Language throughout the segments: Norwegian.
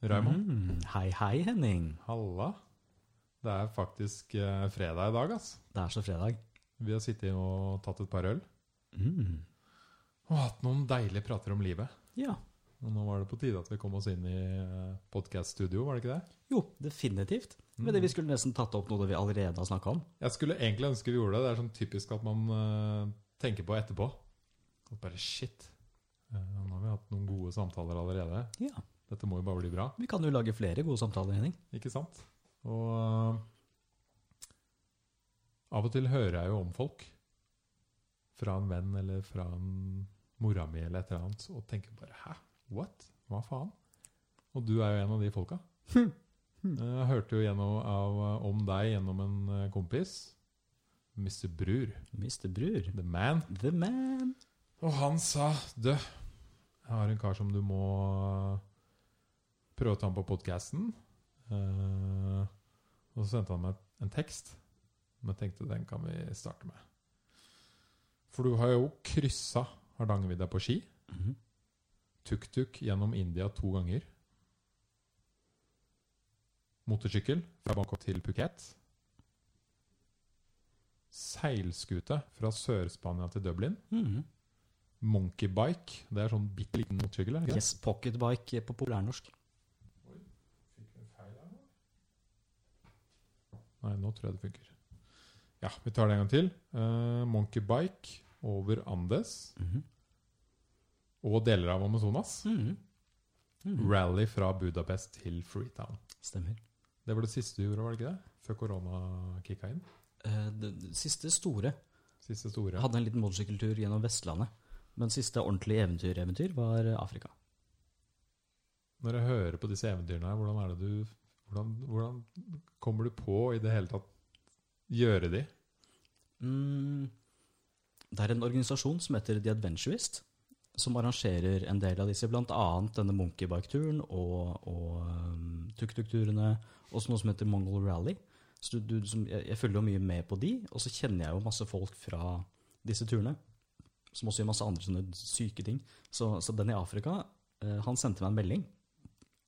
Raymond. Mm, hei, hei, Henning. Halla. Det er faktisk eh, fredag i dag, ass. Det er så fredag. Vi har sittet og tatt et par øl Mm. og hatt noen deilige prater om livet. Ja. Og nå var det på tide at vi kom oss inn i podkaststudio, var det ikke det? Jo, definitivt. Men det vi skulle nesten tatt opp noe det vi allerede har snakka om. Jeg skulle egentlig ønske vi gjorde det. Det er sånn typisk at man eh, tenker på etterpå. At bare shit. eh, nå har vi hatt noen gode samtaler allerede. Ja. Dette må jo bare bli bra. Vi kan jo lage flere gode samtaler, Henning. Ikke sant? Og eh, av og til hører jeg jo om folk fra en venn eller fra en mora mi eller et eller annet, og tenker bare 'hæ? What? Hva faen?' Og du er jo en av de folka. Eh, Jeg hørte jo gjennom, av, om deg gjennom en eh, kompis, Mr. Brur, Mr. Brur. the man. The man. Og han sa Dø, jeg har en kar som du må eh, prøve å ta med på podkasten. og så sendte han meg en tekst. Men jeg tenkte den kan vi starte med. For du har jo kryssa Hardangervidda på ski. Mhm. Tuk-tuk gjennom India to ganger. Motorsykkel fra Bangkok til Phuket. Seilskute fra Sør-Spania til Dublin. Mhm. Monkeybike. Det er sånn bitte liten motorsykkel? er det ikke det? Yes, pocketbike på populærnorsk. Nei, nå tror jeg det funker. Ja, vi tar det en gang til. Eh, monkeybike over Andes Mhm. og deler av Amazonas. Mhm. Mhm. Rally fra Budapest til Freetown. Stemmer. Det var det siste du gjorde, var det ikke det? Før korona kicka inn? Eh, det, det siste store Siste store. Jeg hadde en liten motorsykkeltur gjennom Vestlandet. Men siste ordentlige eventyr-eventyr var Afrika. Når jeg hører på disse eventyrene her, hvordan er det du hvordan, hvordan kommer du på i det hele tatt gjøre de? Mm, det er en organisasjon som heter The Adventurist, som arrangerer en del av disse, bl.a. denne monkeybike-turen og, og um, tuk-tuk-turene, også noe som heter Mongol Rally. Så du, du, som, jeg, jeg følger jo mye med på de, og så kjenner jeg jo masse folk fra disse turene, som også gjør masse andre sånne syke ting. Så, så den i Afrika, eh, han sendte meg en melding.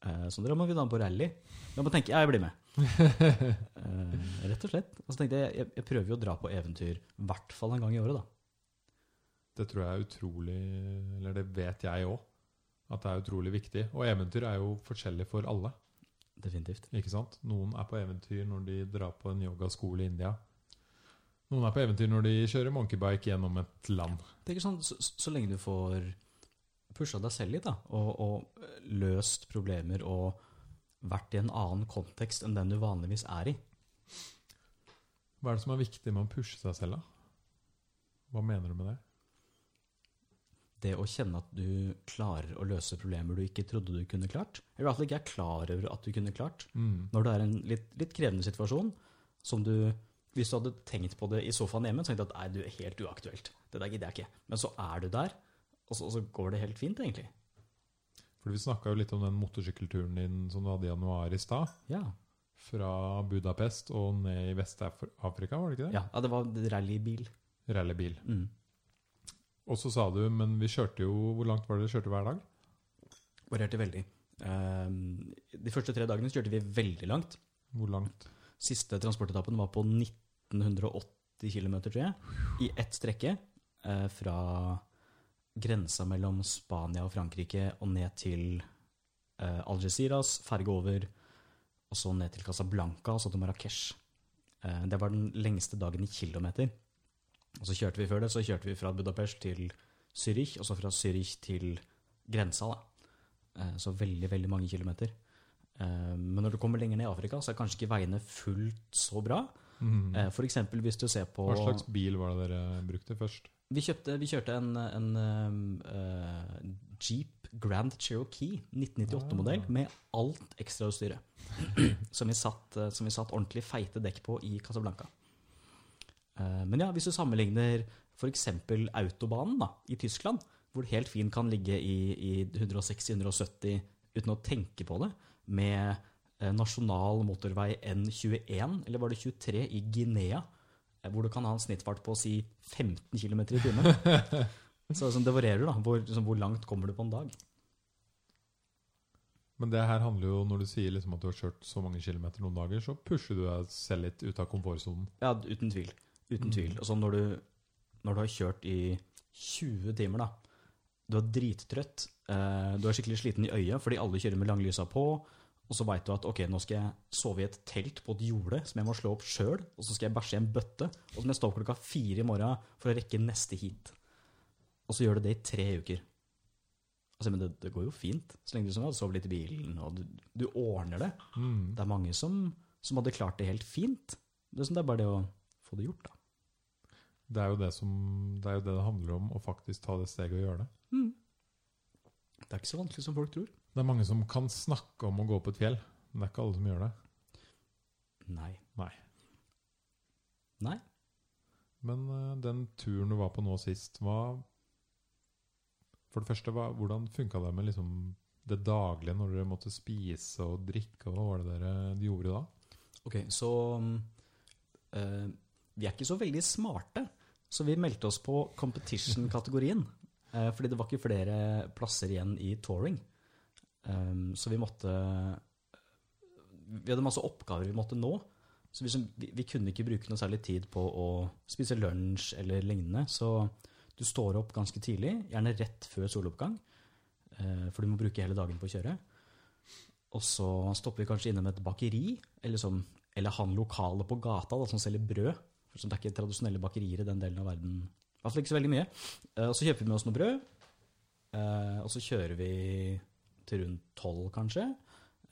Eh, så dere må vi da på rally. Da må jeg tenke, ja, jeg blir med. Eh, rett og slett. Og så tenkte jeg, jeg, jeg prøver jo å dra på eventyr i hvert fall en gang i året, da. Det tror jeg er utrolig Eller det vet jeg òg, at det er utrolig viktig. Og eventyr er jo forskjellig for alle. Definitivt. Ikke sant? Noen er på eventyr når de drar på en yogaskole i India. Noen er på eventyr når de kjører monkeybike gjennom et land. Det er ikke sånn, så, så lenge du får pusha deg selv litt, da, og, og eh, løst problemer og vært i en annen kontekst enn den du vanligvis er i. Hva er det som er viktig med å pushe seg selv, da? Hva mener du med det? Det å kjenne at du klarer å løse problemer du ikke trodde du kunne klart, eller i hvert fall ikke er klar over at du kunne klart, Mm. når du er i en litt, litt krevende situasjon, som du Hvis du hadde tenkt på det i sofaen hjemme, så tenkte du at nei, du er helt uaktuelt. Det der gidder jeg ikke. Men så er du der, og så, og så går det helt fint, egentlig. For vi snakka jo litt om den motorsykkelturen din som du hadde i januar i stad. Ja, Fra Budapest og ned i Vest-Afrika, var det ikke det? ja, ja det var rallybil. Rallybil. Mm. Og så sa du, men vi kjørte jo Hvor langt var det dere kjørte hver dag? Varierte veldig. Ehm, de første tre dagene så kjørte vi veldig langt. Hvor langt? Siste transportetappen var på 1980 km, tror jeg, i ett strekke. eh, fra grensa mellom Spania og Frankrike og ned til eh, Algeciras, ferge over, og så ned til Casablanca, og så til Marrakech. Eh, det var den lengste dagen i kilometer. Og så kjørte vi før det, så kjørte vi fra Budapest til Zürich, og så fra Zürich til grensa, da. Eh, så veldig, veldig mange kilometer. Eh, Men når du kommer lenger ned i Afrika, så er kanskje ikke veiene fullt så bra. Mhm. Eh, For eksempel hvis du ser på Hva slags bil var det dere brukte først? vi, kjøpte, vi kjørte en, en um, eh, Jeep Grand Cherokee 1998-modell Ah. med alt ekstrautstyret. som, vi satt, eh, som vi satt ordentlig feite dekk på i Casablanca. Eh, men ja, hvis du sammenligner f.eks. autobanen da, i Tyskland, hvor det helt fint kan ligge i, i 160-170 uten å tenke på det, med eh, nasjonal motorvei N21, eller var det 23, i Guinea, eh, hvor du kan ha en snittfart på å si 15 km i timen. Så liksom, det varierer, da. Hvor, liksom, hvor langt kommer du på en dag? Men det her handler jo når du sier liksom at du har kjørt så mange kilometer noen dager, så pusher du deg selv litt ut av komfortsonen. Ja, uten tvil. Uten Mm. tvil. Og så når du, når du har kjørt i 20 timer, da. Du er drittrøtt. eh, Du er skikkelig sliten i øyet fordi alle kjører med langlysa på. Og så veit du at ok, nå skal jeg sove i et telt på et jorde som jeg må slå opp sjøl. Og så skal jeg bæsje i en bøtte. Og så må jeg stå opp klokka fire i morgen for å rekke neste heat. Og så gjør du det i tre uker. Altså, men det, det går jo fint, så lenge du som jeg, sover litt i bilen, og du, du ordner det. Mm. Det er mange som, som hadde klart det helt fint. Det er, sånn, det er bare det å få det gjort, da. Det er jo det som Det er jo det det handler om, å faktisk ta det steget og gjøre det. Det er ikke så vanskelig som folk tror. Det er mange som kan snakke om å gå på et fjell, men det er ikke alle som gjør det. Nei. Nei. Nei. Men eh, den turen du var på nå sist, hva For det første, hva, hvordan funka det med liksom det daglige når dere måtte spise og drikke? og Hva var det dere gjorde da? Ok, så mm, eh, Vi er ikke så veldig smarte, så vi meldte oss på competition-kategorien. eh, fordi det var ikke flere plasser igjen i touring. Um, så vi måtte Vi hadde masse oppgaver vi måtte nå. Så vi, som, vi, vi kunne ikke bruke noe særlig tid på å spise lunsj eller lignende. Så du står opp ganske tidlig, gjerne rett før soloppgang, eh, for du må bruke hele dagen på å kjøre. Og så stopper vi kanskje innom et bakeri, eller, som, eller han lokale på gata da, som selger brød. For som det er ikke tradisjonelle bakerier i den delen av verden. I hvert fall ikke så veldig mye. Eh, og så kjøper vi med oss noe brød. eh, og så kjører vi til rundt tolv, kanskje.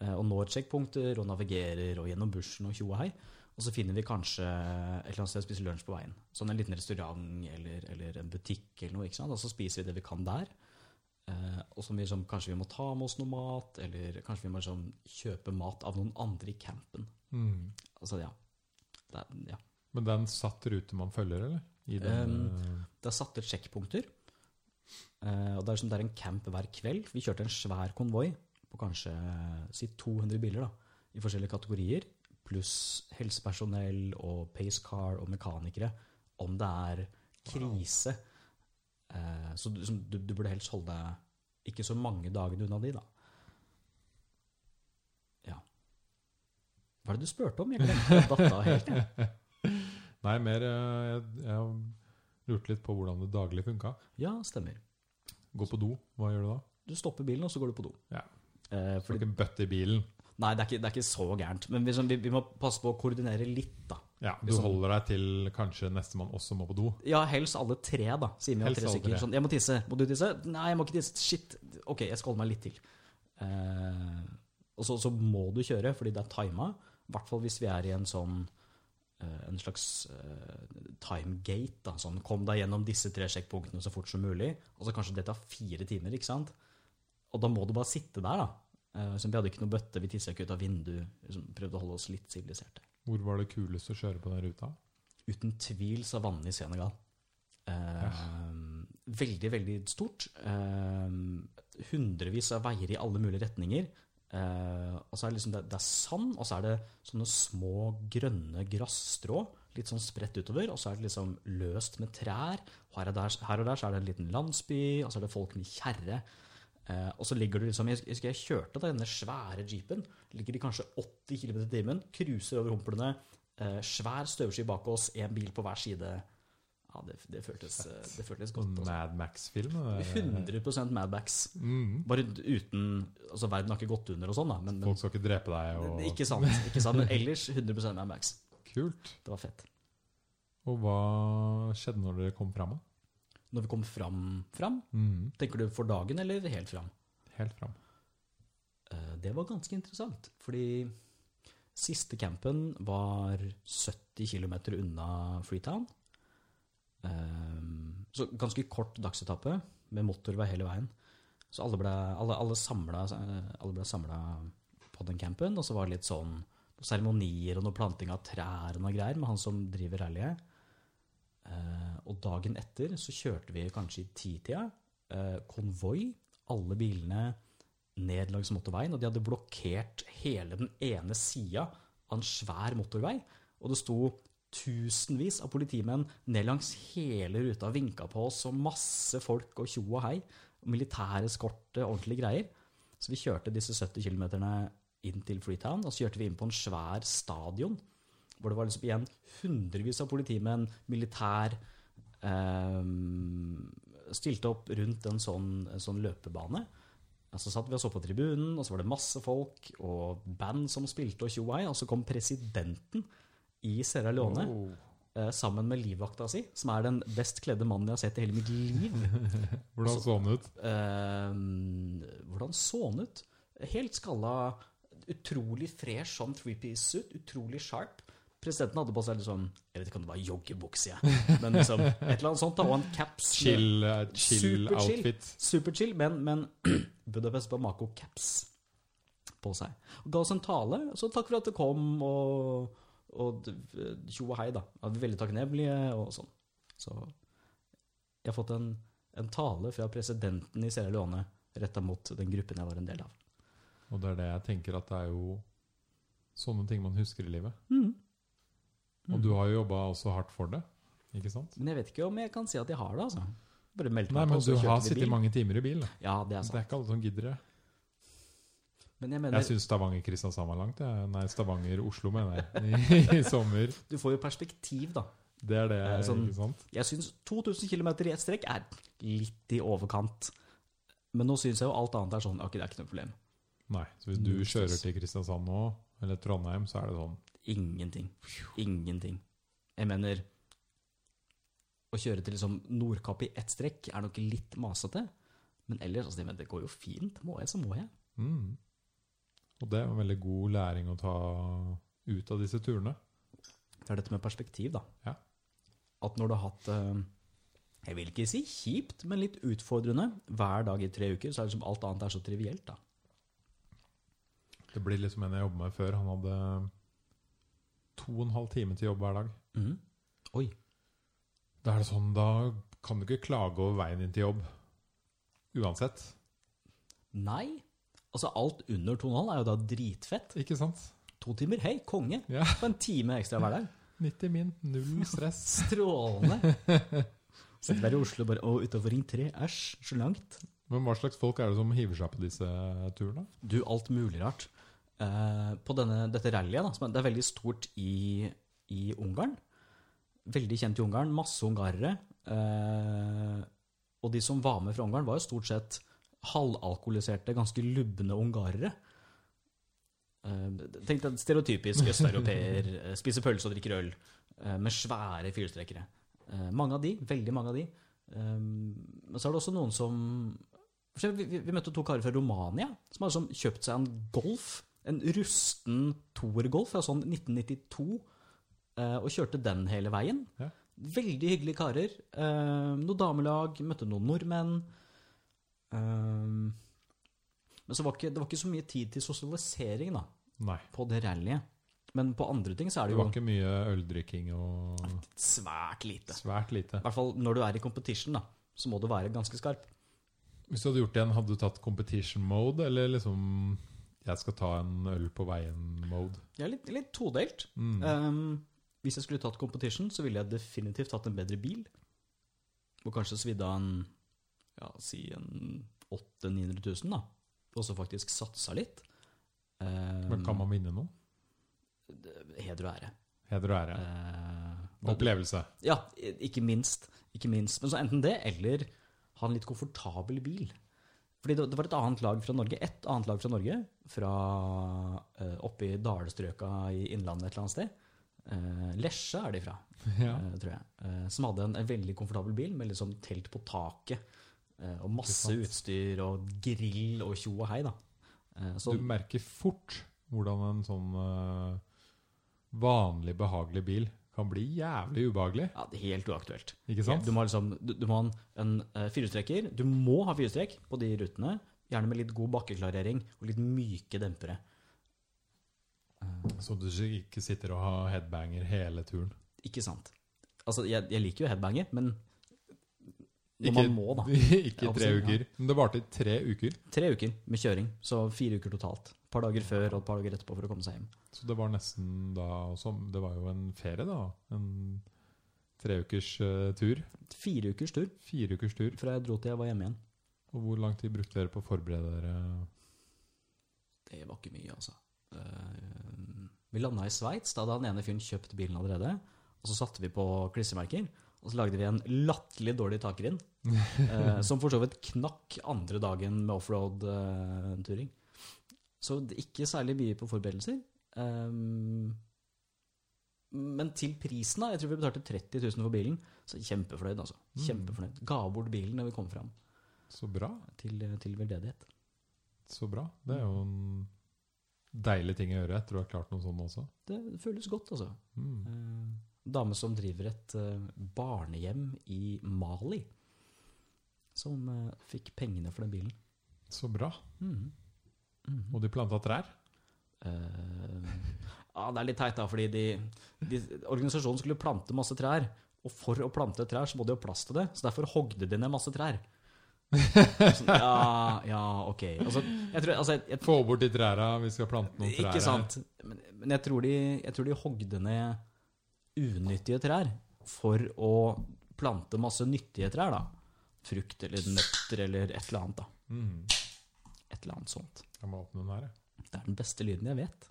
eh, og når sjekkpunkter, og navigerer, og gjennom bushen og tjo og hei. Og så finner vi kanskje et eller annet sted å spise lunsj på veien. Sånn en liten restaurant eller, eller en butikk eller noe. ikke sant? Og så spiser vi det vi kan der. Eh, og som vi liksom, kanskje vi må ta med oss noe mat, eller kanskje vi må liksom, kjøpe mat av noen andre i campen. Altså, ja. Det er, ja. Men det er en satt rute man følger, eller? I den, eh, Det er satt ut sjekkpunkter. Eh, og det er, liksom, det er en camp hver kveld. Vi kjørte en svær konvoi på kanskje eh, si 200 biler da, i forskjellige kategorier. Pluss helsepersonell og pace car og mekanikere. Om det er krise. Eh, så du, liksom, du, du burde helst holde deg ikke så mange dagene unna de, da. Ja. Hva er det du spurte om? Jeg glemte å datte av helt. jeg. Nei, mer eh, jeg, jeg lurte litt på hvordan det daglig funka. Ja, stemmer. Gå på do, hva gjør du da? Du stopper bilen, og så går du på do. Ja. Eh, fordi Får ikke en bøtte i bilen. Nei, det er ikke, det er ikke så gærent. Men vi, sånn, vi, vi må passe på å koordinere litt, da. Ja, Du Liksom- holder deg til kanskje nestemann også må på do. Ja, helst alle tre, da, sier vi. om Helst Tre alle stykker. tre. Sånn, 'Jeg må tisse. Må du tisse?' 'Nei, jeg må ikke tisse. Shit. Ok, jeg skal holde meg litt til.' Eh, og så, så må du kjøre, fordi det er tima. I hvert fall hvis vi er i en sånn eh, en slags eh, timegate. da, sånn, Kom deg gjennom disse tre sjekkpunktene så fort som mulig. Og så kanskje det tar fire timer. ikke sant? Og da må du bare sitte der. da. Eh, så Vi hadde ikke noe bøtte, vi tissa ikke ut av vinduet. Liksom, prøvde å holde oss litt siviliserte. Hvor var det kulest å kjøre på den ruta? Uten tvil savanne i Senegal. Eh, veldig, veldig stort. Eh, hundrevis av veier i alle mulige retninger. Eh, og så er det, liksom, det, det er sand, og så er det sånne små grønne grasstrå litt sånn spredt utover. Og så er det liksom løst med trær. Og her og der, her og der så er det en liten landsby, og så er det folk med kjerre. Eh, og så ligger du liksom Jeg husker jeg kjørte da, denne svære jeepen. Ligger i kanskje 80 km i timen. Cruiser over humplene. Eh, svær støvsky bak oss, én bil på hver side. Ja, det, det, føltes, eh, det føltes Sånn godt. altså. Mad Max-film? det- 100 Madbacks. Mm. Bare uten Altså, verden har ikke gått under og sånn, da. Men, men Folk skal ikke drepe deg og ikke sant. Ikke sant. Men ellers 100 Madbacks. Kult. Det var fett. Og hva skjedde når dere kom fram? da? Mm. Når vi kom fram, fram Tenker du for dagen eller helt fram? Helt fram. Eh, Det var ganske interessant, fordi siste campen var 70 km unna Freetown. Eh, Så ganske kort dagsetappe med motorvei hele veien. Så alle ble, alle, alle samla, eh, alle ble samla på den campen, og så var det litt sånn noen seremonier og noe planting av trær og noe greier med han som driver rallyet. Eh, Og dagen etter så kjørte vi kanskje i titida. eh, Konvoi. Alle bilene ned langs motorveien, og de hadde blokkert hele den ene sida av en svær motorvei. Og det sto tusenvis av politimenn ned langs hele ruta og vinka på oss, og masse folk og tjo og hei. og Militæreskorte, ordentlige greier. Så vi kjørte disse 70 km inn til Freetown, og så kjørte vi inn på en svær stadion. Hvor det var liksom igjen hundrevis av politimenn, militær ehm, Stilte opp rundt en sånn, en sånn løpebane. Og Så satt vi og så på tribunen, og så var det masse folk og band som spilte, og tjo og hei. Og så kom presidenten i Sierra Leone Oh. eh, sammen med livvakta si, som er den best kledde mannen jeg har sett i hele mitt liv. Hvordan så han ut? Eh, hvordan så han ut? Helt skalla, utrolig fresh sånn three-piece-suit, utrolig sharp. Presidenten hadde på seg litt sånn Jeg vet ikke om det var joggebukse, jeg. Men liksom, et eller annet sånt. da, Og en caps. med- Chill, eh, chill Superchill. outfit. Superchill, men, men Budapest Bamako caps på seg. Og ga oss en tale, så takk for at du kom, og, og d- tjo og hei, da. Ja, vi er Veldig takknemlige, og sånn. Så jeg har fått en, en tale fra presidenten i Sierra Leone retta mot den gruppen jeg var en del av. Og det er det jeg tenker at det er jo sånne ting man husker i livet. Og du har jo jobba også hardt for det, ikke sant? Men jeg vet ikke om jeg kan si at jeg har det, altså. Bare meldte Nei, meg på, men så du kjørte har vi sittet bil. mange timer i bil. da. Ja, det er Det sant. er ikke alle som gidder det. Men jeg Jeg mener, syns Stavanger-Kristiansand var langt. jeg. Nei, Stavanger-Oslo, mener jeg. I, I sommer. du får jo perspektiv, da. Det er det, Ja, sånn- ikke sant? Jeg syns 2000 km i ett strekk er litt i overkant. Men nå syns jeg jo alt annet er sånn Ok, det er ikke noe problem. Nei. Så hvis du Null kjører stress. til Kristiansand nå, eller Trondheim, så er det sånn Ingenting. Ingenting. Jeg mener Å kjøre til liksom Nordkapp i ett strekk er nok litt masete. Men ellers altså, jeg mener, det går jo fint. Må jeg, så må jeg. mm. Og det er en veldig god læring å ta ut av disse turene. Det er dette med perspektiv, da. Ja. At når du har hatt eh, Jeg vil ikke si kjipt, men litt utfordrende hver dag i tre uker, så er liksom alt annet er så trivielt, da. Det blir liksom en jeg jobber med før. Han hadde to og en halv time til jobb hver dag. Mhm. Oi. Da er det sånn, da kan du ikke klage over veien din til jobb. Uansett. Nei. Altså alt under 2,5 er jo da dritfett. Ikke sant? To timer, hei, konge. Ja. På en time ekstra hver dag. 90 min, null stress. Strålende. Sitter der i Oslo bare Å, utafor Ring 3, æsj, så langt. Men hva slags folk er det som hiver seg på disse turene? Du, alt mulig rart. Eh, på denne, dette rallyet, da, som er, det er veldig stort i, i Ungarn. Veldig kjent i Ungarn. Masse ungarere. Eh, og de som var med fra Ungarn, var jo stort sett halvalkoholiserte, ganske lubne ungarere. Eh, tenk deg stereotypisk østeuropeer, eh, spiser pølse og drikker øl, eh, med svære fyrstrekkere. Eh, mange av de, veldig mange av de. Eh, men så er det også noen som for eksempel, vi, vi- vi møtte to karer fra Romania som hadde sånn kjøpt seg en Golf. En rusten toergolf fra sånn 1992, eh, og kjørte den hele veien. Ja. Veldig hyggelige karer. Eh, noe damelag, møtte noen nordmenn. Eh, men så var ikke, det var ikke så mye tid til sosialisering da, Nei. på det rallyet. Men på andre ting så er Det det var jo ikke mye øldrikking og svært lite. svært lite. I hvert fall når du er i competition, da, så må du være ganske skarp. Hvis du hadde gjort det igjen, hadde du tatt competition mode, eller liksom jeg skal ta en øl på veien mode? Jeg er litt, litt todelt. Mm. Ehm, hvis jeg skulle tatt competition, så ville jeg definitivt tatt en bedre bil. Og kanskje svidd av en ja, si en 800 000-900 000, da. Og så faktisk satsa litt. Ehm, Men kan man vinne noe? Heder og ære. Heder og ære. Ehm, Opplevelse. ja, ikke minst. Ikke minst. Men så enten det, eller ha en litt komfortabel bil. Fordi det, det var et annet lag fra Norge, ett annet lag fra Norge, fra eh, oppe i dalstrøka i Innlandet et eller annet sted. Eh, Lesje er de fra, Ja. eh, tror jeg. Eh, som hadde en, en veldig komfortabel bil med liksom telt på taket. eh, og masse Ikke utstyr og grill og tjo og hei, da. Eh, så, Du merker fort hvordan en sånn eh, vanlig, behagelig bil kan bli jævlig ubehagelig. ja, det er helt uaktuelt. Ikke sant? Du må, ha liksom, du, du må ha en, en eh, firehjulstrekker. Du må ha firehjulstrekk på de rutene. Gjerne med litt god bakkeklarering og litt myke dempere. Så du ikke sitter og har headbanger hele turen. Ikke sant? Altså, jeg, jeg liker jo headbanger, men når Ikke, man må, da. ikke tre Ja, absolutt, ja. uker. Men det varte i tre uker, Tre uker med kjøring, så fire uker totalt. Et par dager før og et par dager etterpå for å komme seg hjem. så det var nesten da som, Det var jo en ferie, da. En treukers uh, tur. Fire ukers tur Fire ukers tur. fra jeg dro til jeg var hjemme igjen. Og hvor lang tid brukte dere på å forberede dere det var ikke mye, altså. Eh, vi landa i Sveits. Da hadde han ene fyren kjøpt bilen allerede. Og så satte vi på klissemerker, og så lagde vi en latterlig dårlig takrenn. eh, som for så vidt knakk andre dagen med offroad-turing. så det- ikke særlig mye på forberedelser. Eh, men til prisen, da. Jeg tror vi betalte 30 000 for bilen. Så kjempefornøyd, altså. Kjempefornøyd. Ga bort bilen når vi kom fram. Så bra. Til, til veldedighet. Så bra. Det er jo en deilig ting å gjøre etter du har klart noe sånt også. Det føles godt, altså. Mm. Eh, dame som driver et eh, barnehjem i Mali. Som eh, fikk pengene for den bilen. Så bra. Mhm. Mhm. Og de planta trær. Eh, ja, det er litt teit, da, fordi de, de, organisasjonen skulle plante masse trær. Og for å plante trær så må de ha plass til det, så derfor hogde de ned masse trær. Sånn, ja, ja, ok. Altså, jeg tror, altså, jeg, Få bort de trærne, vi skal plante noen trær. her. Ikke sant? Men, men jeg, tror de, jeg tror de hogde ned unyttige trær for å plante masse nyttige trær, da. Frukt eller nøtter eller et eller annet, da. Mm. Et eller annet sånt. Jeg må åpne den her, jeg. Det er den beste lyden jeg vet.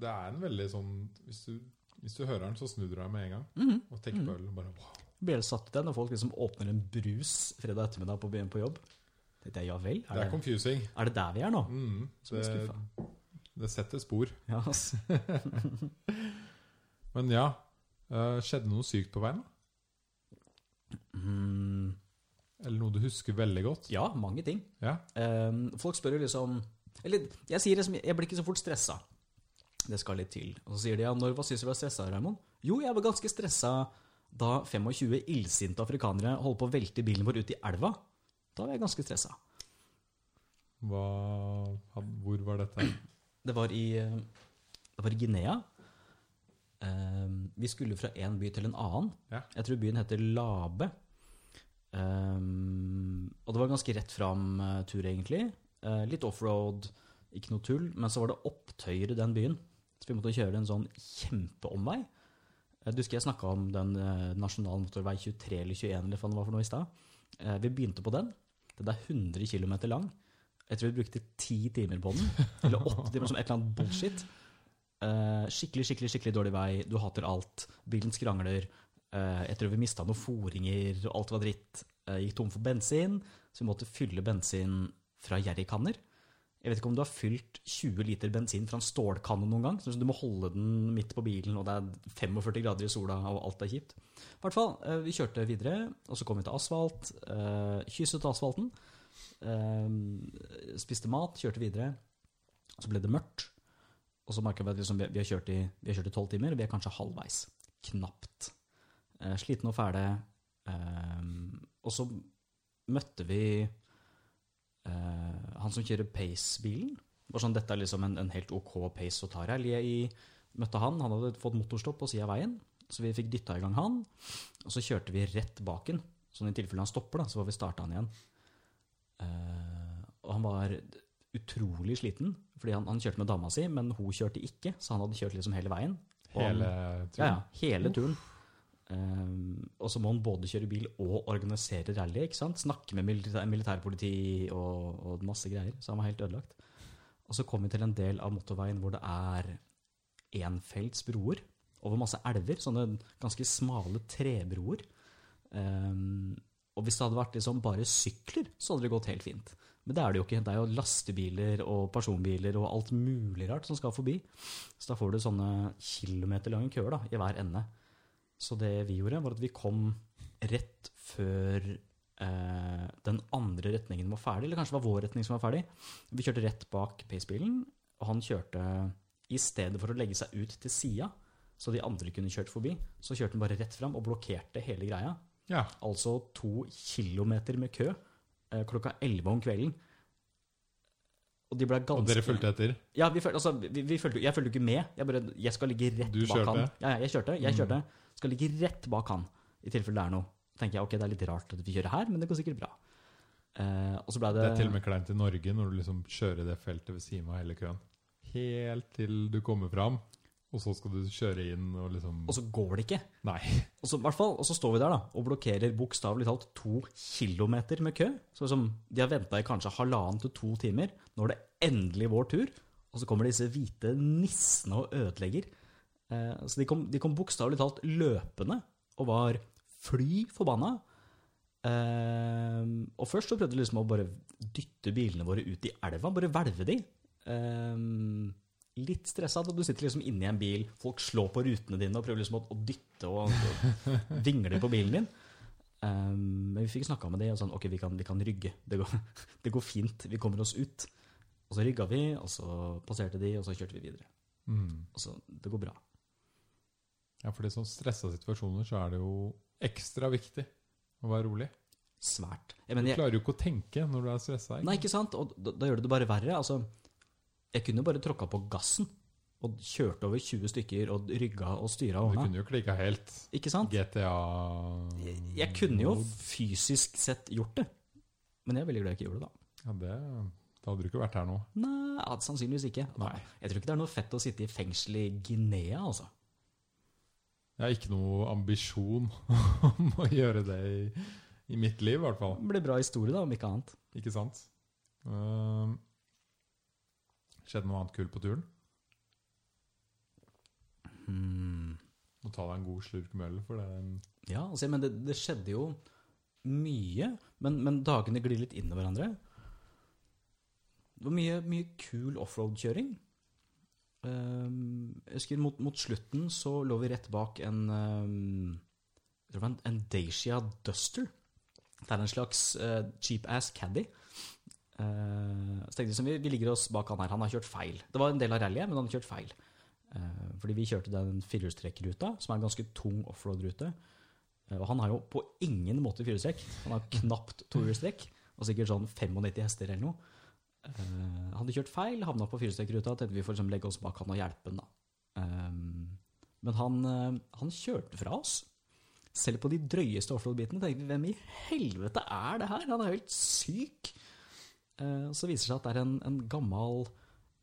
Det er en veldig sånn Hvis du, hvis du hører den, så snur du deg med en gang Mhm. og tenker på ølen. og Bare wow. Blir det satt i den, og folk liksom åpner en brus fredag ettermiddag på byen på jobb? Det er ja vel? Det Er er det, confusing. er det der vi er nå? Mm. Som er Det, skuffa. det setter spor. Ja, ass. Men ja, eh, skjedde noe sykt på veien? da? Mm, Eller noe du husker veldig godt? ja, mange ting. Ja. Ehm, folk spør jo liksom Eller jeg sier liksom, jeg blir ikke så fort stressa. Det skal litt til. Og så sier de ja, når hva syns du var stressa, Raymond? Jo, jeg var ganske stressa da 25 illsinte afrikanere holdt på å velte bilen vår ut i elva. Da var jeg ganske stressa. Hva, had, hvor var dette? Det var i, eh, det var i Guinea. Ehm, vi skulle fra en by til en annen. Ja. Jeg tror byen heter Labe. Ehm, og det var ganske rett fram-tur, egentlig. Eh, litt offroad, ikke noe tull. Men så var det opptøyer i den byen, så vi måtte kjøre en sånn kjempeomvei. Eh, Du husker jeg snakka om den eh, nasjonal motorvei 23 eller 21 eller hva faen det var for noe i stad. Eh, vi begynte på den. Den er 100 km lang. Jeg tror vi brukte ti timer på den. Eller åtte timer, som et eller annet bullshit. Eh, skikkelig, skikkelig skikkelig dårlig vei. Du hater alt. Bilen skrangler. Eh, jeg tror vi mista noen foringer, og alt var dritt. Eh, gikk tom for bensin, så vi måtte fylle bensin fra jerrykanner. Jeg vet ikke om du har fylt 20 liter bensin fra en stålkanne noen gang. Så du må holde den midt på bilen, og det er 45 grader i sola, og alt er kjipt. I hvert fall, eh, vi kjørte videre, og så kom vi til asfalt. eh, kysset asfalten. eh, spiste mat, kjørte videre. Så ble det mørkt. Og så merker vi at liksom, vi, vi har kjørt i- vi har kjørt i tolv timer, og vi er kanskje halvveis. Knapt. Eh, sliten og fæle. Ehm, og så møtte vi eh, han som kjører Pace-bilen. Det var Sånn, dette er liksom en, en helt ok Pace å ta rally i. Møtte han, han hadde fått motorstopp på sida av veien, så vi fikk dytta i gang han. Og så kjørte vi rett bak han. Sånn i tilfelle han stopper, da, så får vi starte han igjen. Eh, og han var utrolig sliten, fordi han, han kjørte med dama si, men hun kjørte ikke, så han hadde kjørt liksom hele veien. Og han- Hele ja, turen? ja. Hele turen. Ehm, og så må han både kjøre bil og organisere rally. ikke sant? Snakke med militær, militærpoliti og, og masse greier. Så han var helt ødelagt. Og så kom vi til en del av motorveien hvor det er enfelts broer over masse elver. Sånne ganske smale trebroer. Ehm, og hvis det hadde vært liksom bare sykler, så hadde det gått helt fint. Men det er det jo ikke. Det er jo lastebiler og personbiler og alt mulig rart som skal forbi. Så da får du sånne kilometerlange køer da, i hver ende. Så det vi gjorde, var at vi kom rett før eh, den andre retningen var ferdig. Eller kanskje det var vår retning som var ferdig. Vi kjørte rett bak pacebilen, og han kjørte I stedet for å legge seg ut til sida, så de andre kunne kjørt forbi, så kjørte han bare rett fram og blokkerte hele greia. ja. Altså to kilometer med kø eh, klokka elleve om kvelden. Og de ble ganske Og dere fulgte etter? ja, vi følte, altså, vi, vi følte, jeg følte ikke med. Jeg, bare, jeg skal ligge rett Du bak kjørte? Mm. han. Ja, ja, jeg kjørte. Jeg kjørte. Skal ligge rett bak han, i tilfelle det er noe. Så tenker jeg, ok, det er litt rart at vi kjører her, men det går sikkert bra. Eh, og så ble det, Det er til og med kleint i Norge når du liksom kjører det feltet ved siden av hele køen. Helt til du kommer fram, og så skal du kjøre inn og liksom og så går det ikke. Nei. Og så, i hvert fall, og så står vi der da, og blokkerer bokstavelig talt to kilometer med kø. Så liksom, de har venta i kanskje halvannen til to timer. Nå er det endelig vår tur, Og så kommer disse hvite nissene og ødelegger. Eh, så de kom, de kom bokstavelig talt løpende og var fly forbanna. Eh, og først så prøvde de liksom å bare dytte bilene våre ut i elva, bare hvelve de. Eh, litt stressa da du sitter liksom inni en bil, folk slår på rutene dine og prøver liksom å, å dytte og, og vingle på bilen din. Eh, men vi fikk snakka med de og sånn, ok, vi kan, vi kan rygge. Det går, det går fint, vi kommer oss ut. Og så rygga vi, og så passerte de, og så kjørte vi videre. Mm. Og så, det går bra. Ja, for i sånne stressa situasjoner så er det jo ekstra viktig å være rolig. Svært. Jeg mener, Du jeg, klarer jo ikke å tenke når du er stressa. Nei, ikke sant? Og da, da gjør det det bare verre. Altså, jeg kunne jo bare tråkka på gassen og kjørt over 20 stykker og rygga og styra Du og ordna. kunne jo klikka helt. Ikke sant? GTA Jeg, jeg kunne jo fysisk sett gjort det, men jeg er veldig glad jeg ikke gjorde det, da. ja, det, Da hadde du ikke vært her nå. Nei, ja, sannsynligvis ikke. Nei. Jeg tror ikke det er noe fett å sitte i fengsel i Guinea, altså. Jeg har ikke noe ambisjon om å gjøre det i, i mitt liv, i hvert fall. Det blir bra historie, da, om ikke annet. Ikke sant? Ehm, skjedde noe annet kult på turen? Hmm. Må ta deg en god slurk møll, for det Ja, altså, men det, det skjedde jo mye, men, men dagene glir litt inn i hverandre. Det var mye, mye kul offroad-kjøring. Ehm, jeg husker mot, mot slutten så lå vi rett bak en ehm, jeg tror det var en, en Dacia Duster. Det er en slags eh, cheap-ass caddy. Eh, så tenkte jeg som vi, vi ligger oss bak han her. Han har kjørt feil. Det var en del av rallyet, men han har kjørt feil. Eh, fordi vi kjørte den firehjulstrekkruta, som er en ganske tung offroad-rute. Eh, Og han har jo på ingen måte firehjulstrekk. Han har knapt tohjulstrekk, og sikkert sånn 95 hester eller noe. Eh, hadde kjørt feil, havna på firehjulstrekkruta, tenkte vi får liksom legge oss bak han og hjelpe han, da. Eh, men han, eh, han kjørte fra oss. Selv på de drøyeste offroad-bitene tenkte vi hvem i helvete er det her? Han er jo helt syk! Eh, så viser det seg at det er en, en gammel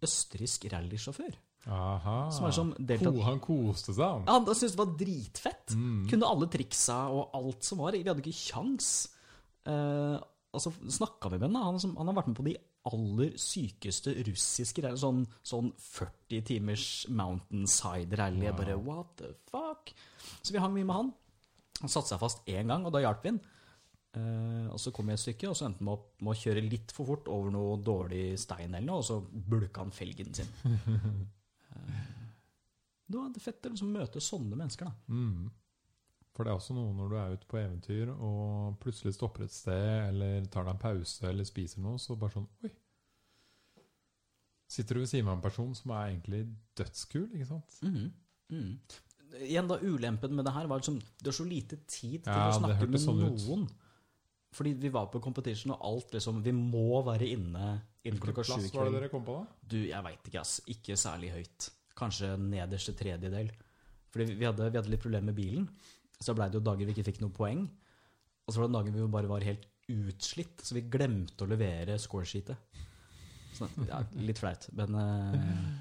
østerriksk rallysjåfør. Aha. Som er som deltatt- sånn Ko- Han koste seg, han. Mm, Ja, han syntes det var dritfett. Mhm. Kunne alle triksa og alt som var. Vi hadde ikke kjangs. Eh, og så snakka vi med henne. Han, som, han har vært med på de aller sykeste russiske rally, sånn, sånn 40 timers mountainside rally. Jeg bare what the fuck? Så vi hang mye med han. Han satte seg fast én gang, og da hjalp vi han. Eh, og så kom vi et stykke, og så endte han opp med å kjøre litt for fort over noe dårlig stein eller noe, og så bulka han felgen sin. Eh, Det var fett å liksom møte sånne mennesker, da. Mm. For det er også noe når du er ute på eventyr og plutselig stopper et sted, eller tar deg en pause eller spiser noe, så bare sånn Oi. Sitter du ved siden av en person som er egentlig dødskul, ikke sant? Mhm. Mhm. Igjen da, ulempen med det her var liksom, det var så lite tid til Ja, å det snakke med hørtes sånn ut. noen. Fordi vi var på competition og alt liksom, vi må være inne innen klokka sju i plass var det kveld. dere kom på, da? Du, jeg veit ikke, ass. Ikke særlig høyt. Kanskje nederste tredjedel. Fordi vi hadde, vi hadde litt problemer med bilen. Så blei det jo dager vi ikke fikk noe poeng. Og så var det dager vi jo bare var helt utslitt, så vi glemte å levere scoresheetet. Så, ja, litt flaut, men eh,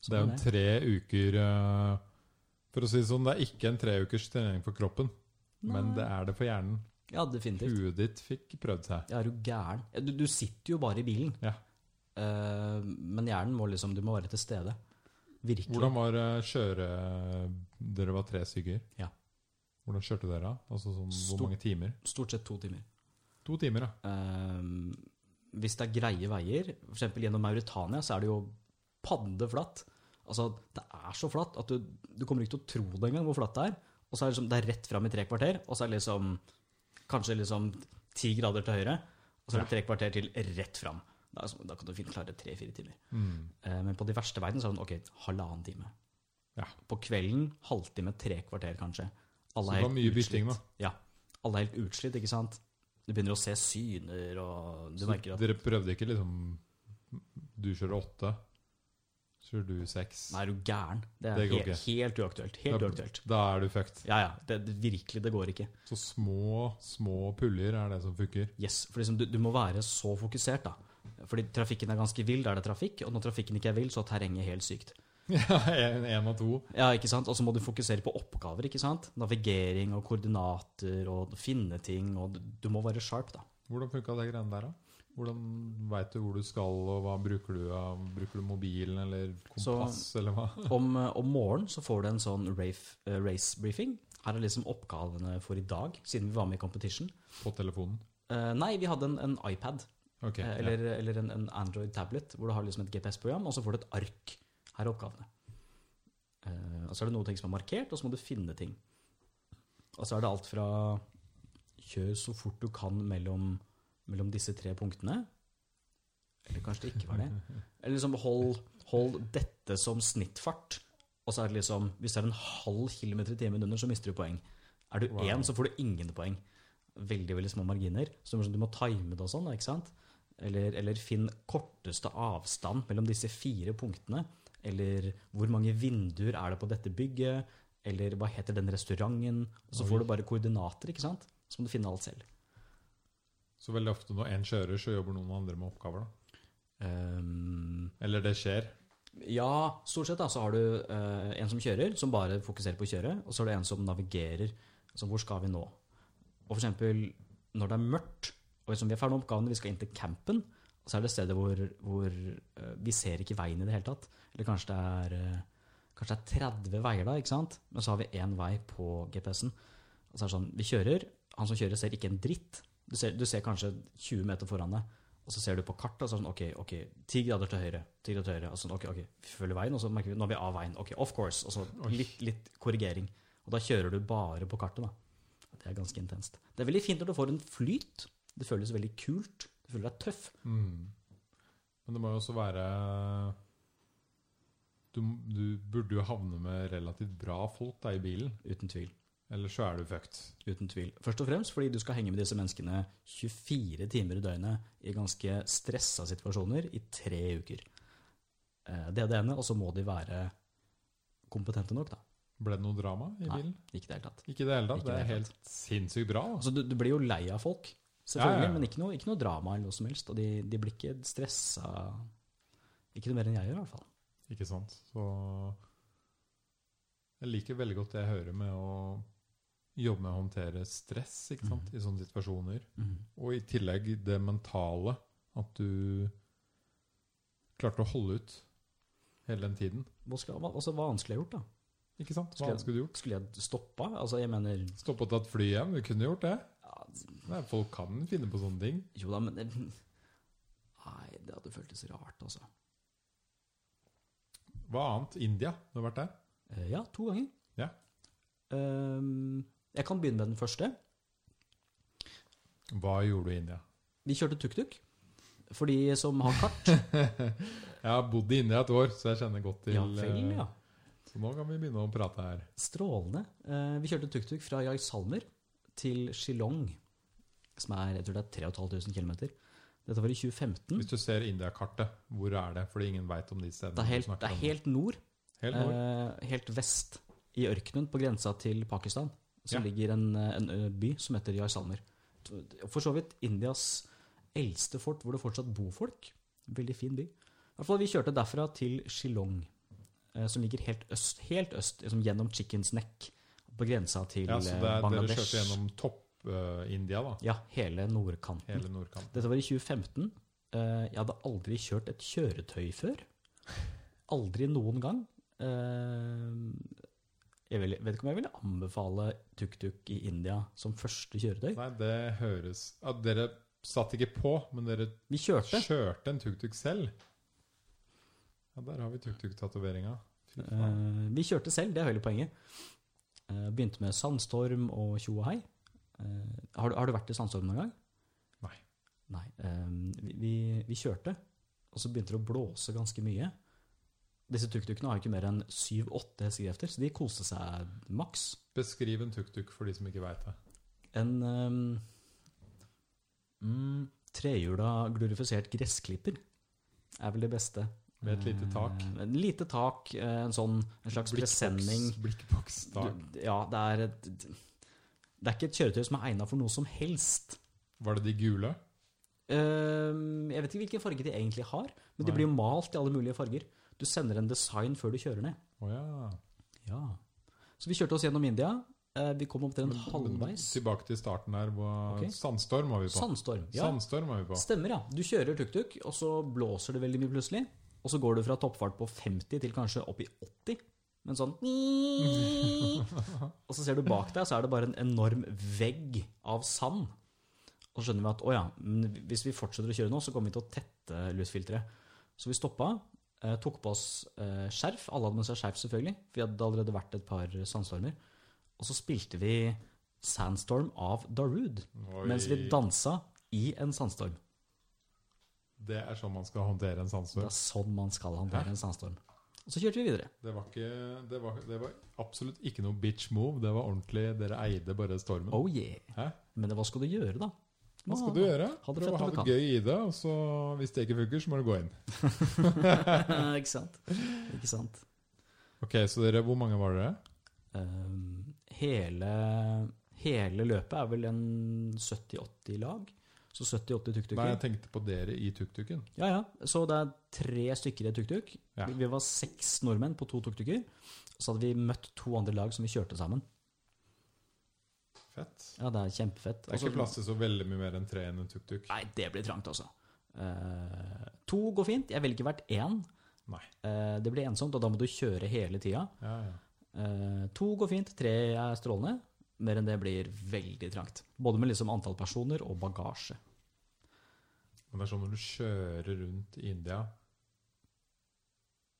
Så det er jo sånn en tre uker eh, For å si det sånn, det er ikke en tre ukers trening for kroppen, men det er det for hjernen. Ja, definitivt. Huet ditt fikk prøvd seg. Jeg er jo gæren. Ja, Du, du sitter jo bare i bilen. Ja. Eh, men hjernen må liksom Du må være til stede. Virkelig. Hvordan var eh, kjøre... Dere var tre stykker. Ja. Hvordan kjørte dere? da? Altså sånn, Stort- hvor mange timer? Stort sett to timer. To timer, ja. Eh, hvis det er greie veier, f.eks. gjennom Mauritania, så er det jo paddeflatt. Altså, det er så flatt at du, du kommer ikke til å tro det engang hvor flatt det er. Og så er det, liksom, det er rett fram i tre kvarter, og så er det liksom kanskje liksom ti grader til høyre. Og så er det tre kvarter til rett fram. Da, er det sånn- da kan du fint klare tre-fire timer. Mm. Eh, Men på de verste veiene så er det sånn, ok, halvannen time. Ja. På kvelden, halvtime, tre kvarter kanskje. Så Alle det var er helt mye bytting, utslitt. da. Ja, alle er helt utslitt, ikke sant? Du begynner å se syner, og du Så merker at, Dere prøvde ikke liksom Du kjører åtte, så kjører du seks. nei, er du gæren? Det er Det går helt, helt uaktuelt, helt Da- uaktuelt. Da er du fucked. Ja, ja, det, det, virkelig, det går ikke. Så små, små puljer er det som funker. Yes, for liksom, du, du må være så fokusert da. Fordi trafikken er ganske vild, da er det trafikk, og når trafikken ikke er vild, så er terrenget helt sykt. Ja, en, en av to. Ja, ikke sant? Og så må du fokusere på oppgaver, ikke sant? Navigering og koordinater og finne ting, og du, du må være sharp da. Hvordan funka de greiene der, da? Hvordan veit du hvor du skal, og hva bruker du av? Bruker du mobilen eller kompass, eller hva? Om, eh, om morgenen så får du en sånn rafe, eh, race briefing. Her er liksom oppgavene for i dag, siden vi var med i competition. På telefonen? Eh, nei, vi hadde en, en iPad, Ok. eh, eller, eller en, en Android-tablet, hvor du har liksom et GPS-program, og så får du et ark. Her er oppgavene. Eh, og så er det noen ting som er markert, og så må du finne ting. Og så er det alt fra kjør så fort du kan mellom, mellom disse tre punktene. Eller kanskje det ikke var det. Eller liksom hold, hold dette som snittfart. Og så er det liksom, hvis det er en halv kilometer i timen under, så mister du poeng. Er du Wow. én, så får du ingen poeng. Veldig veldig små marginer. Så det er sånn du må time det og sånn. ikke sant? Eller, eller finn korteste avstand mellom disse fire punktene. Eller hvor mange vinduer er det på dette bygget? Eller hva heter den restauranten? Og så Oi. får du bare koordinater, ikke sant? så må du finne alt selv. Så veldig ofte når én kjører, så jobber noen andre med oppgaver, da. Ehm, Eller det skjer. Ja, stort sett da, så har du eh, en som kjører, som bare fokuserer på å kjøre, og så er det en som navigerer, som hvor skal vi nå? Og for eksempel, når det er mørkt, og liksom, vi er ferdig med oppgavene, vi skal inn til campen, så er det stedet hvor, hvor eh, vi ser ikke veien i det hele tatt. Eller kanskje det er, eh, kanskje det er 30 veier da, ikke sant? Men så har vi én vei på GPS-en. Og så er det sånn, vi kjører, han som kjører ser ikke en dritt. Du ser, du ser kanskje 20 meter foran deg, og så ser du på kartet, og så er det sånn, ok, ok, 10 grader til høyre, 10 grader til høyre, og sånn, ok, ok, vi følger veien, og så merker vi, nå er vi av veien, ok, of course, og så litt, litt korrigering. Og da kjører du bare på kartet da. Det er ganske intenst. Det er veldig fint når du får en flyt, det føles veldig kult, du føler deg tøff. Mm. Men det må jo også være du, du burde jo havne med relativt bra folk da i bilen, Uten tvil, ellers så er du fucked. uten tvil. Først og fremst fordi du skal henge med disse menneskene 24 timer i døgnet i ganske stressa situasjoner i tre uker. Eh, Det er det ene, og så må de være kompetente nok, da. Ble det noe drama i Nei. bilen? Ikke i det hele tatt. Ikke i det hele tatt. Ikke Det i det er hele helt sinnssykt bra. da. Altså, du, du blir jo lei av folk, selvfølgelig, Ja, ja. men ikke noe, ikke noe drama eller noe som helst. Og de, de blir ikke stressa Ikke noe mer enn jeg gjør, i hvert fall. Ikke sant? Så jeg liker veldig godt det jeg hører med å jobbe med å håndtere stress ikke sant? Mm. i sånne situasjoner. Og i tillegg det mentale. At du klarte å holde ut hele den tiden. Hva skal, hva, altså, hva annet skulle jeg gjort, da? Ikke sant? Skulle Hva jeg- annet skulle du gjort? Skulle jeg stoppa? Altså, jeg mener Stoppe og tatt fly hjem? Du kunne gjort det. ja, Nei, folk kan finne på sånne ting. Jo da, men det, Nei, det hadde føltes rart, altså. Hva annet? India? Du har vært der? Eh, Ja, to ganger. Ja. Ehm, jeg kan begynne med den første. Hva gjorde du i India? Vi kjørte tuk-tuk. For de som har kart. Jeg har bodd i India et år, så jeg kjenner godt til ja, vel, eh, ja. Så nå kan vi begynne å prate her. Strålende. Eh, vi kjørte tuk-tuk fra Jaisalmer til Shillong, som er jeg tror det er 3500 km. Dette var i 2015. Hvis du ser India-kartet, hvor er det? Fordi ingen veit om de stedene. Det er du helt, snakker det er om. helt nord. Helt nord. Eh, helt vest i ørkenen, på grensa til Pakistan, så Ja. ligger en, eh, en ø, by som heter Jaisalmer. For så vidt Indias eldste fort hvor det fortsatt bor folk. Veldig fin by. I hvert fall Vi kjørte derfra til Shillong, eh, som ligger helt øst, helt øst liksom gjennom Chickens Neck, på grensa til ja, så det eh, er, dere Bangladesh. kjørte gjennom topp-India, da. Ja, hele nordkanten. Hele nordkanten. Dette var i 2015. Eh, Jeg hadde aldri kjørt et kjøretøy før. Aldri noen gang. Eh, Jeg vil, vet ikke om jeg ville anbefale tuk-tuk i India som første kjøretøy. Nei, det høres ja, Dere satt ikke på, men dere Vi kjørte. kjørte en tuk-tuk selv. Ja, der har vi tuk-tuk-tatoveringa. Fy faen. Eh, Vi kjørte selv, det er hele poenget. Eh, Begynte med sandstorm og tjo og hei. Eh, Har du, har du vært i sandstorm noen gang? Nei. Nei. eh, Vi, vi, vi kjørte, og så begynte det å blåse ganske mye. Disse tuk-tukene har jo ikke mer enn 7-8 hestekrefter, så de koste seg maks. Beskriv en tuk-tuk for de som ikke veit det. En eh, mm, trehjula glorifisert gressklipper er vel det beste. Med et lite tak. Eh, En lite tak, eh, en sånn en slags presenning. Blikkbokstak. Du- Ja, det er et Det er ikke et kjøretøy som er egna for noe som helst. Var det de gule? Ehm, jeg vet ikke hvilken farge de egentlig har, men de Nei. blir jo malt i alle mulige farger. Du sender en design før du kjører ned. Å ja. Ja. Så vi kjørte oss gjennom India. Eh, vi kom Men- omtrent men halvveis. Tilbake til starten her. Hva, Ok. Sandstorm var vi på. Sandstorm. Ja, Sandstorm var vi på. stemmer, ja. Du kjører tuk-tuk, og så blåser det veldig mye plutselig. Og så går du fra toppfart på 50 til kanskje opp i 80. Men sånn Og så ser du bak deg, så er det bare en enorm vegg av sand. Og så skjønner vi at å ja, men hvis vi fortsetter å kjøre nå, så kommer vi til å tette luftfilteret. Så vi stoppa, eh, tok på oss eh, skjerf. Alle hadde med seg skjerf, selvfølgelig. For vi hadde allerede vært et par sandstormer. Og så spilte vi Sandstorm av Darude. Oi. Mens vi dansa i en sandstorm. Det er sånn man skal håndtere en Det sandstorm. er sånn man skal håndtere en sandstorm. Og så kjørte vi videre. Det var, ikke, det, var, det var absolutt ikke noe bitch move. Det var ordentlig Dere eide bare stormen. Oh yeah. Mm. Hæ? Men hva skal du gjøre, da? Hva skal du gjøre? Ha det Prøv fett å ha når det du kan. gøy i det, og så hvis det ikke funker, så må du gå inn. ikke sant? Ikke sant? Ok, Så dere, hvor mange var dere? Um, hele, hele løpet er vel en 70-80 lag. Så 70-80 Nei, jeg tuk-tuker. tenkte på dere i tuk-tuken. Ja, ja. Så det er tre stykker i tuk-tuk. Ja. Vi- Vi var seks nordmenn på to tuk-tuker. Og så hadde vi møtt to andre lag som vi kjørte sammen. Fett. Ja, det er kjempefett. Det er Og så- ikke plass til så veldig mye mer enn tre enn en tuk-tuk. Nei, det blir trangt, altså. Eh, to går fint. Jeg velger hvert én. Nei. Eh, det blir ensomt, og da må du kjøre hele tida. Ja, ja. Eh, to går fint, tre er strålende. Mer enn det blir veldig trangt. Både med liksom antall personer og bagasje. Men det er sånn når du kjører rundt i India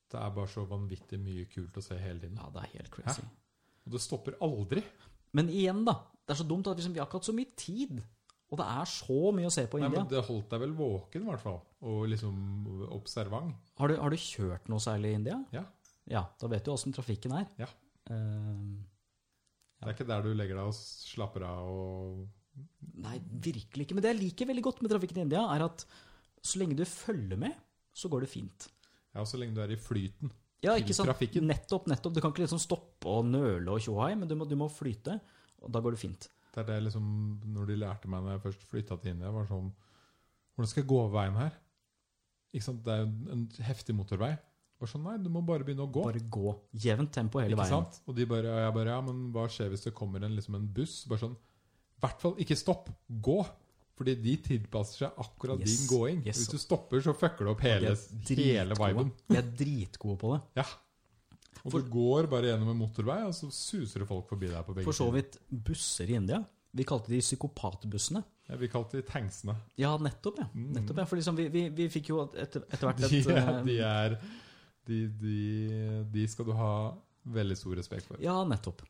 Det er bare så vanvittig mye kult å se hele tiden. Ja, det er helt crazy. Og det stopper aldri. Men igjen, da. Det er så dumt at liksom, vi har ikke hatt så mye tid. Og det er så mye å se på i Nei, India. men Det holdt deg vel våken, i hvert fall. Og liksom observant. Har, du, har du kjørt noe særlig i India? Ja. Ja, Da vet du åssen trafikken er. Ja. Eh, Det er ikke der du legger deg og slapper av og Nei, virkelig ikke. Men det jeg liker veldig godt med trafikken i India, er at så lenge du følger med, så går det fint. Ja, så lenge du er i flyten. Ja, Til ikke sant? trafikken. Nettopp, nettopp. Du kan ikke liksom stoppe og nøle og tjohei, men du må, du må flyte, og da går det fint. Det er det liksom Når de lærte meg når jeg først flytta til India, var sånn Hvordan skal jeg gå over veien her? Ikke sant? Det er jo en- en heftig motorvei. Bare sånn, nei, du må bare begynne å gå. Bare gå. Jevnt tempo hele ikke veien. sant? Og de bare, og jeg bare Ja, men hva skjer hvis det kommer en, liksom en buss? Bare sånn I hvert fall ikke stopp! Gå! Fordi de tilpasser seg akkurat Yes. din gåing. Yes. Hvis du stopper, så fucker du opp De hele, er hele dritgode. viben. De er dritgode på det. Ja. Og du går bare gjennom en motorvei, og så suser det folk forbi deg på begge For sider. så vidt busser i India. Vi kalte de psykopatbussene. Ja, vi kalte de tanksene. Ja, nettopp, ja. Nettopp, ja. For liksom, vi, vi, vi fikk jo etter, etter Mm. hvert De, et eh, de er de, de, de skal du ha veldig stor respekt for. Ja, nettopp.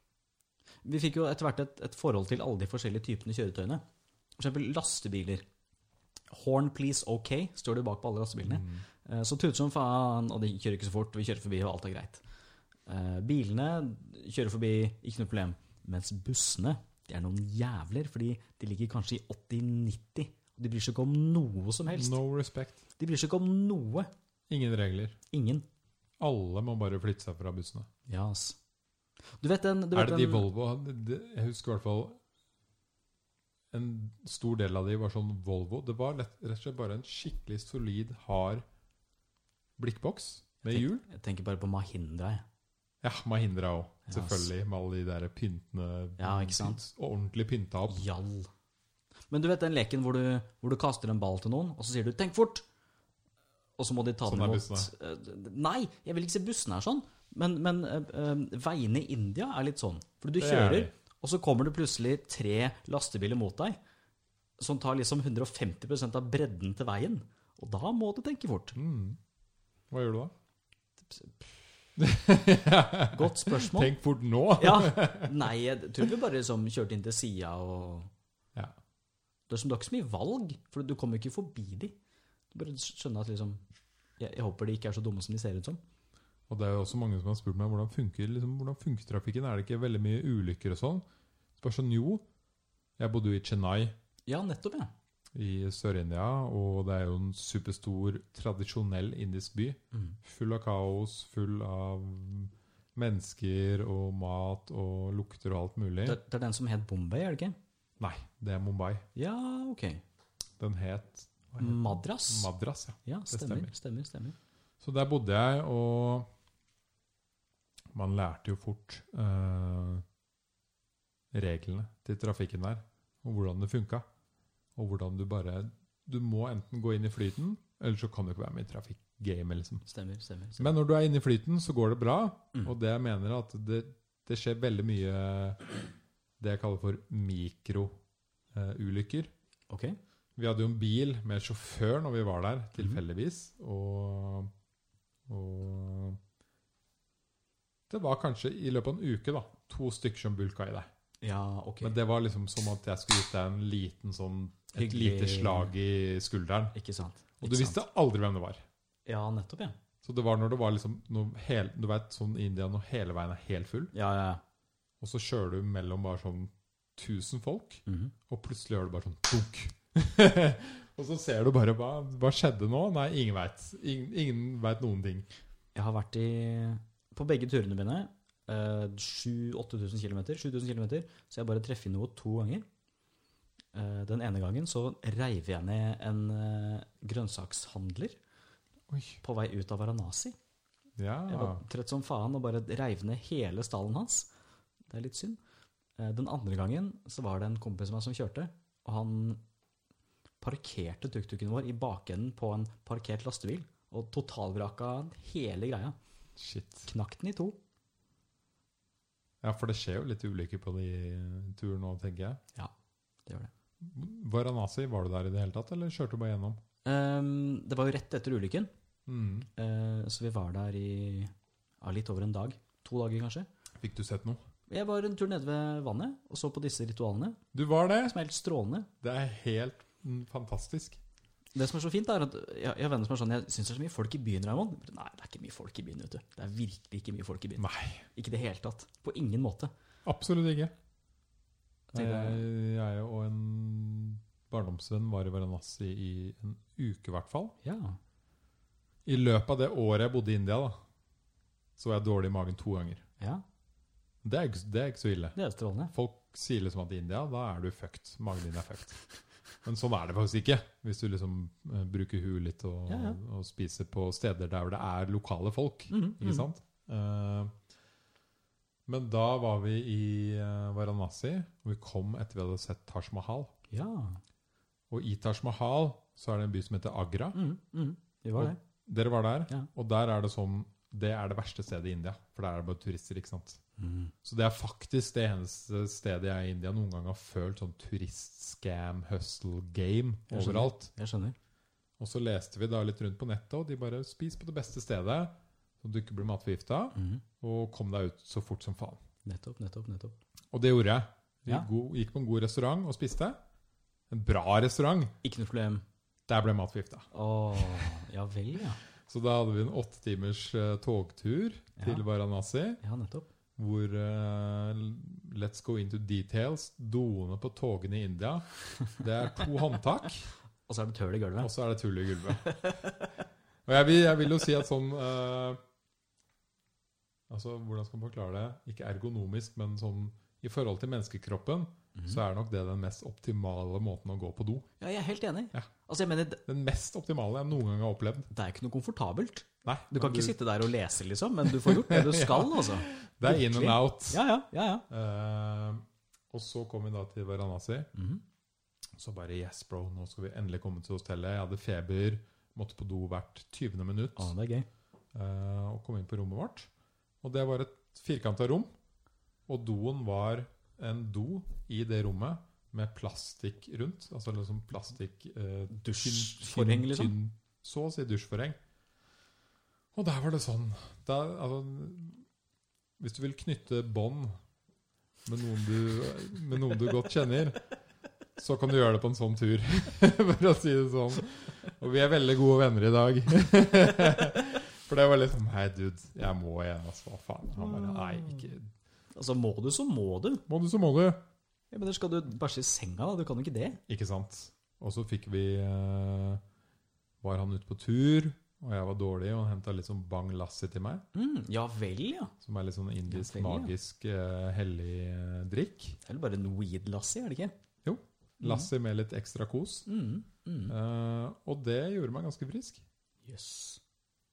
Vi fikk jo etter hvert et, et forhold til alle de forskjellige typene kjøretøyene. For eksempel lastebiler. Horn please ok, står det bak på alle lastebilene. Mm. Eh, Så tuter som faen, og de kjører ikke så fort, vi kjører forbi, og alt er greit. Eh, Bilene kjører forbi, ikke noe problem. Mens bussene, de er noen jævler, fordi de ligger kanskje i 80-90. og De bryr seg ikke om noe som helst. No respect. De bryr seg ikke om noe. Ingen regler. Ingen. Alle må bare flytte seg fra bussene. Ja, ass. Du vet den du vet Er det de den- Volvo det- Jeg husker i hvert fall en stor del av de var sånn Volvo. Det var lett, rett og slett bare en skikkelig solid, hard blikkboks med hjul. Jeg tenker bare på Mahindra, jeg. Ja, Mahindra òg. Ja, ass. Selvfølgelig. Med alle de der pyntene Ja, ikke sant? Og ordentlig pynta opp. Jall. Men du vet den leken hvor du, hvor du kaster en ball til noen, og så sier du 'tenk fort', og så må de ta Sånn den er imot Eh, Nei, jeg vil ikke se bussene er sånn, men, men eh, eh, veiene i India er litt sånn. For du Det er kjører, de. og så kommer det plutselig tre lastebiler mot deg, som tar liksom 150 av bredden til veien. Og da må du tenke fort. Mm. Hva gjør du da? Godt spørsmål. Tenk fort nå! Ja. Nei, jeg tror vi bare liksom kjørte inn til sida og Ja. Det er som du har ikke så mye valg, for du kommer jo ikke forbi de. Du bare skjønner at liksom jeg, jeg håper de ikke er så dumme som de ser ut som. Og det er jo også mange som har spurt meg hvordan funker, liksom, hvordan funker trafikken. Er det ikke veldig mye ulykker og sånn? Så bare sånn, jo. Jeg bodde jo i Chennai Ja, nettopp, ja. i Sør-India, og det er jo en superstor, tradisjonell indisk by. Mm. Full av kaos, full av mennesker og mat og lukter og alt mulig. Det, det er den som het Bombay, er det ikke? Nei, det er Mumbai. Ja, ok. Den het Madras. Madras, ja. Ja, stemmer, stemmer. stemmer. stemmer. Så der bodde jeg, og man lærte jo fort eh, reglene til trafikken der, og hvordan det funka. Og hvordan du bare Du må enten gå inn i flyten, eller så kan du ikke være med i trafikkgamet, liksom. Stemmer, stemmer. stemmer. Men når du er inne i flyten, så går det bra. Mm. Og det jeg mener at det, det skjer veldig mye det jeg kaller for mikroulykker. Ok. vi hadde jo en bil med sjåfør når vi var der, Mhm. tilfeldigvis. Og, og det var kanskje i løpet av en uke da, to stykker som bulka i deg. Ja, ok. Men det var liksom som at jeg skulle gitt deg en liten sånn, et Hyggelig- lite slag i skulderen. Ikke sant. Og Ikke du sant. visste aldri hvem det var. Ja, nettopp, ja. Så det var når det var liksom når hel, Du vet sånn i India når hele veien er helt full, Ja, ja, ja. og så kjører du mellom bare sånn 1000 folk, Mhm. og plutselig hører du bare sånn dunk. og så ser du bare hva, hva skjedde nå? Nei, ingen veit. Ingen, ingen veit noen ting. Jeg har vært i På begge turene mine, eh, 7000-8000 km, 7000 km, så jeg bare treffer noe to ganger. Eh, Den ene gangen så reiv jeg ned en eh, grønnsakshandler Oi. på vei ut av Varanasi. Ja. Jeg var trøtt som faen og bare reiv ned hele stallen hans. Det er litt synd. Eh, Den andre gangen så var det en kompis av meg som kjørte, og han parkerte tuk-tuken vår i bakenden på en parkert lastebil og totalvraka hele greia. Shit. Knakk den i to. Ja, for det skjer jo litt ulykker på de turene nå, tenker jeg. Ja, det gjør det. Varanasi, var du der i det hele tatt, eller kjørte du bare gjennom? Ehm, det var jo rett etter ulykken, Mm. eh, så vi var der i ja, litt over en dag. To dager, kanskje. Fikk du sett noe? Jeg var en tur nede ved vannet og så på disse ritualene, Du var det! som er helt strålende. Det er helt mm, fantastisk. Det som er så fint, er at jeg jeg har venner som er sånn Jeg syns det er så mye folk i byen, Raymond. Jeg bare, Nei, det er ikke mye folk i byen, vet du. Det er virkelig ikke mye folk i byen. Nei, Ikke i det hele tatt. På ingen måte. absolutt ikke. Jeg tenkte- Jeg, jeg og en barndomsvenn var i Varanasi i en uke, i hvert fall. Ja. I løpet av det året jeg bodde i India, da, så var jeg dårlig i magen to ganger. ja. Det er, ikke, det er ikke så ille. Det er strålende. Folk sier liksom at i India, da er du fucked. Magen din er fucked. Men sånn er det faktisk ikke. Hvis du liksom eh, bruker huet litt og, Ja, ja. og spiser på steder der hvor det er lokale folk. Mhm, Ikke mhm. sant? Eh, men da var vi i eh, Varanasi, og vi kom etter vi hadde sett Taj Mahal. Ja. Og i Taj Mahal så er det en by som heter Agra. Mm, mm. Vi var Og- der. Dere var der, Ja. og der er det sånn Det er det verste stedet i India, for der er det bare turister, ikke sant? Mm. Så det er faktisk det eneste stedet jeg i India noen gang har følt sånn turist-scam, hustle, game Jeg skjønner. overalt. Jeg skjønner. Og så leste vi da litt rundt på nettet, og de bare 'Spis på det beste stedet', så du ikke blir matforgifta, Mm. og kom deg ut så fort som faen. Nettopp, nettopp, nettopp. Og det gjorde jeg. Vi Ja. go- gikk på en god restaurant og spiste. En bra restaurant. Ikke noe problem. Der ble jeg matforgifta. Åh, ja vel, ja. Så da hadde vi en åtte timers eh, togtur til Ja. Varanasi. Ja, nettopp. hvor eh, Let's go into details. Doene på togene i India. Det er to håndtak, Og så er det tøl i og gulvet. så er det tull i gulvet. Og jeg vil, jeg vil jo si at sånn eh, Altså, hvordan skal man forklare det? Ikke ergonomisk, men sånn i forhold til menneskekroppen, Mhm. så er nok det den mest optimale måten å gå på do. Ja, jeg er helt enig. Ja. Altså, jeg mener, det Den mest optimale jeg noen gang har opplevd. det er ikke noe komfortabelt. Nei, Du kan men ikke sitte der og lese, liksom, men du får gjort det du skal, altså. Det er in and virkelig. out. Ja, ja, ja, ja. Eh, og så kom vi da til Varanasi. Mhm. Så bare yes, bro, nå skal vi endelig komme til hotellet. Jeg hadde feber, måtte på do hvert 20. minutt. Å, det er gøy. eh, og kom inn på rommet vårt. Og det var et firkanta rom. Og doen var en do i det rommet med plastikk rundt. Altså liksom plastikk eh, Dusjforheng, liksom. tynn- Så å si dusjforheng. Og der var det sånn der, altså, Hvis du vil knytte bånd med, noen du- med noen du godt kjenner, så kan du gjøre det på en sånn tur, for å si det sånn. Og vi er veldig gode venner i dag. For det var liksom Hei, dude, jeg må igjen, altså. Hva faen? Han bare Nei, ikke Altså, må du, så må du. Må du, så må du. Jeg mener, skal du bæsje i senga, da? Du kan jo ikke det. Ikke sant? Og så fikk vi eh, Var han ute på tur, og jeg var dårlig, og han henta litt sånn Bang Lassi til meg. Mm, ja vel, ja. Som er litt sånn indisk, Ja, vel, ja. magisk, eh, hellig eh, drikk. Det er vel bare en weed-lassi, er det ikke? Mhm. Lassi med litt ekstra kos. Mm, mm. Eh, og det gjorde meg ganske frisk. Yes.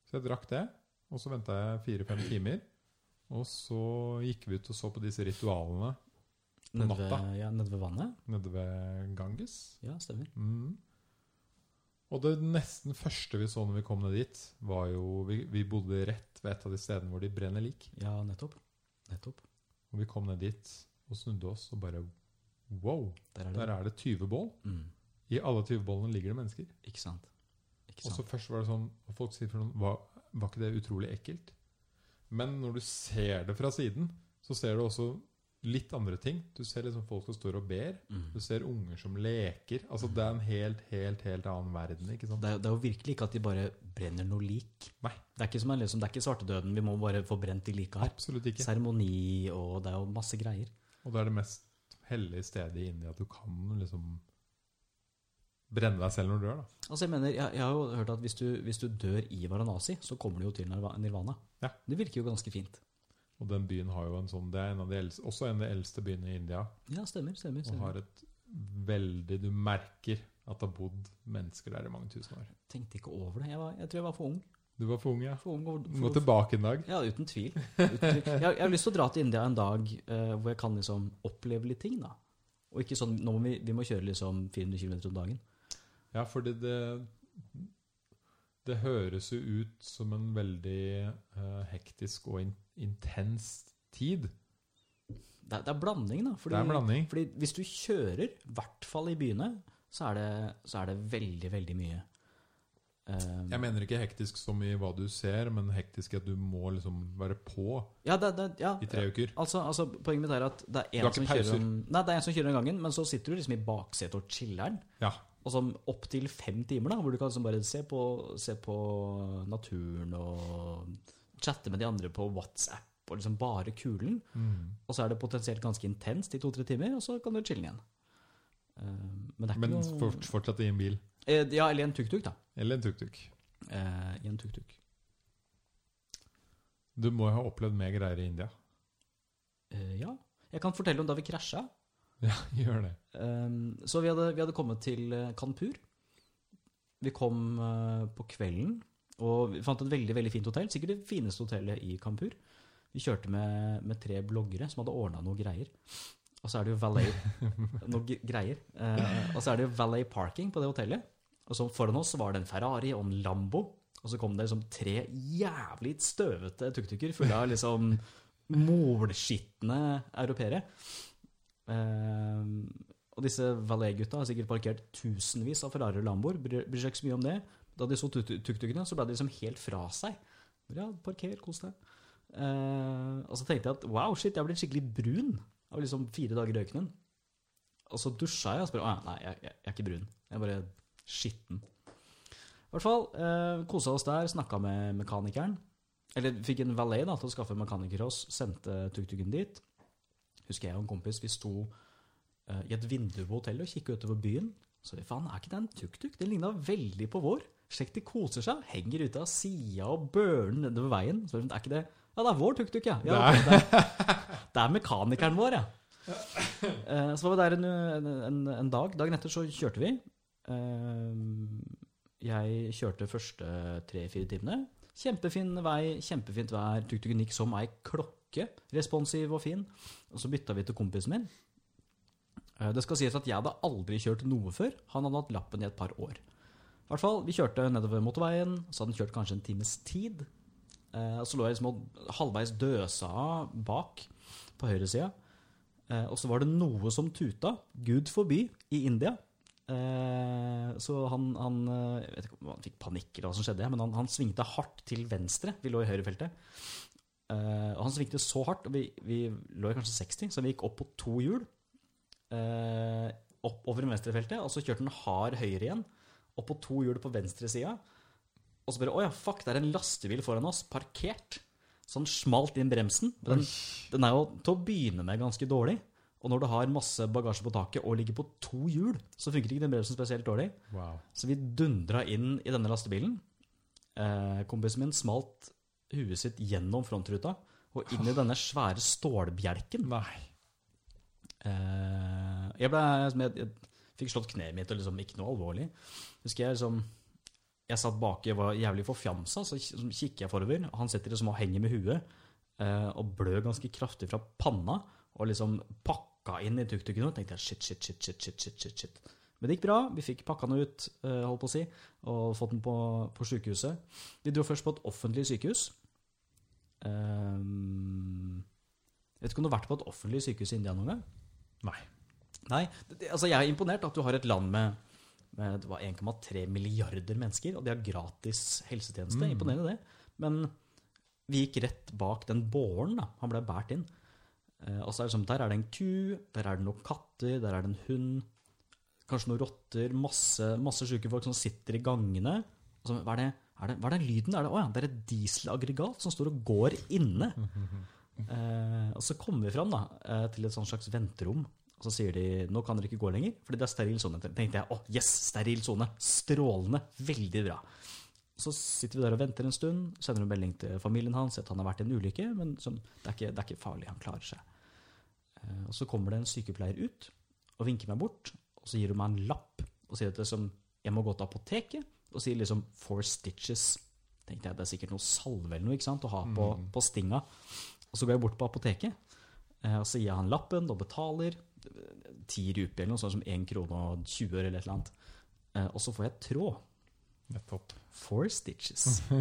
Så jeg drakk det, og så venta jeg fire-fem timer. Og så gikk vi ut og så på disse ritualene På Nede natta. ved, ja, nede ved vannet. nede ved Ganges. Ja, stemmer. Mm. Og det nesten første vi så når vi kom ned dit, var jo Vi, vi bodde rett ved et av de stedene hvor de brenner lik. Ja, nettopp. Nettopp. Og vi kom ned dit og snudde oss og bare Wow! Der er det. Der er det 20 bål. Mm, I alle 20 bålene ligger det mennesker. ikke sant. Ikke Og sant. så først var det sånn Og folk sier for noen var, var ikke det utrolig ekkelt? Men når du ser det fra siden, så ser du også litt andre ting. Du ser liksom folk som står og ber. Mm. Du ser unger som leker. Altså Det er en helt, helt, helt annen verden. ikke sant? Det, er, det er jo virkelig ikke at de bare brenner noe lik. Nei. Det er ikke, som en, liksom, det er ikke svartedøden. Vi må bare få brent de lika her. Absolutt ikke. Seremoni og det er jo masse greier. Og det er det mest hellige stedet i India at du kan liksom brenne deg selv når du dør. da. Altså Jeg mener, jeg, jeg har jo hørt at hvis du, hvis du dør i Varanasi, så kommer du jo til nirva- nirvana. Ja. Det virker jo ganske fint. Og den byen har jo en sånn, det er en av de eldste, også en av de eldste byene i India. Ja, stemmer. stemmer, Og stemmer. har et veldig Du merker at det har bodd mennesker der i mange tusen år. Tenkte ikke over det. Jeg, var, jeg tror jeg var for ung. Du var for ung, ja. For ung og, Gå for, tilbake en dag. ja, uten tvil. Uten tvil. Jeg, jeg har lyst til å dra til India en dag eh, hvor jeg kan liksom oppleve litt ting. da. Og ikke sånn nå må vi, vi må kjøre liksom 400 km om dagen. Ja, fordi det Det høres jo ut som en veldig eh, hektisk og in intens tid. Det, er- det er blanding, da. det er en blanding. Fordi hvis du kjører, i hvert fall i byene, så er det, så er det veldig, veldig mye. Eh, Jeg mener ikke hektisk som i hva du ser, men hektisk i at du må liksom være på ja, det, det, ja, i tre uker. Altså, altså, poenget mitt er at det er Du har en ikke som kjører pauser. om, Nei, det er en som kjører om gangen, men så sitter du liksom i baksetet og chiller'n. Ja. Og sånn opptil fem timer, da, hvor du kan liksom bare se på, se på naturen og chatte med de andre på WhatsApp og liksom bare kulen. Mm. Og så er det potensielt ganske intenst i to-tre timer, og så kan du chille igjen. Eh, Men det er ikke Men noe fort, fortsatt i en bil. Eh, Ja, eller en tuk-tuk, da. Eller en tuk-tuk. Eh, I en tuk-tuk. Du må jo ha opplevd mer greier i India. Eh, ja. Jeg kan fortelle om da vi krasja. Ja, gjør det. Um, så vi hadde, vi hadde kommet til eh, Kanpur. Vi kom eh, på kvelden, og vi fant et veldig veldig fint hotell. Sikkert det fineste hotellet i Kanpur. Vi kjørte med, med tre bloggere som hadde ordna noe greier. Og så er det jo valet noe g- greier. Eh, og så er det jo valet parking på det hotellet. Og så foran oss var det en Ferrari og en Lambo. Og så kom det liksom tre jævlig støvete tuk-tuker fulle av liksom målskitne europeere. Eh, og disse Valet-gutta har sikkert parkert tusenvis av Ferrari og Lamboer. Bryr bryr seg ikke så mye om det. Da de så tuk- tuk-tukene, så ble de liksom helt fra seg. Ja, parker, kos deg. Eh, og så tenkte jeg at wow, shit, jeg har blitt skikkelig brun av liksom fire dager i ørkenen. Og så dusja jeg og spurte ah, nei, jeg, jeg, jeg er ikke brun. Jeg er bare skitten. I hvert fall eh, kosa oss der, snakka med mekanikeren. Eller fikk en valet da, til å skaffe en mekaniker til oss. Sendte tuk-tuken dit. Husker jeg og en kompis, vi sto eh, i et vindu på hotellet og kikket utover byen. Så vi, faen, er ikke det en tuk-tuk? Den ligna veldig på vår. Sjekk, de koser seg. Henger ute av sida og børner nedover veien. Så vi, er ikke det Ja, det er vår tuk-tuk, ja. ja Det det, er. det er mekanikeren vår, ja. Eh, så var vi der en, en- en, en dag. Dagen etter så kjørte vi. Eh, jeg kjørte første tre-fire timene. Kjempefin vei, kjempefint vær. Tuk-tuken gikk som ei klokke. Responsiv og fin. Og så bytta vi til kompisen min. Eh, Det skal sies at jeg hadde aldri kjørt noe før. Han hadde hatt lappen i et par år. I hvert fall, Vi kjørte nedover motorveien, så hadde han kjørt kanskje en times tid. Eh, og Så lå jeg liksom og halvveis døsa av bak på høyresida. Eh, og så var det noe som tuta, gud forby, i India. Eh, så han, han eh, Jeg vet ikke om han fikk panikk eller hva som skjedde, men han, han svingte hardt til venstre. Vi lå i høyrefeltet. Eh, og han svingte så hardt, og vi, vi lå i kanskje 60, så vi gikk opp på to hjul. Eh, opp over venstrefeltet, og så kjørte han hard høyre igjen. Opp på to hjul på venstre sida. Og så bare Å ja, fuck, det er en lastebil foran oss, parkert. Så han smalt inn bremsen. Den, den er jo til å begynne med ganske dårlig. Og når du har masse bagasje på taket og ligger på to hjul, så funker ikke den bremsen spesielt dårlig. Wow. Så vi dundra inn i denne lastebilen. Eh, kompisen min smalt huet sitt gjennom frontruta og inn i denne svære stålbjelken. Nei. Eh, jeg, ble, som jeg, jeg fikk slått kneet mitt, og liksom ikke noe alvorlig. Husker jeg liksom Jeg satt baki og var jævlig forfjamsa, så k- liksom kikker jeg forover. og Han sitter liksom og henger med huet eh, og blør ganske kraftig fra panna. Og liksom pakka pakka inn i tuk-tuken og tenkte jeg shit, shit, shit, shit, shit, shit, shit, shit. Men det gikk bra. Vi fikk pakka den ut, eh, holdt på å si, og fått den på, på sykehuset. Vi dro først på et offentlig sykehus. Ehm, jeg vet ikke om du har vært på et offentlig sykehus i India noen gang? Nei. Nei, det, det- altså jeg er imponert at du har et land med, med det var 1,3 milliarder mennesker, og de har gratis helsetjeneste. Imponerende det. Men vi gikk rett bak den båren, da. Han ble båret inn. Eh, og så er det sånn, Der er det en ku, der er det noen katter, der er det en hund. Kanskje noen rotter. Masse, masse syke folk som sitter i gangene. Og så, hva, er det, er det, hva er den lyden? Er det, å ja, det er et dieselaggregat som står og går inne. Eh, og så kommer vi fram da, eh, til et sånt slags venterom, og så sier de nå kan dere ikke gå lenger, fordi det er steril sone. tenkte jeg å, yes, steril sone. Strålende. Veldig bra. Så sitter vi der og venter en stund, sender en melding til familien hans at han har vært i en ulykke, men sånn, det, er ikke, det er ikke farlig, han klarer seg. Eh, og så kommer det en sykepleier ut og vinker meg bort, og så gir hun meg en lapp og sier at liksom, jeg må gå til apoteket, og sier liksom four stitches. Tenkte jeg, det er sikkert noe salve eller noe ikke sant, å ha på, på stinga. Og så går jeg bort på apoteket, eh, og så gir jeg han lappen og betaler eh, 10 rupier eller noe sånt som 1 krone og 20 øre eller et eller annet. Eh, Og så får jeg tråd. Nettopp. Four stitches. I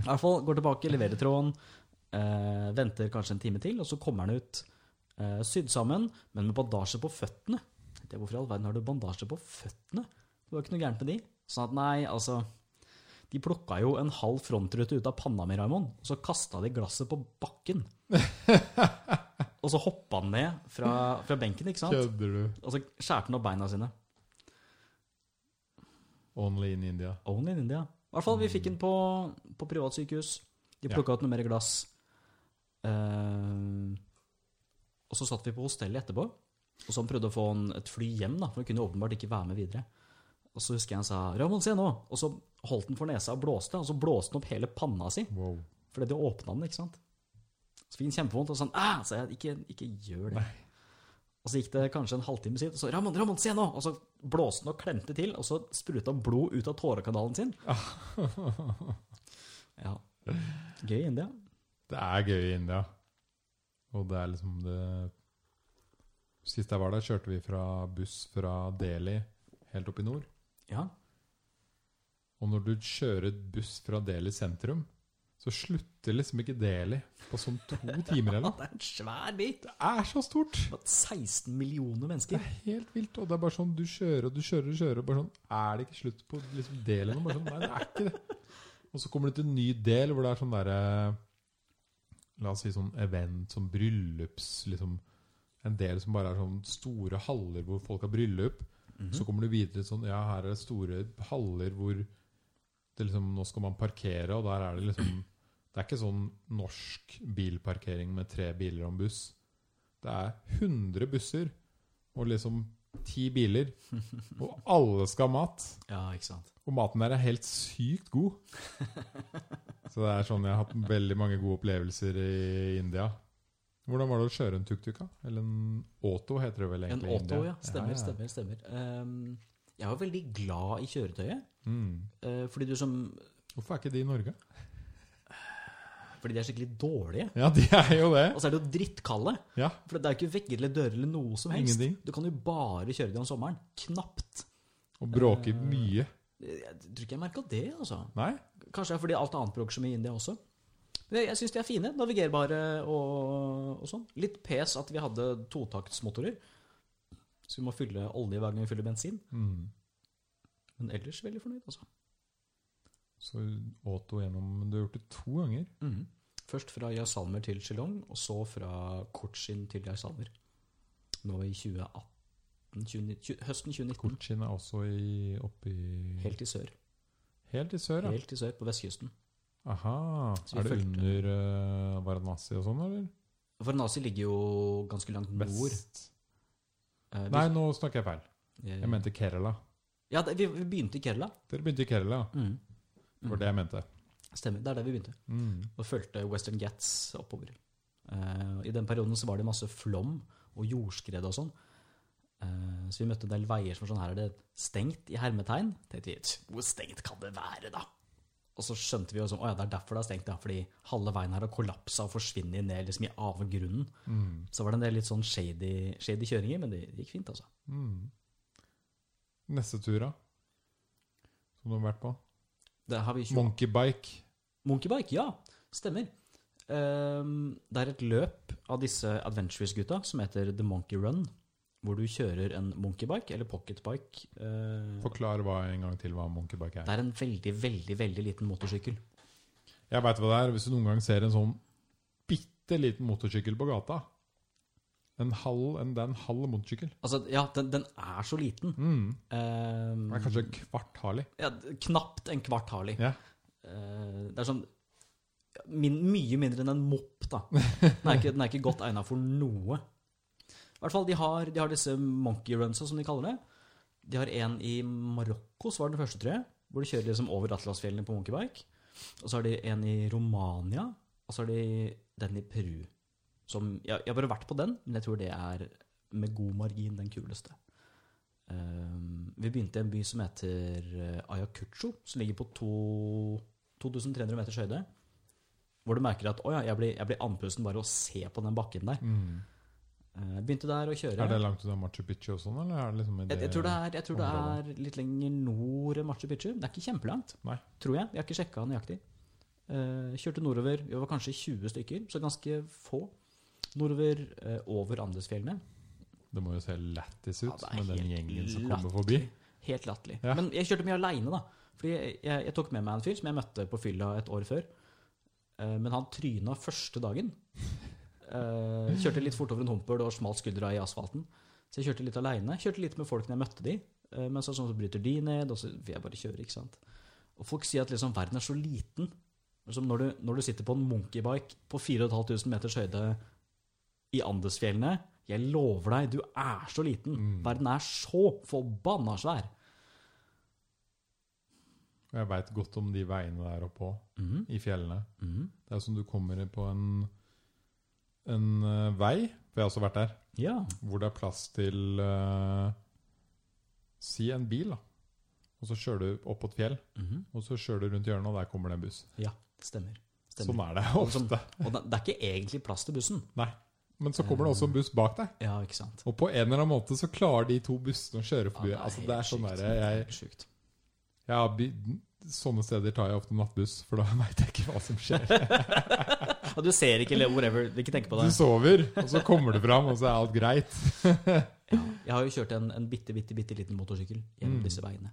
hvert fall går tilbake, leverer tråden, eh, venter kanskje en time til, og så kommer den ut eh, sydd sammen, men med bandasje på føttene. Det, er hvorfor i all verden har du bandasje på føttene? Det var ikke noe gærent med de. Sånn at nei, altså De plukka jo en halv frontrute ut av panna mi, Raymond, og så kasta de glasset på bakken. og så hoppa han ned fra, fra benken, ikke sant? Kødder du? Og så skjærte han opp beina sine. Only in India. Only in India. I hvert fall, vi fikk den på, på privatsykehus. De Ja. plukka ut noe mer glass. Eh, og så satt vi på hostellet etterpå, og så han prøvde å få en, et fly hjem, da, for han kunne åpenbart ikke være med videre. Og så husker jeg han sa 'Ramon, se nå!' Og så holdt han for nesa og blåste, og så blåste han opp hele panna si, Wow. fordi de åpna den, ikke sant? Så fikk han kjempevondt, og sånn 'Æh!' sa jeg, ikke, 'Ikke gjør det'. Og så gikk det kanskje en halvtime siden, og så 'Ramon, Ramon, se nå!' Og så blåste han og klemte til, og så spruta blod ut av tårekanalen sin. Ja. Gøy India. Det er gøy i India. Og det er liksom det Sist jeg var der, kjørte vi fra buss fra Delhi helt opp i nord. Ja. Og når du kjører buss fra Delhi sentrum, så slutter liksom ikke Delhi på sånn to timer eller noe. Det er en svær bit. Det er så stort! Det er 16 millioner Det mennesker. er helt vilt. Og det er bare sånn du kjører og du kjører og kjører. Og bare sånn, er det ikke slutt på liksom delen? Og bare sånn, nei, det er ikke det. Og så kommer du til en ny del hvor det er sånn derre La oss si sånn event, sånn bryllups liksom, En del som bare er sånn store haller hvor folk har bryllup. Mhm. Så kommer du videre til sånn Ja, her er det store haller hvor det liksom, nå skal man parkere, og der er det liksom Det er ikke sånn norsk bilparkering med tre biler og en buss. Det er 100 busser og liksom ti biler, og alle skal ha mat. Ja, ikke sant. Og maten der er helt sykt god. Så det er sånn jeg har hatt veldig mange gode opplevelser i India. Hvordan var det å kjøre en tuk-tuk? da? Eller en auto, heter det vel En egentlig? i auto, India? ja. Stemmer, stemmer, stemmer. Ehm, jeg er jo veldig glad i kjøretøyet, Mm. eh, fordi du som Hvorfor er ikke de i Norge? Fordi de er skikkelig dårlige. Ja, de er jo det. Og så er det jo drittkalde. Ja, For det er jo ikke vegger eller dører eller noe som helst. Ingenting. Du kan jo bare kjøre det om sommeren. Knapt. Og bråker mye. Jeg tror ikke jeg merka det, altså. Eh, Nei? Kanskje det er fordi alt annet bråker så mye i India også. Men jeg, jeg syns de er fine. Navigerbare og, og sånn. Litt pes at vi hadde totaktsmotorer. Så vi må fylle olje hver gang vi fyller bensin. Mm. Men ellers veldig fornøyd, altså. Så auto gjennom Du har gjort det to ganger. Først fra Jaisalmer til Shillong, og så fra Cochin til Jaisalmer. Nå i 2018 20, tjue- Høsten 2019. Cochin er også i, oppe i Helt i sør. Helt i sør, ja. Helt i sør, på vestkysten. Aha. Så vi Er det fulgte. under uh, Varanasi og sånn, eller? Varanasi ligger jo ganske langt nord. Vest. Eh, vi- Nei, nå snakker jeg feil. eh, Jeg mente Kerala. Ja, det, vi, vi begynte i Kerala. Dere begynte i Kerala. Mm. Det var det jeg mente. Stemmer. Det er der vi begynte. Mm. og fulgte Western Ghats oppover. Eh, I den perioden så var det masse flom og jordskred og sånn. Eh, så vi møtte en del veier som var sånn her er det stengt i hermetegn. Tenkte vi, «Tsk, Hvor stengt kan det være, da? Og så skjønte vi jo sånn, å ja, det er derfor det er stengt, det er fordi halve veien her har kollapsa og forsvinner ned liksom i avgrunnen. Mm. Så var det en del litt sånn shady, shady kjøringer, men det gikk fint, altså. Mm. Neste tur, da? Som du har vært på? Det har vi kjørt. Monkeybike. Monkeybike, ja. Stemmer. Ehm, det er et løp av disse Adventures-gutta som heter The Monkey Run. Hvor du kjører en monkeybike, eller pocketbike. eh, Forklar hva en gang til hva monkeybike det er. er en veldig, veldig veldig liten motorsykkel. Jeg vet hva det er. Hvis du noen gang ser en sånn bitte liten motorsykkel på gata en halv, en, Det er en halv motorsykkel. Altså, ja, den, den er så liten. Mm. Ehm, Den er kanskje kvart Harley. ja, knapt en kvart Harley. Ja. Eh, det er sånn min, Mye mindre enn en mopp, da. Den er ikke, den er ikke godt egna for noe. I hvert fall, de har, de har disse monkey runsa, som de kaller det. De har en i Marokko, så var den første, tror jeg. Hvor de kjører liksom over Atlasfjellene på monkeybike. Og så har de en i Romania, og så har de den i Peru. Som, jeg, jeg har bare vært på den, men jeg tror det er med god margin den kuleste. Eh, vi begynte i en by som heter eh, Ayacucho, som ligger på to 2300 meters høyde. Hvor du merker at 'å ja, jeg blir, jeg blir andpusten bare å se på den bakken der'. Mm. Eh, Begynte der å kjøre. Er det langt unna Machu Picchu og sånn, eller er det liksom i jeg, jeg, tror det er, jeg tror det området? er litt lenger nord enn Machu Picchu. Det er ikke kjempelangt, Nei. tror jeg. Jeg har ikke sjekka nøyaktig. Eh, kjørte nordover. Vi var kanskje 20 stykker, så ganske få. Nordover eh, over Andesfjellene. Det må jo se lættis ut Ja, det er med den helt gjengen som latterlig. kommer forbi. Helt latterlig. Ja. Men jeg kjørte mye aleine, da. Fordi jeg, jeg, jeg tok med meg en fyr som jeg møtte på fylla et år før. Eh, Men han tryna første dagen. Eh, Kjørte litt fort over en humpel og smalt skuldra i asfalten. Så jeg kjørte litt aleine. Kjørte litt med folk når jeg møtte de. Eh, Men så, sånn, så bryter de ned, og så vil jeg bare kjøre, ikke sant. Og folk sier at liksom verden er så liten. Som når, du, når du sitter på en monkeybike på 4500 meters høyde i Andesfjellene Jeg lover deg, du er så liten. Mm. Verden er så forbanna svær. Og jeg veit godt om de veiene der oppe òg, Mhm, i fjellene. mhm. Det er som du kommer på en, en eh, vei, for jeg har også vært der, Ja. hvor det er plass til eh, Si en bil, da. Og så kjører du opp på et fjell, mhm. og så kjører du rundt hjørnet, og der kommer det en buss. Ja, stemmer. stemmer. Sånn er det Og som- ofte. Og det, det er ikke egentlig plass til bussen. Men så kommer det også en buss bak deg. Ja, ikke sant. Og på en eller annen måte så klarer de to bussene å kjøre Ja, forbi. altså, det Ah, helt er sånn der, sjukt. Det er jeg, helt sjukt. ja, by, Sånne steder tar jeg ofte nattbuss, for da veit jeg ikke hva som skjer. Og du ser ikke eller whatever, vil ikke tenke på Du det. sover, og så kommer du fram, og så er alt greit. Ja, jeg har jo kjørt en, en bitte, bitte, bitte liten motorsykkel gjennom Mm. disse veiene.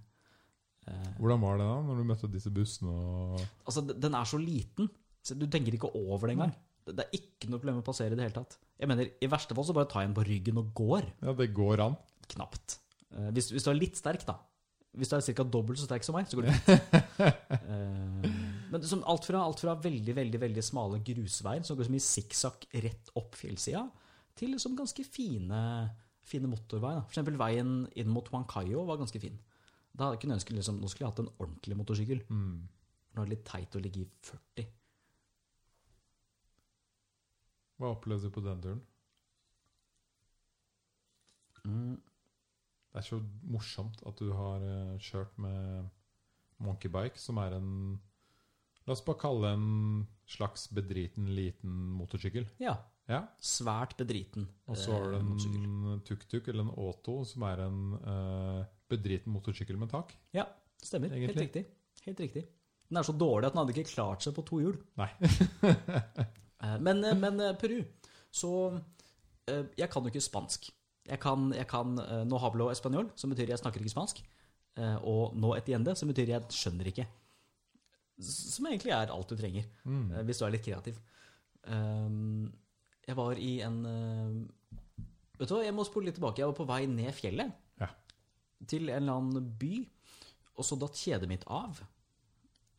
Eh, Hvordan var det da, når du møtte disse bussene og altså, d- den er så liten, så du tenker ikke over det engang. Det det er ikke noe problem å passere i det hele tatt. Jeg mener, I verste fall så bare tar jeg en på ryggen og går. Ja, det går an. Knapt. Eh, hvis, hvis du er litt sterk, da. Hvis du er ca. dobbelt så sterk som meg, så går det fint. Eh, men som alt, fra, alt fra veldig veldig, veldig smale grusveier som går som i sikksakk rett opp fjellsida, til liksom ganske fine, fine motorveier. da. For eksempel veien inn mot Huancayo var ganske fin. Da kunne jeg ønske liksom, Nå skulle jeg hatt en ordentlig motorsykkel. Mm. Nå er det litt teit å ligge i 40. Hva opplevde du på den turen? Mm, Det er så morsomt at du har eh, kjørt med monkeybike, som er en La oss bare kalle det en slags bedriten liten motorsykkel. Ja. Ja. Svært bedriten Og så har eh, du motorsykkel. en tuk-tuk, eller en Auto, som er en eh, bedriten motorsykkel med tak. Stemmer. Helt Egentlig. riktig. Helt riktig. Den er så dårlig at den hadde ikke klart seg på to hjul. Nei. Eh, Men, eh, men eh, Peru Så eh, jeg kan jo ikke spansk. Jeg kan, jeg kan eh, no hablo español, som betyr jeg snakker ikke spansk. eh, Og no etiende, som betyr jeg skjønner ikke. S- Som egentlig er alt du trenger, Mm. eh, hvis du er litt kreativ. Um, Jeg var i en eh, Vet du hva, jeg må spole litt tilbake. Jeg var på vei ned fjellet Ja. til en eller annen by, og så datt kjedet mitt av.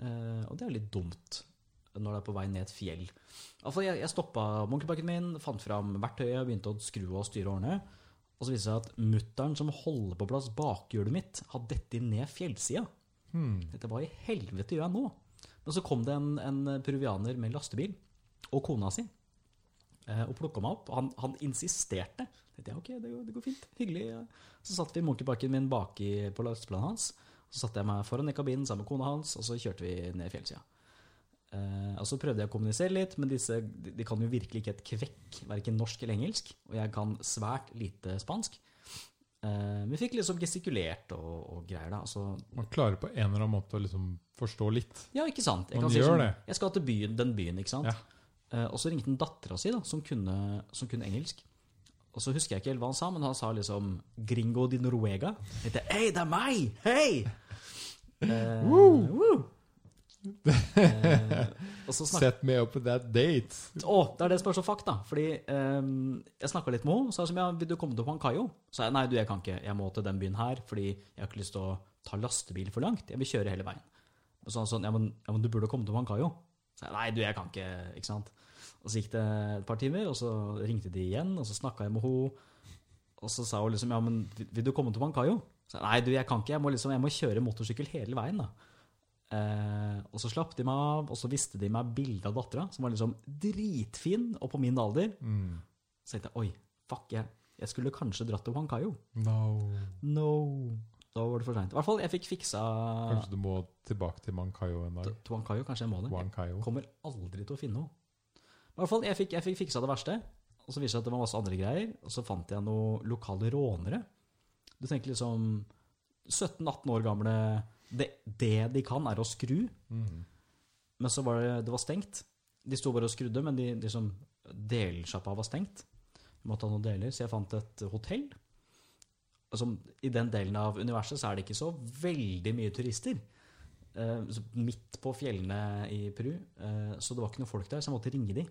Eh, Og det er jo litt dumt når det er på vei ned et fjell. Altså, jeg, jeg stoppa monkeybacken min, fant fram verktøyet, begynte å skru og styre og ordne. Og så viste det seg at mutter'n som holder på plass bakhjulet mitt, har dette ned fjellsida. Hmm. Dette hva i helvete gjør jeg nå? Men så kom det en, en peruvianer med lastebil og kona si eh, og plukka meg opp. Han, han insisterte. Jeg tenkte, ok, det går, det går fint. Hyggelig. ja. Så satt vi monkeybacken min baki på lastebilen hans, Så satte jeg meg foran i kabinen sammen med kona hans, og så kjørte vi ned fjellsida. Eh, og så prøvde jeg å kommunisere litt, men disse de, de kan jo virkelig ikke et kvekk, verken norsk eller engelsk. Og jeg kan svært lite spansk. Eh, men fikk liksom gestikulert og, og greier, da. Altså, Man klarer på en eller annen måte å liksom forstå litt. ja, ikke sant? Jeg Man si gjør sånn, det. Jeg skal til byen, den byen, ikke sant? Ja. Eh, og så ringte han dattera si, da, som kunne, som kunne engelsk. Og så husker jeg ikke helt hva han sa, men han sa liksom 'Gringo di Noruega'. Jeg tenkte, Hei, det er meg! Hei! Eh, woo! Eh, og så snakket Set me up with that date. Å, det er det som er så fuck, da. Fordi ehm, jeg snakka litt med henne, og sa som ja, vil du komme til Huancayo? Så jeg nei, du, jeg kan ikke. Jeg må til den byen her, fordi jeg har ikke lyst til å ta lastebil for langt. Jeg vil kjøre hele veien. Og så sa han sånn, ja men, ja, men du burde komme til Huancayo. Så jeg nei, du, jeg kan ikke, ikke sant. Og så gikk det et par timer, og så ringte de igjen, og så snakka jeg med henne. Og så sa hun liksom ja, men vil- vil du komme til Huancayo? Så jeg nei, du, jeg kan ikke. Jeg må liksom, jeg må kjøre motorsykkel hele veien, da. Eh, og så slapp de meg av, og så viste de meg bilde av dattera, som var liksom dritfin og på min alder. Så tenkte jeg oi, fuck, jeg, jeg skulle kanskje dratt til Huancayo. No. No. Da var det for seint. I hvert fall, jeg fikk fiksa Kanskje du må tilbake til Mankayo en dag. til Huancayo kanskje en måned. Huancayo. Jeg kommer aldri til å finne henne. I hvert fall, jeg fikk, jeg fikk fiksa det verste, og så viste det seg at det var masse andre greier. Og så fant jeg noen lokale rånere. Du tenker liksom 17-18 år gamle det, det de kan, er å skru. Mhm. Men så var det, det var stengt. De sto bare og skrudde, men de, de som delsjappa var stengt. Vi måtte ha noen deler, så jeg fant et hotell. Altså, I den delen av universet så er det ikke så veldig mye turister. Eh, så midt på fjellene i Peru. Eh, så det var ikke noen folk der, så jeg måtte ringe de.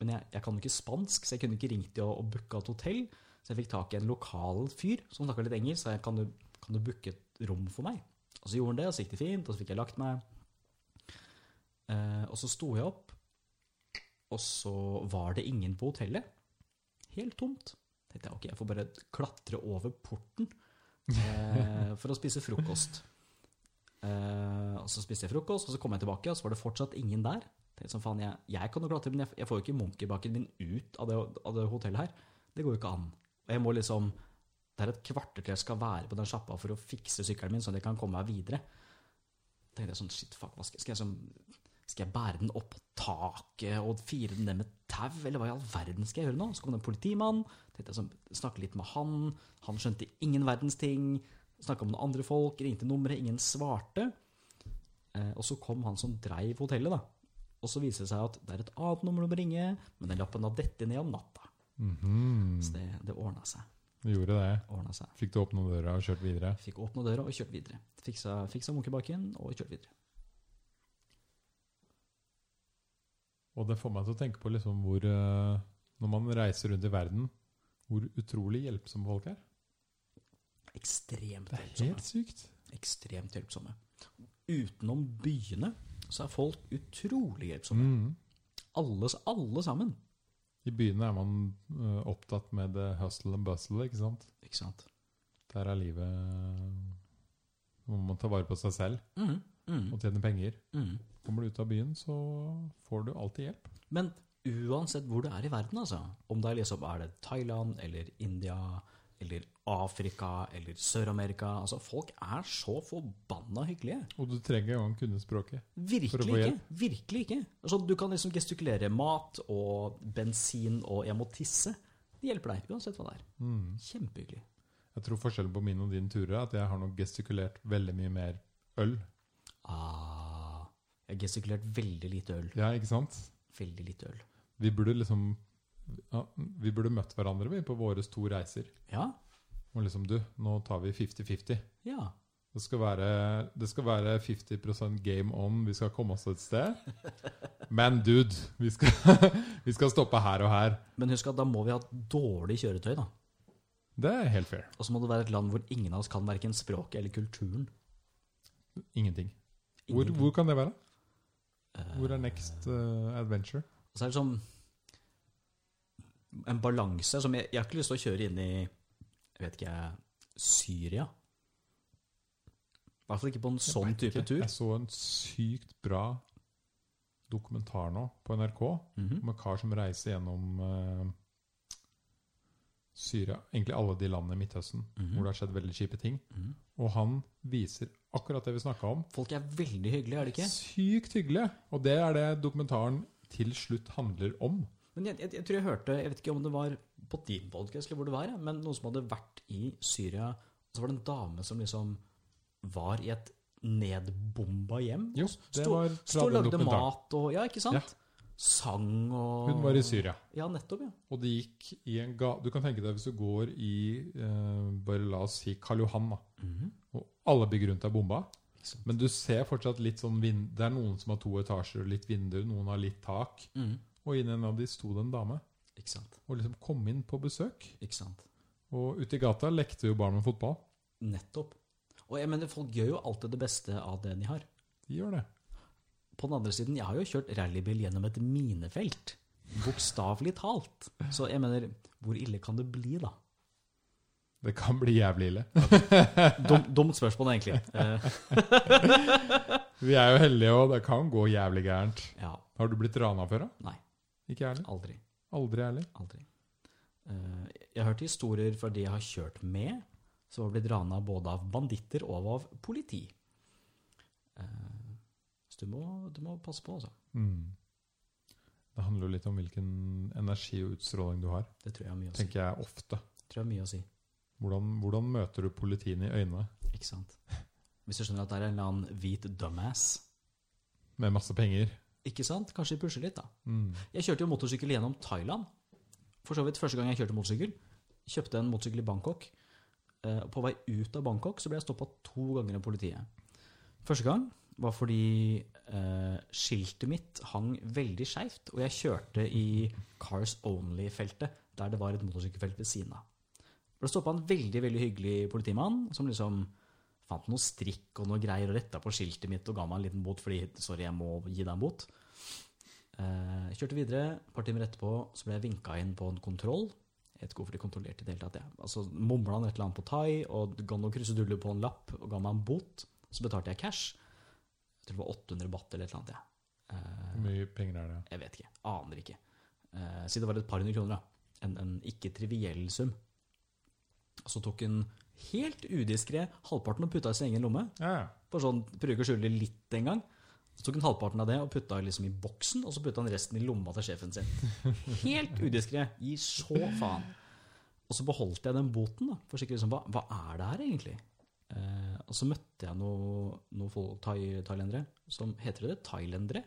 Men jeg, jeg kan jo ikke spansk, så jeg kunne ikke ringt de og, og booka et hotell. Så jeg fikk tak i en lokal fyr som snakka litt engelsk, så jeg kan du, kan du booke et rom for meg? Og så gjorde han det, og så gikk det fint, og så fikk jeg lagt meg. Eh, og så sto jeg opp, og så var det ingen på hotellet. Helt tomt. Tenkte jeg, ok, jeg får bare klatre over porten eh, for å spise frokost. Eh, og så spiste jeg frokost, og så kom jeg tilbake, og så var det fortsatt ingen der. Tenkte sånn, faen, jeg, jeg kan jo klatre, men jeg, jeg får jo ikke monkeybacken min ut av det, av det hotellet her. Det går jo ikke an. Og jeg må liksom, det er et kvarter til jeg skal være på den sjappa for å fikse sykkelen min, sånn at jeg kan komme meg videre. Tenkte jeg sånn, shit, fuck, hva skal, skal jeg sånn, skal jeg bære den opp på taket og fire den ned med tau, eller hva i all verden skal jeg gjøre nå? Så kom det en politimann, tenkte jeg sånn, snakket litt med han, han skjønte ingen verdens ting, snakket med noen andre folk, ringte nummeret, ingen svarte. Eh, og så kom han som dreiv hotellet, da. Og så viser det seg at det er et annet nummer du må ringe, men den lappen har dette ned om natta. Mhm. Så det, det ordna seg. Du gjorde det. Ordnet seg. Fikk du åpna døra og kjørt videre? Fikk åpna døra og kjørt videre. Fiksa, fiksa munkebaken og kjørt videre. Og det får meg til å tenke på liksom hvor eh, Når man reiser rundt i verden, hvor utrolig hjelpsomme folk er. Ekstremt Det er hjelpsomt. helt sykt. ekstremt hjelpsomme. Utenom byene så er folk utrolig hjelpsomme. Mhm. Alle, alle sammen. I byene er man eh, opptatt med the hustle and bustle, ikke sant? Ikke sant? Der er livet Nå må man ta vare på seg selv Mhm, mhm, og tjene penger. mhm. Kommer du ut av byen, så får du alltid hjelp. Men uansett hvor du er i verden, altså, om det er, liksom, er det Thailand eller India eller Afrika eller Sør-Amerika altså Folk er så forbanna hyggelige. Og du trenger engang kunne språket. For å Virkelig få ikke. hjelp. Virkelig ikke. Altså, du kan liksom gestikulere mat og bensin og 'jeg må tisse'. Det hjelper deg uansett hva det er. Mhm. Kjempehyggelig. Jeg tror forskjellen på mine og dine turer er at jeg har nok gestikulert veldig mye mer øl. Ah, jeg har gestikulert veldig lite øl. Ja, ikke sant? Veldig lite øl. Vi burde liksom ja, Vi burde møtt hverandre vi på våre to reiser. Ja, Og liksom Du, nå tar vi 50-50. ja. Det skal være, det skal være 50 game on. Vi skal komme oss et sted. Men dude, vi skal, vi skal stoppe her og her. Men husk at da må vi ha dårlig kjøretøy, da. Det er helt fair. Og så må det være et land hvor ingen av oss kan verken språket eller kulturen. Ingenting. Hvor, Ingenting. hvor kan det være? Eh, Hvor er next eh, adventure? Og så er det sånn en balanse som jeg, jeg har ikke lyst til å kjøre inn i jeg vet ikke, Syria. I hvert fall ikke på en sånn Jeg vet type ikke. tur. Jeg så en sykt bra dokumentar nå på NRK Mhm. om en kar som reiser gjennom eh, Syria, egentlig alle de landene i Midtøsten Mhm. hvor det har skjedd veldig kjipe ting. Mhm. Og han viser akkurat det vi snakka om. Folk er veldig hyggelige, er de ikke? Sykt hyggelig! Og det er det dokumentaren til slutt handler om. Men jeg, jeg, jeg tror jeg hørte, jeg vet ikke om det var på din podcast eller hvor det var, ja, men noen som hadde vært i Syria, og så var det en dame som liksom var i et nedbomba hjem. Jo, det Stå- var Stå fra og den lagde dokumentaren. mat og, ja, ikke sant? Sang og... Hun var i Syria. Ja, nettopp, ja. Og det gikk i en ga... Du kan tenke deg hvis du går i eh, bare la oss si Karl Johan, da. og alle bygg rundt er bomba. Ikke sant. Men du ser fortsatt litt sånn vind... Det er noen som har to etasjer og litt vinduer, noen har litt tak. Mhm. Og inni en av de sto det en dame Ikke sant, og liksom kom inn på besøk. ikke sant. Og ute i gata lekte jo barn med fotball. Nettopp. Og jeg mener, folk gjør jo alltid det beste av det de har. De gjør det. På den andre siden, jeg har jo kjørt rallybil gjennom et minefelt. Bokstavelig talt. Så jeg mener, hvor ille kan det bli, da? Det kan bli jævlig ille. Dum, dumt spørsmål, egentlig. Eh, Vi er jo heldige, og det kan gå jævlig gærent. ja. Har du blitt rana før, da? Nei. Ikke jeg heller. Aldri. Aldri jeg heller. Aldri. Eh, jeg har hørt historier fra de jeg har kjørt med, som har blitt rana både av banditter og av politi. Eh, så du må, du må passe på, altså. Mm. Det handler jo litt om hvilken energi og utstråling du har, Det tror jeg har mye å si. tenker jeg ofte. Tror jeg har mye å si. Hvordan, hvordan møter du politiet i øynene Ikke sant? Hvis du skjønner at det er en eller annen hvit dumbass. med masse penger? Ikke sant? Kanskje de pusher litt, da. Mm. Jeg kjørte jo motorsykkel gjennom Thailand. For så vidt første gang jeg kjørte motorsykkel. Kjøpte en motorsykkel i Bangkok. Eh, På vei ut av Bangkok så ble jeg stoppa to ganger av politiet. Første gang var fordi eh, skiltet mitt hang veldig skeivt, og jeg kjørte i Cars Only-feltet, der det var et motorsykkelfelt ved siden av. Ble stoppa en veldig veldig hyggelig politimann som liksom fant noe strikk og noe greier og retta på skiltet mitt og ga meg en liten bot fordi sorry, jeg må gi deg en bot. Eh, jeg kjørte videre. Et par timer etterpå så ble jeg vinka inn på en kontroll. Jeg vet ikke hvorfor de kontrollerte i det hele tatt. jeg. Altså, Mumla han et eller annet på thai og ga noen kruseduller på en lapp og ga meg en bot. Så betalte jeg cash. Jeg tror det var 800 baht eller et eller annet. jeg. Eh, Hvor mye penger er det? jeg vet ikke. Aner ikke. Eh, si det var et par hundre kroner, da. En, en ikke triviell sum. Og så tok hun helt udiskré halvparten og putta i sin egen lomme. Ja, ja. Bare sånn, Prøver ikke å skjule det litt engang. Så tok hun halvparten av det og putta liksom i boksen, og så putta han resten i lomma til sjefen sin. Helt udiskré. Gi så faen. Og så beholdt jeg den boten, da. For sikkert liksom, hva, hva er det her, egentlig? Eh, og så møtte jeg noen noe folk, thai, thailendere som Heter det det? Thailendere?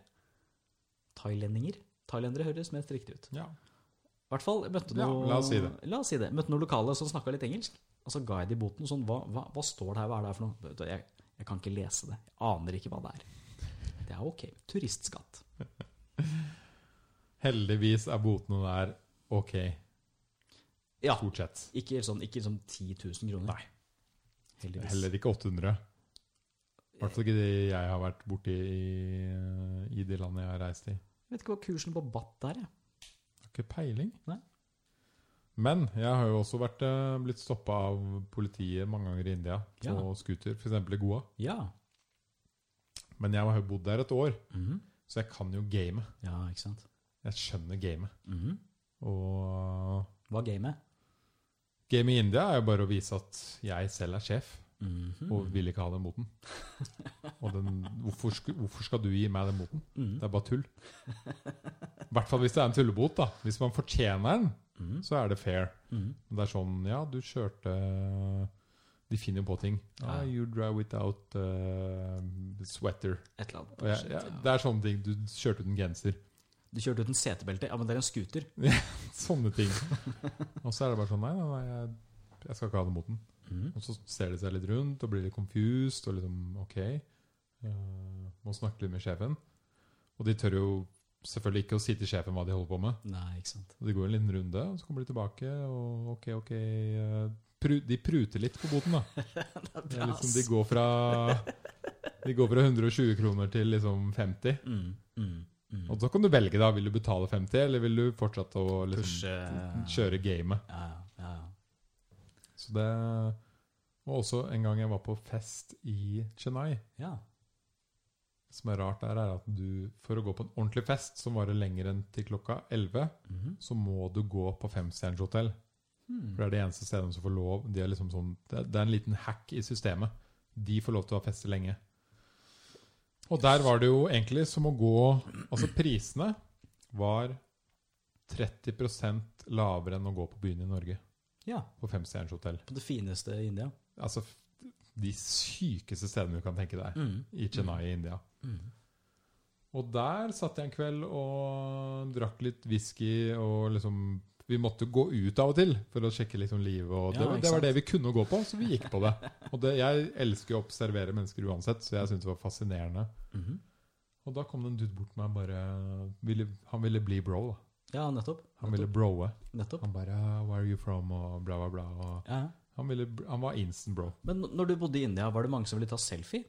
Thailendinger? Thailendere høres mest riktig ut. ja. I hvert fall jeg møtte Ja, noe, la oss si det. La oss si det. Møtte noen lokale som snakka litt engelsk. Og så ga jeg dem boten. og Sånn, hva, hva, hva står det her, hva er det her for noe? Vet du, Jeg, jeg kan ikke lese det. Jeg aner ikke hva det er. Det er ok. Turistskatt. Heldigvis er botene der ok, Ja. stort sett. Ikke sånn, ikke sånn 10 000 kroner. Nei. Heldigvis. Heller ikke 800. I hvert fall ikke de jeg har vært borti i, i de landene jeg har reist i. Jeg vet ikke hva kursen på BAT er, jeg. Har ikke peiling. Nei. Men jeg har jo også vært, eh, blitt stoppa av politiet mange ganger i India på Ja. scooter, f.eks. i Goa. Ja. Men jeg har jo bodd der et år, Mhm. så jeg kan jo game. Ja, ikke sant. Jeg skjønner gamet. Mhm. Og Hva er gamet? game i India er jo bare å vise at jeg selv er sjef, Mhm. og vil ikke ha den moten. Og den, hvorfor, sku- hvorfor skal du gi meg den moten? Mhm. Det er bare tull. I hvert fall hvis det er en tullebot. da. Hvis man fortjener den, Mhm. så er det fair. Mhm. Men det er sånn Ja, du kjørte eh, De finner jo på ting. Ja. Ah, you drive without eh, sweater. Et eller annet. Og jeg, Shit, jeg, ja. det er sånne ting. Du kjørte uten genser. Du kjørte uten setebelte. Ja, men det er en scooter. Sånne ting. og så er det bare sånn Nei, nei, nei jeg, jeg skal ikke ha den moten. Mhm. Og så ser de seg litt rundt og blir litt confused og liksom OK. eh, må snakke litt med sjefen. Og de tør jo selvfølgelig ikke å si til sjefen hva de holder på med. Nei, ikke sant. Og De går en liten runde, og så kommer de tilbake, og ok, ok eh, pru, De pruter litt på boten, da. Det er liksom, de, går fra, de går fra 120 kroner til liksom 50. Mhm. Mhm. Mhm. Og så kan du velge, da. Vil du betale 50, eller vil du fortsette å liksom, Pushe kjøre gamet? Ja, ja, ja, ja. Så det Og også en gang jeg var på fest i Chennai. Ja. Som er rart der, er at du for å gå på en ordentlig fest som varer lenger enn til klokka 11, Mhm. så må du gå på femstjerners hotell. Mm. For det er det eneste stedet som får lov. De er liksom sånn, det, er, det er en liten hack i systemet. De får lov til å ha feste lenge. Og der var det jo egentlig som å gå Altså, prisene var 30 lavere enn å gå på byen i Norge. Ja, På femstjerners hotell. på det fineste i India. Altså f- de sykeste stedene du kan tenke deg. Mm. I Chennai i India. Mm. Og der satt jeg en kveld og drakk litt whisky og liksom Vi måtte gå ut av og til for å sjekke liksom livet. Og det, Ja, var- ikke det var sant? det vi kunne gå på, så vi gikk på det. Og det, jeg elsker jo å observere mennesker uansett, så jeg syntes det var fascinerende. Mhm. Og da kom det en dude bort til meg og bare ville, Han ville bli bro. da. Ja, nettopp. Han ville Nettopp. broe. nettopp. Han bare "Ah, 'Where are you from?' og bla, bla, bla. Og Ja. ja. han, ville, han var instant bro. Men når du bodde i India, var det mange som ville ta selfie?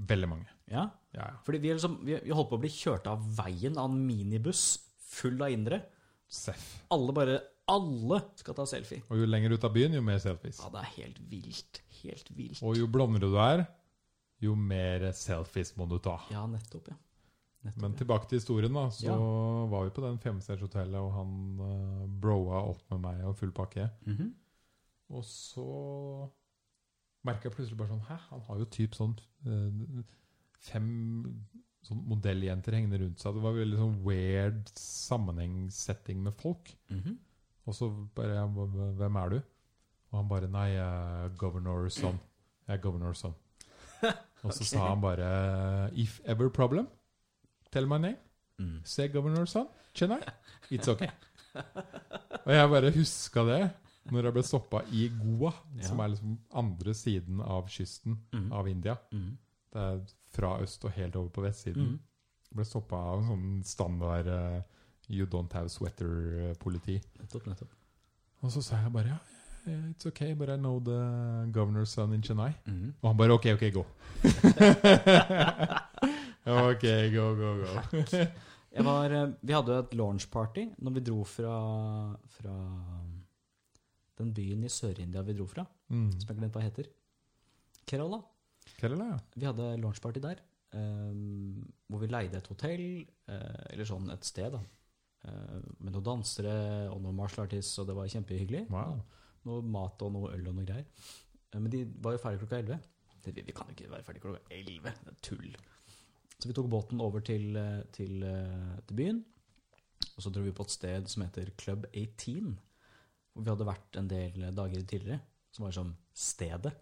Veldig mange. Ja, Ja, ja. fordi vi, er liksom, vi vi holdt på å bli kjørt av veien av en minibuss full av indere. Seff. Alle bare Alle skal ta selfie. Og jo lenger ut av byen, jo mer selfies. Ja, det er helt vilt. Helt vilt. Og jo blondere du er, jo mer selfies må du ta. Ja, nettopp, ja. Nettopp, Men ja. tilbake til historien, da. Så Ja. var vi på den femstjernershotellet, og han eh, broa opp med meg og full pakke. Mhm. Og så merka jeg plutselig bare sånn Hæ, han har jo typ sånn eh, fem sånn modelljenter hengende rundt seg. Det var veldig sånn weird sammenhengssetting med folk. Mhm. Og så bare jeg, "Hva- hva- Hvem er du? Og han bare Nei, jeg er governor's son. Jeg er governor's son. Og så sa han bare If ever problem, tell my name. Mm. Say governor's son. Chennai. sånn. It's okay. Og jeg bare huska det når jeg ble stoppa i Goa, som Ja. er liksom andre siden av kysten Mhm. av India. Mhm. Det er fra øst og helt over på vestsiden. Mhm. Ble stoppa av en sånn standard eh, You don't have sweater-politi. Nettopp, nettopp. Og så sa jeg bare ja, yeah, it's okay, but I know the governor's son in Chennai. Mhm. Og han bare ok, ok, gå. ok, gå, gå, gå. Jeg var, eh, vi hadde jo et launchparty når vi dro fra, fra den byen i Sør-India vi dro fra, Mm. som jeg glemte hva heter. Kerala. Kerala, ja. Vi hadde launchparty der, eh, hvor vi leide et hotell, eh, eller sånn et sted, da. Eh, med noen dansere og noen martial artists, og det var kjempehyggelig. Wow. Noe mat og noe øl og noe greier. Eh, men de var jo ferdig klokka 11. Det, vi, vi kan jo ikke være ferdig klokka 11, det er tull. Så vi tok båten over til, eh, til, eh, til byen, og så dro vi på et sted som heter Club 18, hvor vi hadde vært en del dager tidligere, som var som stedet.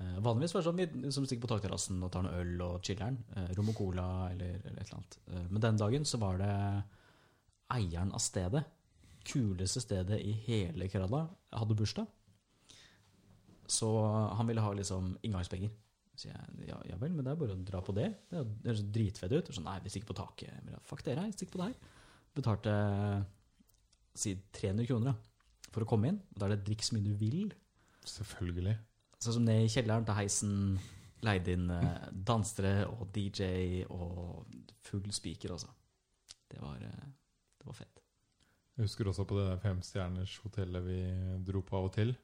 Eh, Vanligvis var det sånn vi liksom stikker på takterrassen og tar noe øl og chiller'n. eh, Rom og cola eller, eller et eller annet. Eh, Men den dagen så var det eieren av stedet, kuleste stedet i hele Kerala, hadde bursdag. Så han ville ha liksom inngangspenger. Så jeg ja, ja vel, men det er bare å dra på det. Det er- det høres dritfett ut. Og sånn, nei, vi stikker på taket. Jeg bare, Fuck dere, jeg stikker på det her. Betalte si 300 kroner da, for å komme inn. Og da er det drikk så mye du vil. Selvfølgelig. Sånn som ned i kjelleren til heisen, leide inn eh, dansere og DJ og full spiker, altså. Det var, eh, det var fett. Jeg husker også på det der femstjerners hotellet vi dro på av og til.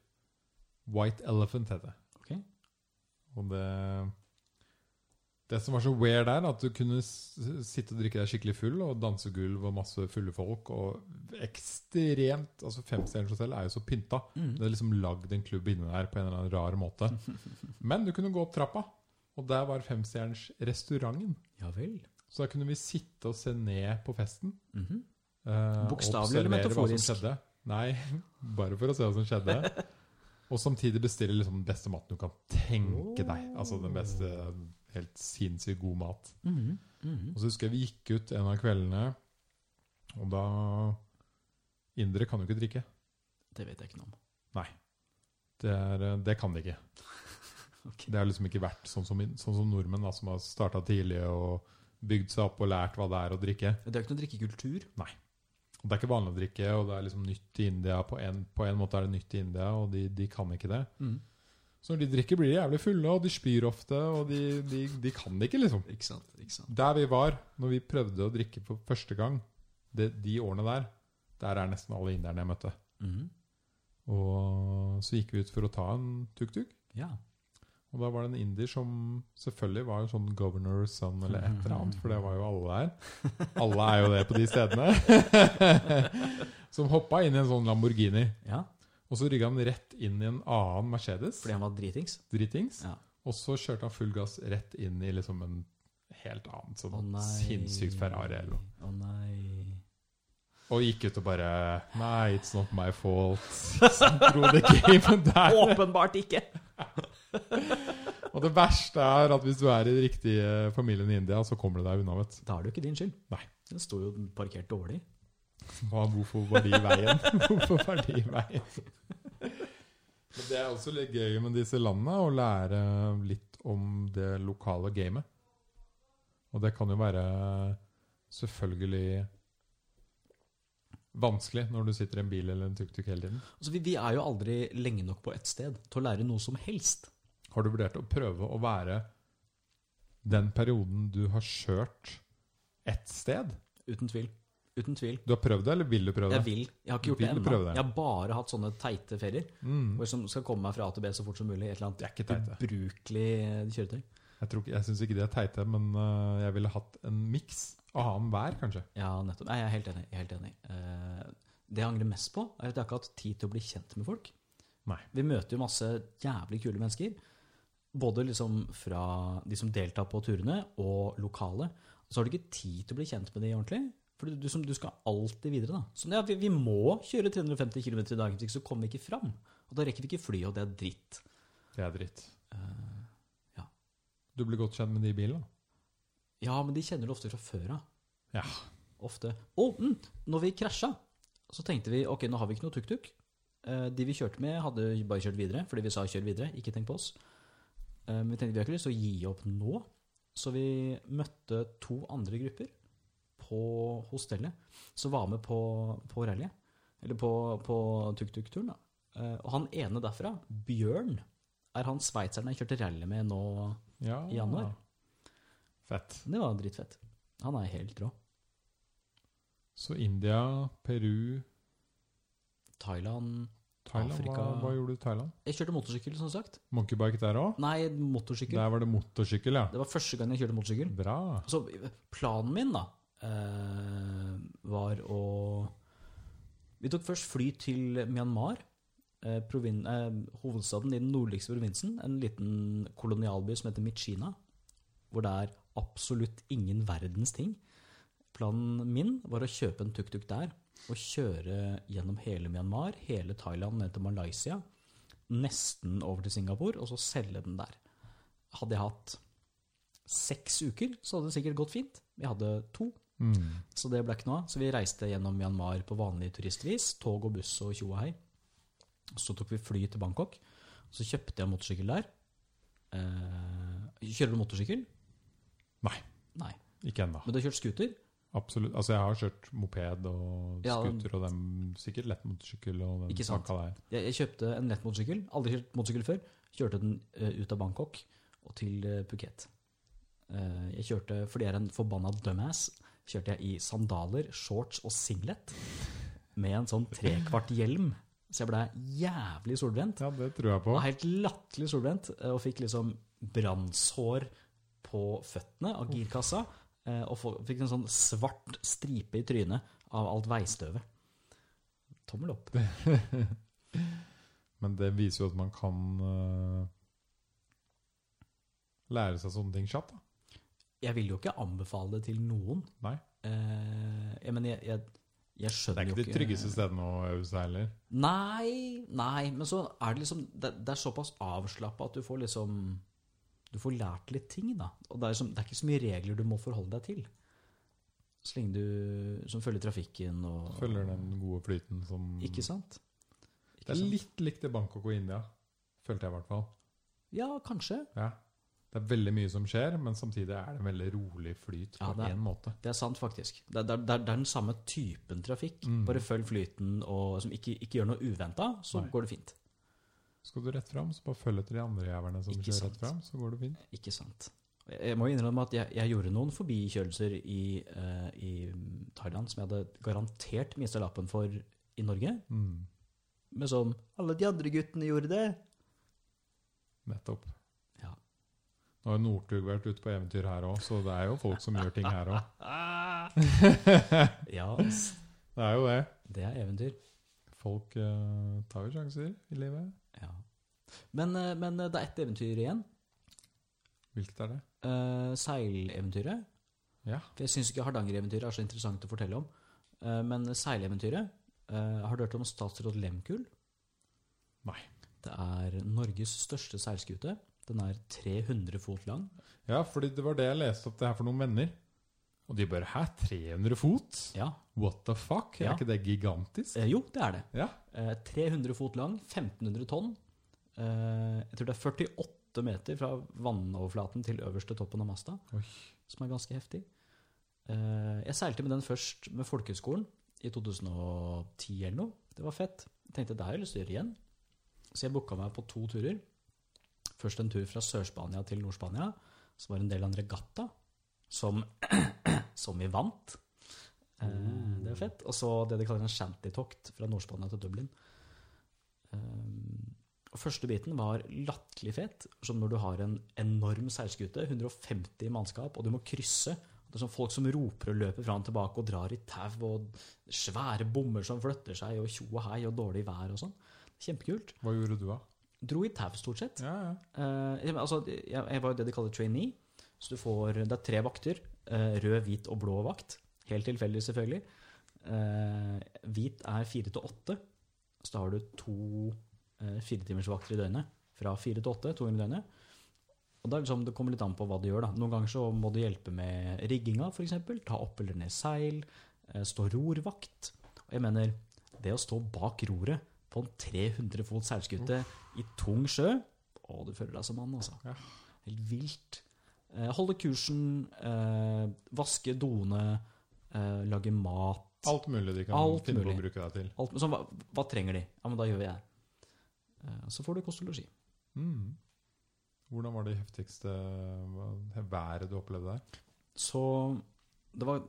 White Elephant het det. Ok. Og det Det som var så weird der, at du kunne s- sitte og drikke deg skikkelig full, og dansegulv og masse fulle folk, og ekstremt Altså, femstjerners hotell er jo så pynta. Mm. Det er liksom lagd en klubb inne der på en eller annen rar måte. Men du kunne gå opp trappa, og der var femstjerners restauranten. Ja vel. Så da kunne vi sitte og se ned på festen. Mhm. eh, og Bokstavelig eller observere hva som metaforisk? skjedde. Nei, bare for å se hva som skjedde. Og samtidig bestille liksom den beste maten du kan tenke deg. Altså den beste, eh, helt sinnssykt god mat. Mhm. Mhm. Og så husker jeg vi gikk ut en av kveldene, og da Indere kan jo ikke drikke. Det vet jeg ikke noe om. Det, er, eh, det kan de ikke. Ok. Det har liksom ikke vært sånn som, sånn som nordmenn, da, som har starta tidlig og bygd seg opp og lært hva det er å drikke. Det er jo ikke noen drikkekultur. Og Det er ikke vanlig å drikke, og det er liksom nytt i India. På en, på en måte er det nytt i India, og de, de kan ikke det. Så når de drikker, blir de jævlig fulle, og de spyr ofte, og de, de, de kan det ikke, liksom. Ikke sant. ikke sant. Der vi var når vi prøvde å drikke for første gang, det, de årene der, der er nesten alle inderne jeg møtte. Mhm. Og så gikk vi ut for å ta en tuk-tuk. Ja. Og da var det en indier som selvfølgelig var en sånn governor's son eller et eller annet, for det var jo alle der. Alle er jo det på de stedene. som hoppa inn i en sånn Lamborghini. Ja, Og så rygga han rett inn i en annen Mercedes, fordi han var dritings. dritings. Ja. Og så kjørte han full gass rett inn i liksom en helt annen, Å sånn nei. sinnssykt Ferrari eller noe. Å nei. Og gikk ut og bare Nei, it's not my fault. Sånn dro det gamet der. Åpenbart ikke! Og det verste er at hvis du er i den riktige familien i India, så kommer du deg unna, vet du. Da er det jo ikke din skyld. Nei. Den sto jo parkert dårlig. Hva, hvorfor var de i veien? Hvorfor var de i veien? Men det er også litt gøy med disse landene, å lære litt om det lokale gamet. Og det kan jo være selvfølgelig vanskelig når du sitter i en bil eller en tuk-tuk hele tiden. Altså, vi, vi er jo aldri lenge nok på ett sted til å lære noe som helst. Har du vurdert å prøve å være den perioden du har kjørt ett sted? Uten tvil. Uten tvil. Du har prøvd det, eller vil du prøve det? Jeg vil. Jeg har ikke gjort Vil det du ennå. prøve det? Jeg har bare hatt sånne teite ferier Mm. hvor jeg som skal komme meg fra A til B så fort som mulig. Et eller annet Det er ikke teite. ubrukelig eh, kjøretøy. Jeg, tror ikke- jeg syns ikke det er teite, men øh, jeg ville hatt en miks. Annen hver, kanskje. Ja, nettopp. Nei, jeg er helt enig. Jeg er helt enig. Eh, Det jeg angrer mest på, er at jeg har ikke hatt tid til å bli kjent med folk. Nei. Vi møter jo masse jævlig kule mennesker. Både liksom fra de som deltar på turene, og lokale. Så har du ikke tid til å bli kjent med de ordentlig. For du, du, som, du skal alltid videre, da. Så ja, vi, vi må kjøre 350 km i dagen, hvis ikke så kommer vi ikke fram. Og da rekker vi ikke flyet, og det er dritt. Det er dritt. Eh, Du blir godt kjent med de i bilen. da. Ja, men de kjenner det ofte fra før av. Ja. Ofte. Å, mm, når vi krasja, så tenkte vi ok, nå har vi ikke noe tuk-tuk. Eh, De vi kjørte med, hadde bare kjørt videre, fordi vi sa kjør videre, ikke tenk på oss. Eh, Men vi tenkte vi har ikke lyst til å gi opp nå, så vi møtte to andre grupper på hostellet som var med på, på rallyet. Eller på, på tuk-tuk-turen, da. Eh, Og han ene derfra, Bjørn, er han sveitseren jeg kjørte rally med nå Ja. I januar. Fett. Det var dritfett. Han er helt rå. Så India, Peru, Thailand Thailand Afrika. Hva, hva gjorde du i Thailand? Jeg kjørte motorsykkel, som sagt. Monkeybike der òg? Nei, motorsykkel. Der var det motorsykkel, ja. Det var første gang jeg kjørte motorsykkel. Bra. Så Altså, planen min, da, eh, var å Vi tok først fly til Myanmar. Eh, provin eh, hovedstaden i den nordligste provinsen. En liten kolonialby som heter Michina. Hvor det er absolutt ingen verdens ting. Planen min var å kjøpe en tuk-tuk der og kjøre gjennom hele Myanmar, hele Thailand, ned til Malaysia. Nesten over til Singapore, og så selge den der. Hadde jeg hatt seks uker, så hadde det sikkert gått fint. Vi hadde to, Mm. så det ble ikke noe av. Så vi reiste gjennom Myanmar på vanlig turistvis. Tog og buss og tjo og hei. Så tok vi fly til Bangkok. Så kjøpte jeg motorsykkel der. Eh, kjører du motorsykkel? Nei. Nei. Ikke ennå. Men du har kjørt scooter? Absolutt. Altså, jeg har kjørt moped og Ja, scooter og dem, sikkert lettmotorsykkel og den Ikke sant. pakka der. Jeg, jeg kjøpte en lett motorsykkel. Aldri kjørt motorsykkel før. Kjørte den eh, ut av Bangkok og til eh, Phuket. Eh, jeg kjørte, fordi jeg er en forbanna dumbass, kjørte jeg i sandaler, shorts og singlet med en sånn trekvart hjelm. Så jeg ble jævlig solbrent. Ja, det tror jeg på. Jeg var helt latterlig solbrent eh, og fikk liksom brannshår på føttene av girkassa. eh, Og få- fikk en sånn svart stripe i trynet av alt veistøvet. Tommel opp. Men det viser jo at man kan øh, lære seg sånne ting kjapt. da. jeg vil jo ikke anbefale det til noen. Nei. Eh, jeg, mener, jeg, jeg, jeg Det skjønner er jo ikke de tryggeste stedene å øve seg heller. Nei, nei, men så er det liksom Det, det er såpass avslappa at du får liksom Du får lært litt ting, da. Og det er, liksom, det er ikke så mye regler du må forholde deg til. Så lenge du Som følger trafikken og Følger den gode flyten som Ikke sant? Det Ikke er sant? litt likt i Bangkok og India, følte jeg i hvert fall. Ja, kanskje. Ja. Det er veldig mye som skjer, men samtidig er det en veldig rolig flyt på Ja, det er- én måte. Det er sant, faktisk. Det er, det er, det er den samme typen trafikk. Mm. Bare følg flyten, og som ikke, ikke gjør noe uventa, så Nei. går det fint. Skal du rett fram, så bare følg etter de andre jævlene som Ikke kjører sant. rett fram, så går det fint. Ikke sant. Jeg jeg må jo innrømme at jeg, jeg gjorde noen forbikjørelser i, eh, i Thailand som jeg hadde garantert mista lappen for i Norge. Mm. Men som alle de andre guttene gjorde det. Nettopp. Ja. Nå har Northug vært ute på eventyr her òg, så det er jo folk som gjør ting her òg. Ja, s- Det er jo det. det er eventyr. Folk eh, tar jo sjanser i livet. Ja. Men, eh, men det er ett eventyr igjen. Hvilket er det? Eh, seileventyret. Ja. For jeg syns ikke Hardanger-eventyret er så interessant å fortelle om. Eh, men seileventyret eh, Har du hørt om statsråd Lehmkuhl? Nei. Det er Norges største seilskute. Den er 300 fot lang. Ja, fordi det var det jeg leste opp det her for noen venner. Og de bare Hæ, 300 fot? Ja, What the fuck? Ja. Er ikke det gigantisk? Eh, Jo, det er det. Ja. Eh, 300 fot lang, 1500 tonn. Eh, Jeg tror det er 48 meter fra vannoverflaten til øverste toppen av masta, Oi. som er ganske heftig. Eh, Jeg seilte med den først med folkehøgskolen i 2010 eller noe. Det var fett. Jeg tenkte det her har jeg lyst til å gjøre igjen. Så jeg booka meg på to turer. Først en tur fra Sør-Spania til Nord-Spania, som var en del av en regatta, som, som vi vant. Eh, Det er fett. Og så det de kaller en shantytokt fra Nord-Spania til Dublin. Um, og første biten var latterlig fet, som når du har en enorm seilskute, 150 i mannskap, og du må krysse. Det er sånn folk som roper og løper fram og tilbake og drar i tau, og svære bommer som flytter seg, og tjo og hei, og dårlig vær og sånn. Kjempekult. Hva gjorde du da? Dro i tau, stort sett. Ja, ja. Eh, ja, men altså, jeg, jeg var jo det de kaller trainee. Så du får, det er tre vakter. eh, rød, hvit og blå vakt. Helt tilfeldig, selvfølgelig. Eh, hvit er fire til åtte. Så da har du to eh, firetimersvakter i døgnet. Fra fire til åtte, to ganger i døgnet. Og det, er liksom, det kommer litt an på hva du gjør. da. Noen ganger så må du hjelpe med rigginga, f.eks. Ta opp eller ned seil. eh, stå rorvakt. Og jeg mener, det å stå bak roret på en 300 fot seilskute i tung sjø å, du føler deg som mann, altså. Ja. Helt vilt. Eh, holde kursen, eh, vaske doene, eh, lage mat. Alt mulig de kan Alt finne mulig. på å bruke deg til. Alt, sånn, hva, hva trenger de? Ja, men da gjør vi det. Eh, så får du kost og losji. Mm. Hvordan var det heftigste hva- været du opplevde der? Så det var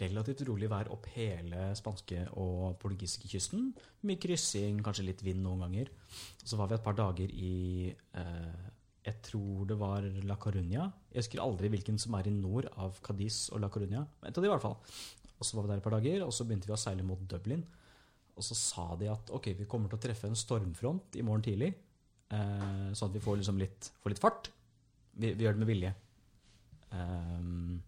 relativt rolig vær opp hele spanske- og portugisiske kysten. Mye kryssing, kanskje litt vind noen ganger. Så var vi et par dager i eh, Jeg tror det var La Coruña. Jeg husker aldri hvilken som er i nord av Cadiz og La Coruña. Men et av de, i hvert fall. Og så var vi der et par dager, og så begynte vi å seile mot Dublin. Og så sa de at ok, vi kommer til å treffe en stormfront i morgen tidlig. Eh, sånn at vi får, liksom litt, får litt fart. Vi, vi gjør det med vilje. Ehm,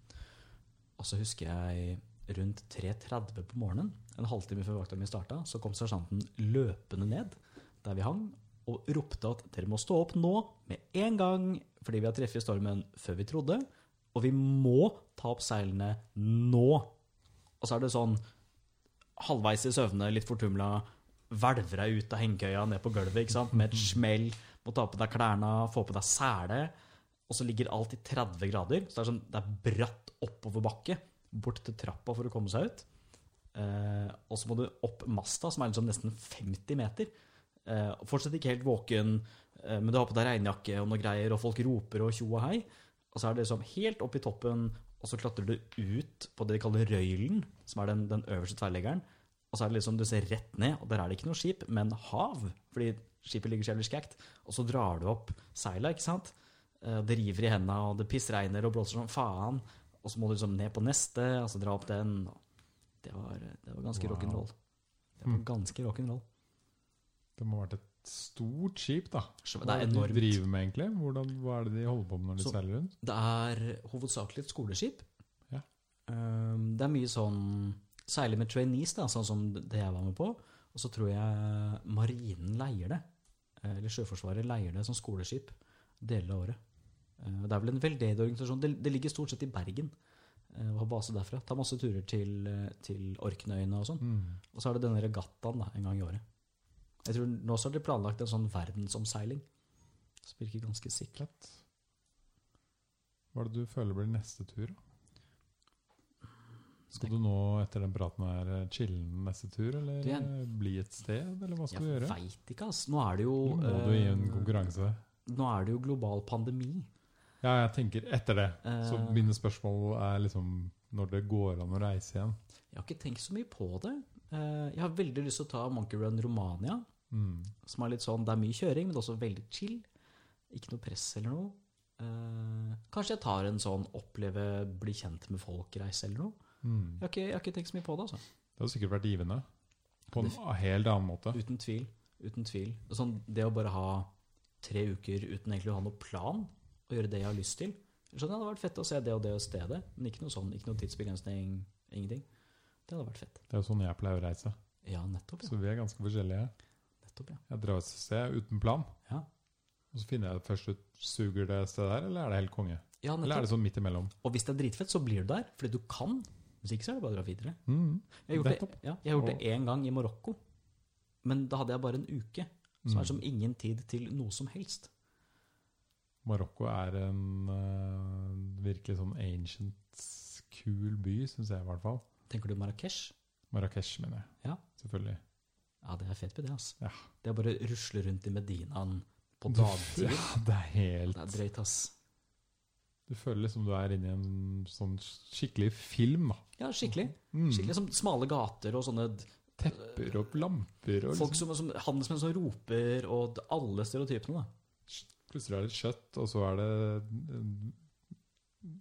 og så husker jeg rundt 3.30 på morgenen, en halvtime før vakta mi starta, så kom sersjanten løpende ned der vi hang, og ropte at dere må stå opp nå med en gang, fordi vi har treffet stormen før vi trodde, og vi må ta opp seilene nå. Og så er det sånn halvveis i søvne, litt fortumla, hvelver deg ut av hengekøya ned på gulvet ikke sant? med et smell, må ta på deg klærne, få på deg sele og så ligger alt i 30 grader. Så det er, sånn, det er bratt oppoverbakke bort til trappa for å komme seg ut. Eh, og så må du opp masta, som er liksom nesten 50 meter. Eh, og fortsatt ikke helt våken, eh, men du har på deg regnjakke og noe greier, og folk roper og tjo og hei. Og så er det liksom helt opp i toppen, og så klatrer du ut på det de kaller røylen, som er den, den øverste tverrleggeren. Og så er det liksom, du ser rett ned, og der er det ikke noe skip, men hav. Fordi skipet ligger så jævlig skækt. Og så drar du opp seila, ikke sant? Eh, Det river i henda, og det pissregner og blåser som faen. Og så må du liksom ned på neste, og så dra opp den. Det var, det var ganske Wow. rock'n'roll. Det var ganske rock'n'roll. Det må ha vært et stort skip, da. Så Hva Det er er det de enormt. driver med, egentlig? Hvordan, hva er det de holder på med når de Så- seiler rundt? Det er hovedsakelig et skoleskip. Ja. Ehm, det er mye sånn Særlig med trainees, da, sånn som det jeg var med på. Og så tror jeg marinen leier det. eh, Eller Sjøforsvaret leier det som skoleskip deler av året. Eh, og Det er vel en veldedig organisasjon. Det, det ligger stort sett i Bergen. eh, Og har base derfra. Tar masse turer til, eh, til Orknøyene og sånn. Mm. Og så er det denne regattaen da, en gang i året. Jeg tror Nå så har de planlagt en sånn verdensomseiling. Som virker ganske sikker. Fett. Hva er det du føler blir neste tur, da? Skal du nå etter den praten her chille neste tur, eller Du, jeg- eh, bli et sted, eller hva skal du Jeg gjøre? veit ikke, ass. Nå er det jo Nå må du i en eh, konkurranse. Nå er det jo global pandemi. Ja, jeg tenker etter det. Så Eh. mine spørsmål er liksom når det går an å reise igjen. Jeg har ikke tenkt så mye på det. Eh, Jeg har veldig lyst til å ta Monkey Run Romania, Mm. som er litt sånn Det er mye kjøring, men det er også veldig chill. Ikke noe press eller noe. Eh, Eh, kanskje jeg tar en sånn oppleve, bli kjent med folk-reise eller noe. Mm. Jeg har, ikke, jeg har ikke tenkt så mye på det, altså. Det hadde sikkert vært givende. På en Det- helt annen måte. Uten tvil. Uten tvil. Sånn, det å bare ha tre uker uten egentlig å ha noen plan, og gjøre det jeg har lyst til Skjønner, Det hadde vært fett å se det og det og stedet, men ikke noe sånn, ikke noe tidsbegrensning, ingenting. Det hadde vært fett. Det er jo sånn jeg pleier å reise. Ja, nettopp. Så vi er ganske forskjellige. ja. Nettopp, ja. Jeg drar et sted uten plan. Ja. Og så finner jeg først ut Suger det stedet her, eller er det helt konge? ja Eller er nettopp. det sånn midt imellom? Og hvis det er dritfett, så blir du der, fordi du kan. Hvis ikke, så er det bare å dra videre. Mm. Jeg har gjort det, Nettopp. ja, jeg har gjort det én gang i Marokko, men da hadde jeg bare en uke. Som er som ingen tid til noe som helst. Marokko er en eh, virkelig sånn ancient, kul by, syns jeg i hvert fall. Tenker du Marrakech? Marrakech, mener jeg. Ja. Selvfølgelig. Ja, det er fett by, det. ass. Ja. Det er bare å rusle rundt i Medinaen på Du- dagtid. Ja, det er helt Det er drøyt, ass. Du føler liksom du er inne i en sånn skikkelig film, da. Ja, skikkelig. Mm. Skikkelig som Smale gater og sånne d- Tepper og lamper og folk liksom. som, som handelsmenn som roper, og d- alle stereotypene, da. Plutselig er det kjøtt, og så er det eh,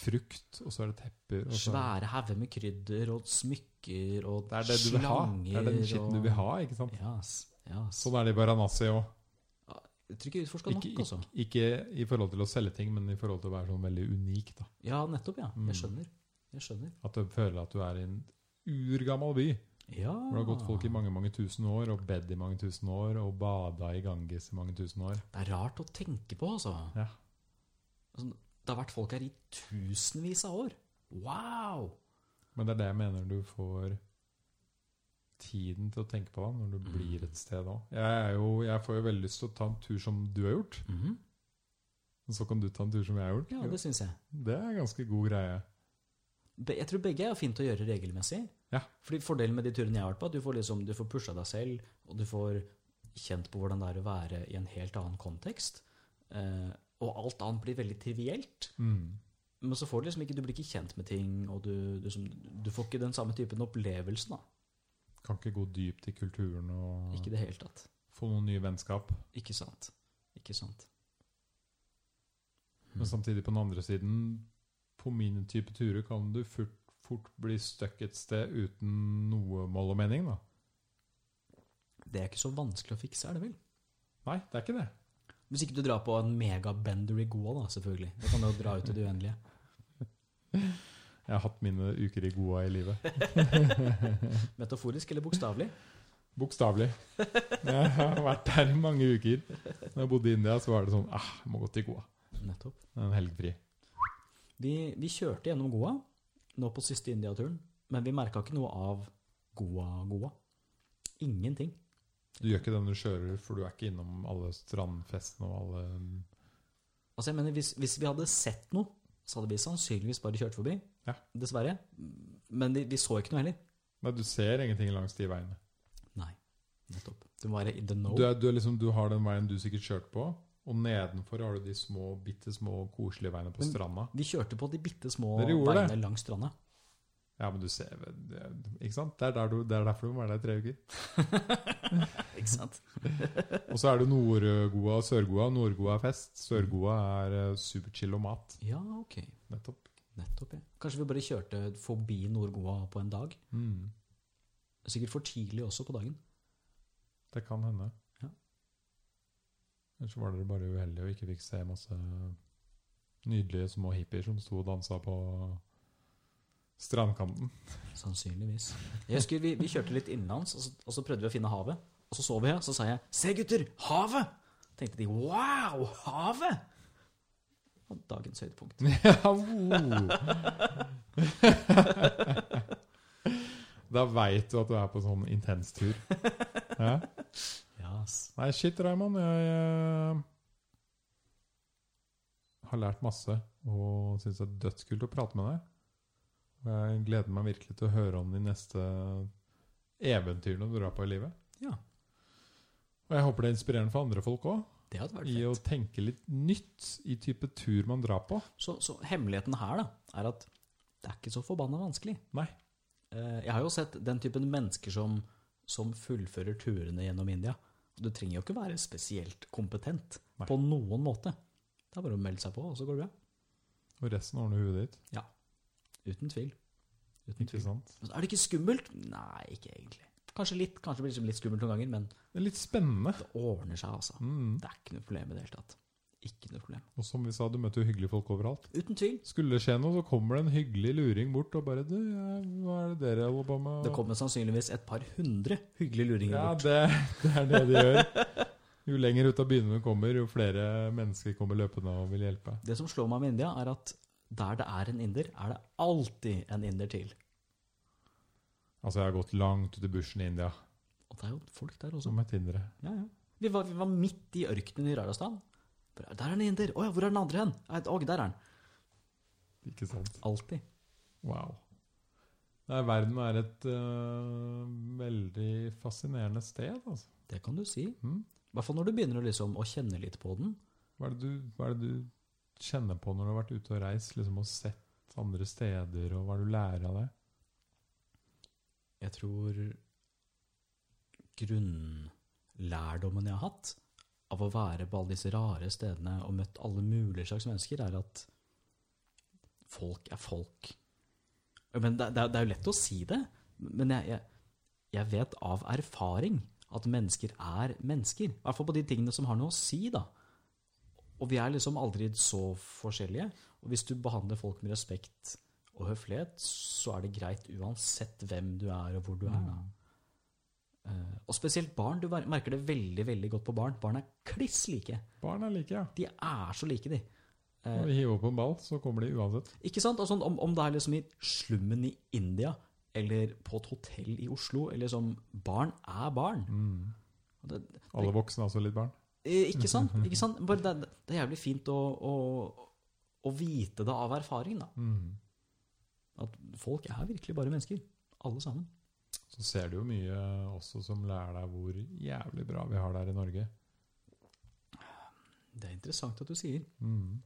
frukt, og så er det tepper og så er det- Svære hauger med krydder og smykker og Det er det du vil ha. Det er den skitten du vil ha, ikke sant? Ja, ass. Ja, ass. Sånn er det i Baranasi òg. Jeg tror ikke jeg utforska nok, Ikke, altså. ikke, ikke i forhold til å selge ting, men i forhold til å være sånn veldig unik, da. Ja, nettopp, ja. Mm. Jeg skjønner. Jeg skjønner. At du føler at du er i en urgammel by. Ja. Hvor det har gått folk i mange mange tusen år, og bedt i mange tusen år, og bada i Ganges i mange tusen år. Det er rart å tenke på, altså. Ja. Altså, Det har vært folk her i tusenvis av år. Wow! Men det er det jeg mener du får tiden til å tenke på da, når du blir et sted òg. Jeg, er jo- jeg får jo veldig lyst til å ta en tur som du har gjort. Mhm. Og så kan du ta en tur som jeg har gjort. Ja, det syns jeg. Det er en ganske god greie. Be- Jeg tror begge er fint å gjøre regelmessig. Ja. Fordi Fordelen med de turene jeg har vært på, er at du får, liksom, du får pusha deg selv, og du får kjent på hvordan det er å være i en helt annen kontekst. Eh, og alt annet blir veldig trivielt. Mm. Men så får du liksom ikke, du blir ikke kjent med ting, og du, du, som, du får ikke den samme typen opplevelsen. da. Kan ikke gå dypt i kulturen og Ikke i det hele tatt. få noen nye vennskap. Ikke sant. Ikke sant. Men samtidig, på den andre siden, på mine type turer kan du fort, fort bli stuck et sted uten noe mål og mening, da. Det er ikke så vanskelig å fikse, er det vel? Nei, det er ikke det. Hvis ikke du drar på en megabender i Goa, da, selvfølgelig. Da kan du jo dra ut i det uendelige. Jeg har hatt mine uker i Goa i livet. Metaforisk eller bokstavelig? Bokstavelig. Jeg har vært der i mange uker. Når jeg bodde i India, så var det sånn ah, jeg må gå til Goa. Nettopp. En helgfri. Vi, vi kjørte gjennom Goa nå på siste India-turen, men vi merka ikke noe av Goa-Goa. Ingenting. Du gjør ikke det når du kjører, for du er ikke innom alle strandfestene og alle Altså, jeg mener, hvis, hvis vi hadde sett noe, så hadde vi sannsynligvis bare kjørt forbi. Ja. Dessverre. Men vi, vi så ikke noe heller. Nei, du ser ingenting langs de veiene. Nei. Nettopp. Du må være in the know. Du, er, du, er liksom, du har den veien du sikkert kjørte på, og nedenfor har du de små, bitte små, koselige veiene på Men- stranda. Vi kjørte på de bitte små Dere gjorde veiene det. langs stranda. Ja, men du ser det- Ikke sant? Det er, der du, det er derfor du må være der i tre uker. Ikke sant? Og så er det Nord-Goa og Sør-Goa. Nord-Goa er fest. Sør-Goa er eh, superchill og mat. Ja, ok. Nettopp. Nettopp, ja. Kanskje vi bare kjørte forbi Nord-Goa på en dag. Mm. Sikkert for tidlig også på dagen. Det kan hende. Ja. Ellers var dere bare uheldige og ikke fikk se masse nydelige små hippier som sto og dansa på strandkanten. Sannsynligvis. Jeg husker Vi, vi kjørte litt innenlands, og så, og så prøvde vi å finne havet. Og så så vi, og så sa jeg 'Se, gutter! Havet!' tenkte de 'Wow! Havet!' Og dagens høydepunkt. Ja, wow. da veit du at du er på sånn intens tur. Ja. Yes. Nei, shit, Raymond. Jeg eh, har lært masse og syns det er dødskult å prate med deg. Og jeg gleder meg virkelig til å høre om de neste eventyrene du drar på i livet. Ja. Og jeg håper det er inspirerende for andre folk òg, Det hadde vært i å fett. tenke litt nytt i type tur man drar på. Så, så hemmeligheten her da, er at det er ikke så forbanna vanskelig. Nei. Eh, Jeg har jo sett den typen mennesker som, som fullfører turene gjennom India. Du trenger jo ikke være spesielt kompetent Nei. på noen måte. Det er bare å melde seg på, og så går det bra. Og resten ordner huet ditt. Uten tvil. Uten Ikke tvil. sant? Men så Er det ikke skummelt? Nei, ikke egentlig. Kanskje litt, kanskje det blir liksom litt skummelt noen ganger, men Det er litt spennende. det ordner seg, altså. Mm. Det er ikke noe problem i det hele tatt. Ikke noe problem. Og som vi sa, du møter jo hyggelige folk overalt. Uten tvil. Skulle det skje noe, så kommer det en hyggelig luring bort og bare du, ja, Hva er det dere holder på med? Det kommer sannsynligvis et par hundre hyggelige luringer ja, bort. det, det er det de gjør. Jo lenger ut av byene du kommer, jo flere mennesker kommer løpende og vil hjelpe. Det som slår meg med India, er at der det er en inder, er det alltid en inder til. Altså, jeg har gått langt ut i bushen i India Og det er jo folk der også. som et indere. Ja, ja. Vi var, vi var midt i ørkenen i Rajasthan. Bare, Der er en inder! Å ja, hvor er den andre hen? Nei, Å, der er den. Ikke sant? Alltid. Wow. Nei, verden er et øh, veldig fascinerende sted, altså. Det kan du si. Mm. I hvert fall når du begynner å, liksom, å kjenne litt på den. Hva er, det du, hva er det du kjenner på når du har vært ute og reist liksom, og sett andre steder, og hva er det du lærer av det? Jeg tror grunnlærdommen jeg har hatt av å være på alle disse rare stedene og møtt alle mulige slags mennesker, er at folk er folk. Men det, det, er- det er jo lett å si det, men jeg, jeg, jeg vet av erfaring at mennesker er mennesker. I hvert fall på de tingene som har noe å si, da. Og vi er liksom aldri så forskjellige. Og hvis du behandler folk med respekt og høflighet, så er det greit uansett hvem du er og hvor du er. Da. Eh, Og spesielt barn. Du mer- merker det veldig veldig godt på barn. Barn er kliss like. Barn er like, ja. De er så like, de. Når de hiver opp en ball, så kommer de uansett. Ikke sant? Altså, om, om det er liksom i slummen i India, eller på et hotell i Oslo, eller som barn er barn. Og Mm. Det, Alle voksne er også litt barn. Eh, Ikke sant? Ikke sant? Bare det, det er jævlig fint å, å, å vite det av erfaring, da. At folk er virkelig bare mennesker. Alle sammen. Så ser du jo mye også som lærer deg hvor jævlig bra vi har det her i Norge. Det er interessant at du sier. Mm.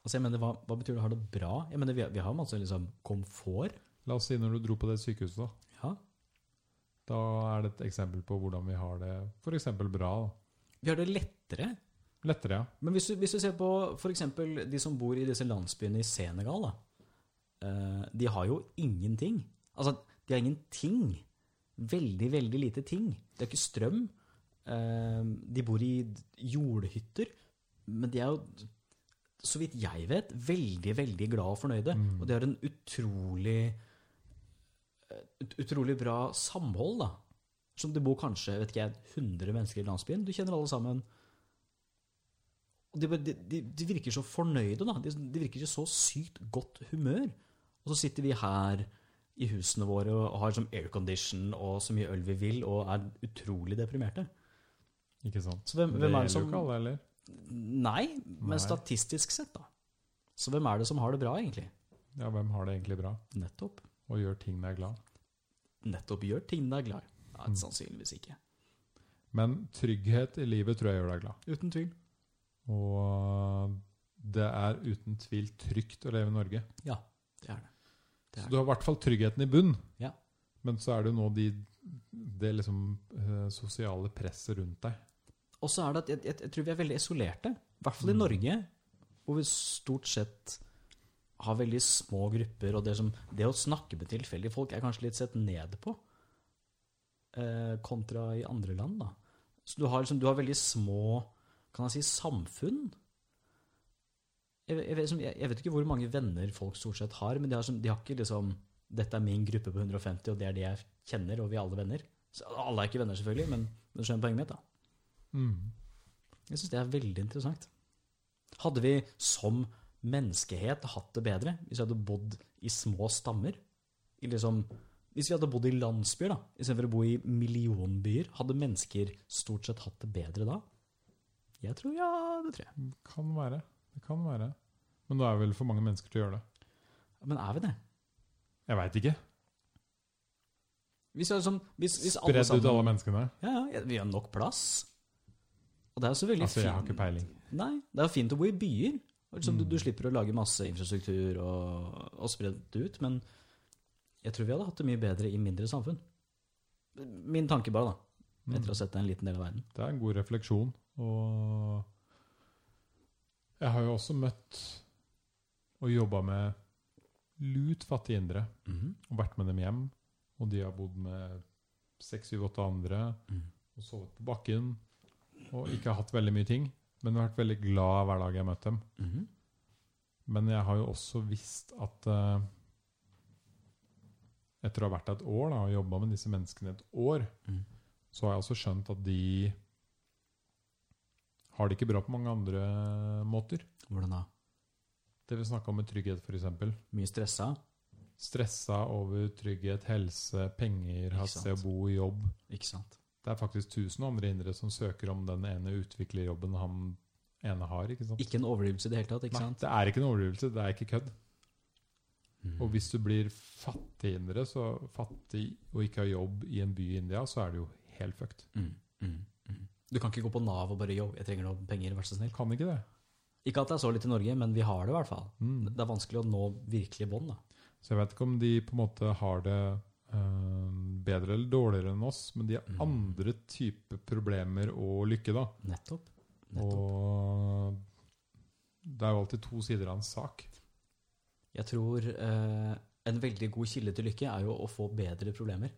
Altså, jeg mener, hva, hva betyr det å ha det bra? Jeg mener, vi, vi har masse liksom, komfort. La oss si når du dro på det sykehuset, da. Ja. Da er det et eksempel på hvordan vi har det f.eks. bra. da. Vi har det lettere. Lettere, ja. Men hvis du, hvis du ser på f.eks. de som bor i disse landsbyene i Senegal, da. Eh, de har jo ingenting. Altså, de har ingenting. Veldig, veldig lite ting. De har ikke strøm. Eh, de bor i jordhytter. Men de er jo, så vidt jeg vet, veldig, veldig glad og fornøyde. Og de har en utrolig eh, ut, utrolig bra samhold, da. Som det bor kanskje vet ikke jeg, 100 mennesker i landsbyen. Du kjenner alle sammen. Og de, bare- de, de, de virker så fornøyde, da. De, de virker ikke så sykt godt humør. Og så sitter vi her i husene våre og har sånn aircondition og så mye øl vi vil, og er utrolig deprimerte. Ikke sant. Så hvem, hvem er det gjelder som jo ikke alle heller. Nei, men Nei. statistisk sett, da. Så hvem er det som har det bra, egentlig? Ja, hvem har det egentlig bra? Nettopp. Og gjør ting deg glad. Nettopp gjør ting deg glad. Mm. Nei, sannsynligvis ikke. Men trygghet i livet tror jeg gjør deg glad. Uten tvil. Og det er uten tvil trygt å leve i Norge. Ja, det er det. Det er Så du har i hvert fall tryggheten i bunn. Ja. Men så er det jo nå de, det liksom eh, sosiale presset rundt deg. Og så er det at jeg, jeg, jeg tror vi er veldig isolerte. I hvert fall i Mm. Norge, hvor vi stort sett har veldig små grupper, og det, som, det å snakke med tilfeldige folk er kanskje litt sett ned på, eh, kontra i andre land. da. Så du har, liksom, du har veldig små kan jeg si, samfunn. Jeg, jeg, vet liksom- jeg, jeg vet ikke hvor mange venner folk stort sett har, men de har, som- de har ikke liksom Dette er min gruppe på 150, og det er de jeg kjenner, og vi er alle venner. Så, alle er ikke venner, selvfølgelig, men du skjønner poenget mitt. da. Mm. Jeg syns det er veldig interessant. Hadde vi som menneskehet hatt det bedre hvis vi hadde bodd i små stammer? I liksom, hvis vi hadde bodd i landsbyer da, istedenfor å bo i millionbyer, hadde mennesker stort sett hatt det bedre da? Jeg tror ja, det tror jeg. Kan være. Det kan være. Men nå er vel for mange mennesker til å gjøre det. Men er vi det? Jeg veit ikke. Hvis, vi hadde sånn- hvis, hvis alle Bredd ut alle sammen, menneskene. ja, ja, Vi har nok plass. Og det er jo så veldig Altså, jeg har fint- ikke peiling. Nei, det er jo fint å bo i byer. Og Liksom, du, du slipper å lage masse infrastruktur og, og spre det ut, men jeg tror vi hadde hatt det mye bedre i mindre samfunn. Min tanke bare, da. Mm. Etter å ha sett en liten del av verden. Det er en god refleksjon. Og Jeg har jo også møtt og jobba med lut fattige indre. Mhm. Og vært med dem hjem. Og de har bodd med seks, syv, åtte andre. Mhm. Og sovet på bakken. Og ikke hatt veldig mye ting. Men vært veldig glad hver dag jeg har møtt dem. Mhm. Men jeg har jo også visst at eh, Etter å ha vært der et år da, og jobba med disse menneskene et år, Mhm. så har jeg også skjønt at de har det ikke bra på mange andre måter. Hvordan da? Det vi snakka om med trygghet, f.eks. Mye stressa? Stressa over trygghet, helse, penger, ha Ikke et sted å sant. bo, jobb. Ikke sant? Det er faktisk 1000 andre indre som søker om den ene utviklerjobben han ene har. ikke sant? Ikke en overdrivelse i det hele tatt, ikke sant? Nei, det er ikke en overdrivelse. Det er ikke kødd. Mhm. Og hvis du blir fattig indre, så fattig og ikke har jobb i en by i India, så er det jo helt fucked. Mm, mm, mm. Du kan ikke gå på Nav og bare jo, jeg trenger noen penger, vær så Du snill. kan ikke det. Ikke at det er så litt i Norge, men vi har det i hvert fall. Mm. Det er vanskelig å nå virkelig bånd, da. Så jeg vet ikke om de på en måte har det eh, bedre eller dårligere enn oss, men de har Mm. andre typer problemer og lykke, da. Nettopp. Nettopp. Og det er jo alltid to sider av en sak. Jeg tror eh, en veldig god kilde til lykke er jo å få bedre problemer.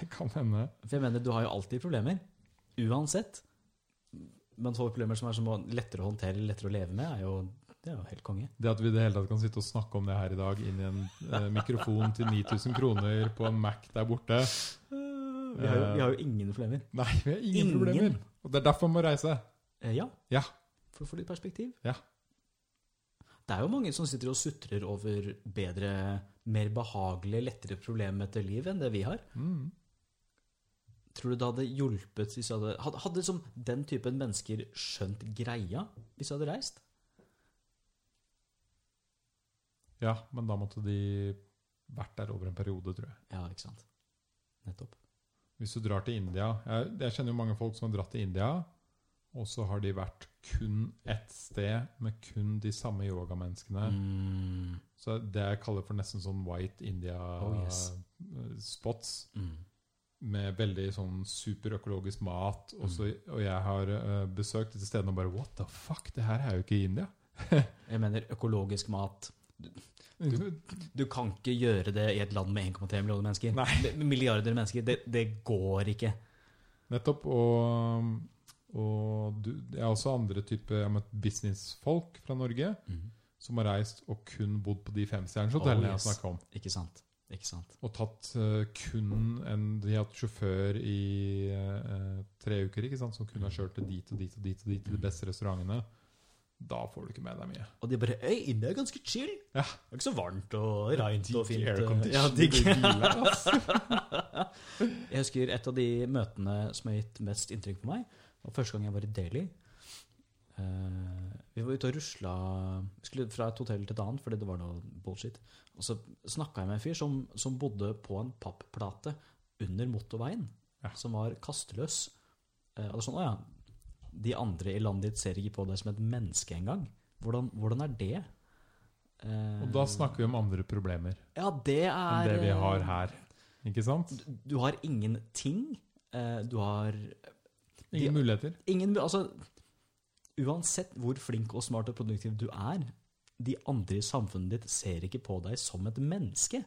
Det kan hende. For jeg mener, du har jo alltid problemer. Uansett. Men få problemer som er som å- lettere å håndtere, lettere å leve med, er jo, det er jo helt konge. Det at vi i det hele tatt kan sitte og snakke om det her i dag inn i en eh, mikrofon til 9000 kroner på en Mac der borte Vi har jo, vi har jo ingen problemer. Nei, vi har ingen, problemer. Og det er derfor man må reise. Eh, ja. Ja. For å få litt perspektiv. Ja. Det er jo mange som sitter og sutrer over bedre, mer behagelige, lettere problemer etter liv enn det vi har. Mm. Tror du det hadde hjulpet hvis jeg hadde Hadde, hadde liksom den typen mennesker skjønt greia hvis jeg hadde reist? Ja, men da måtte de vært der over en periode, tror jeg. Ja, ikke sant. Nettopp. Hvis du drar til India Jeg, jeg kjenner jo mange folk som har dratt til India, og så har de vært kun ett sted med kun de samme yogamenneskene. Mm. Så det jeg kaller for nesten sånn White India Oh, yes. eh, spots, Mm. med veldig sånn superøkologisk mat. Og, så, Mm. og jeg har eh, besøkt disse stedene og bare What the fuck? Det her er jo ikke i India. Jeg mener økologisk mat. Mm. Det Du kan ikke gjøre det i et land med 1,3 millioner mennesker. Nei. Med Milliarder mennesker. Det, det går ikke. Nettopp. Og, og du, jeg har også andre typer Jeg har møtt businessfolk fra Norge som har reist og kun bodd på de femstjerners hotellene Oh, jeg yes. har snakka om. Ikke sant. Ikke sant. Og tatt eh, kun en De har hatt sjåfør i eh, tre uker ikke sant, som kun har kjørt til dit og dit og dit og dit til Mm. de beste restaurantene. Da får du ikke med deg mye. Og de bare Øy, India er ganske chill. Ja. Det er ikke så varmt og reint og fint. eh, Ja, digg. Aircondition. Jeg husker et av de møtene som har gitt mest inntrykk på meg, var første gang jeg var i Delhi. Eh, vi var ute og rusla vi skulle fra et hotell til et annet fordi det var noe bullshit. Og så snakka jeg med en fyr som, som bodde på en papplate under motorveien, Ja. som var kasteløs. Eh, og det er sånn, å ja, De andre i landet ditt ser ikke på deg som et menneske engang. Hvordan, hvordan er det? Eh, Og da snakker vi om andre problemer ja, det enn er det vi eh, har her. Ikke sant? Du har ingenting. eh, Du har Ingen muligheter. ingen Altså, uansett hvor flink og smart og produktiv du er, de andre i samfunnet ditt ser ikke på deg som et menneske.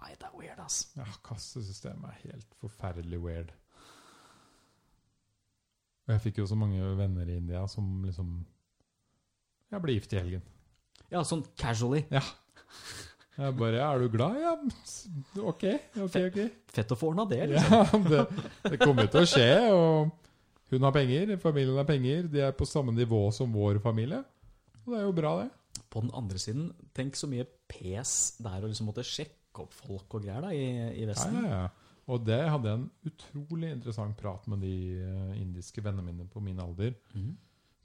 Nei, det er weird, ass. Ja, kassesystemet er helt forferdelig weird. Og jeg fikk jo så mange venner i India som liksom Jeg ble gift i helgen. Ja, sånn casually. Jeg bare ja, 'Er du glad?' Ja, ok. ok, ok. Fett å få ordna det, liksom. Ja, det, det kommer til å skje. Og hun har penger, familien har penger, de er på samme nivå som vår familie. Og det er jo bra, det. På den andre siden, tenk så mye pes det er å liksom måtte sjekke opp folk og greier da, i, i Ja, Vesten. ja, ja. Og det hadde jeg en utrolig interessant prat med de eh, indiske vennene mine på min alder. Mhm,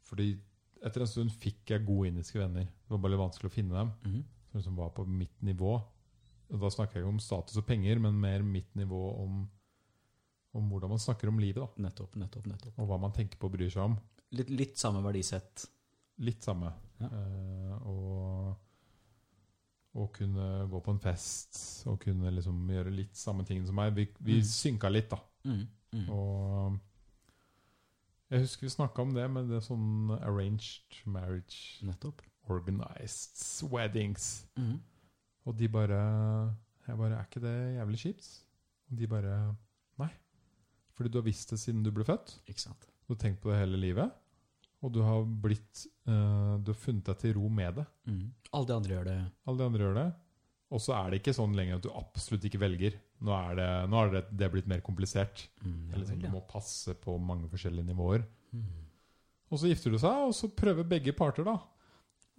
Fordi etter en stund fikk jeg gode indiske venner. Det var bare litt vanskelig å finne dem. mhm. Som liksom var på mitt nivå. Og da snakker jeg ikke om status og penger, men mer mitt nivå om, om hvordan man snakker om livet. da. Nettopp, nettopp, nettopp. Og hva man tenker på og bryr seg om. Litt, litt samme verdisett. Litt samme. Ja. Eh, og å kunne gå på en fest og kunne liksom gjøre litt samme ting som meg. Vi, vi Mm. synka litt, da. Mm, mm. Og Jeg husker vi snakka om det, men det er sånn arranged marriage, Nettopp. Mhm, organized weddings. Og de bare Jeg bare Er ikke det jævlig kjipt? Og de bare Nei. Fordi du har visst det siden du ble født. Ikke sant. Du har tenkt på det hele livet. Og du har blitt eh, Du har funnet deg til ro med det. Mhm. Alle de andre gjør det. Alle de andre gjør det. Og så er det ikke sånn lenger at du absolutt ikke velger. Nå er det, nå er det, det er blitt mer komplisert. Mm, ja Eller sånn, vel, du ja. må passe på mange forskjellige nivåer. Mm. Og så gifter du seg, og så prøver begge parter da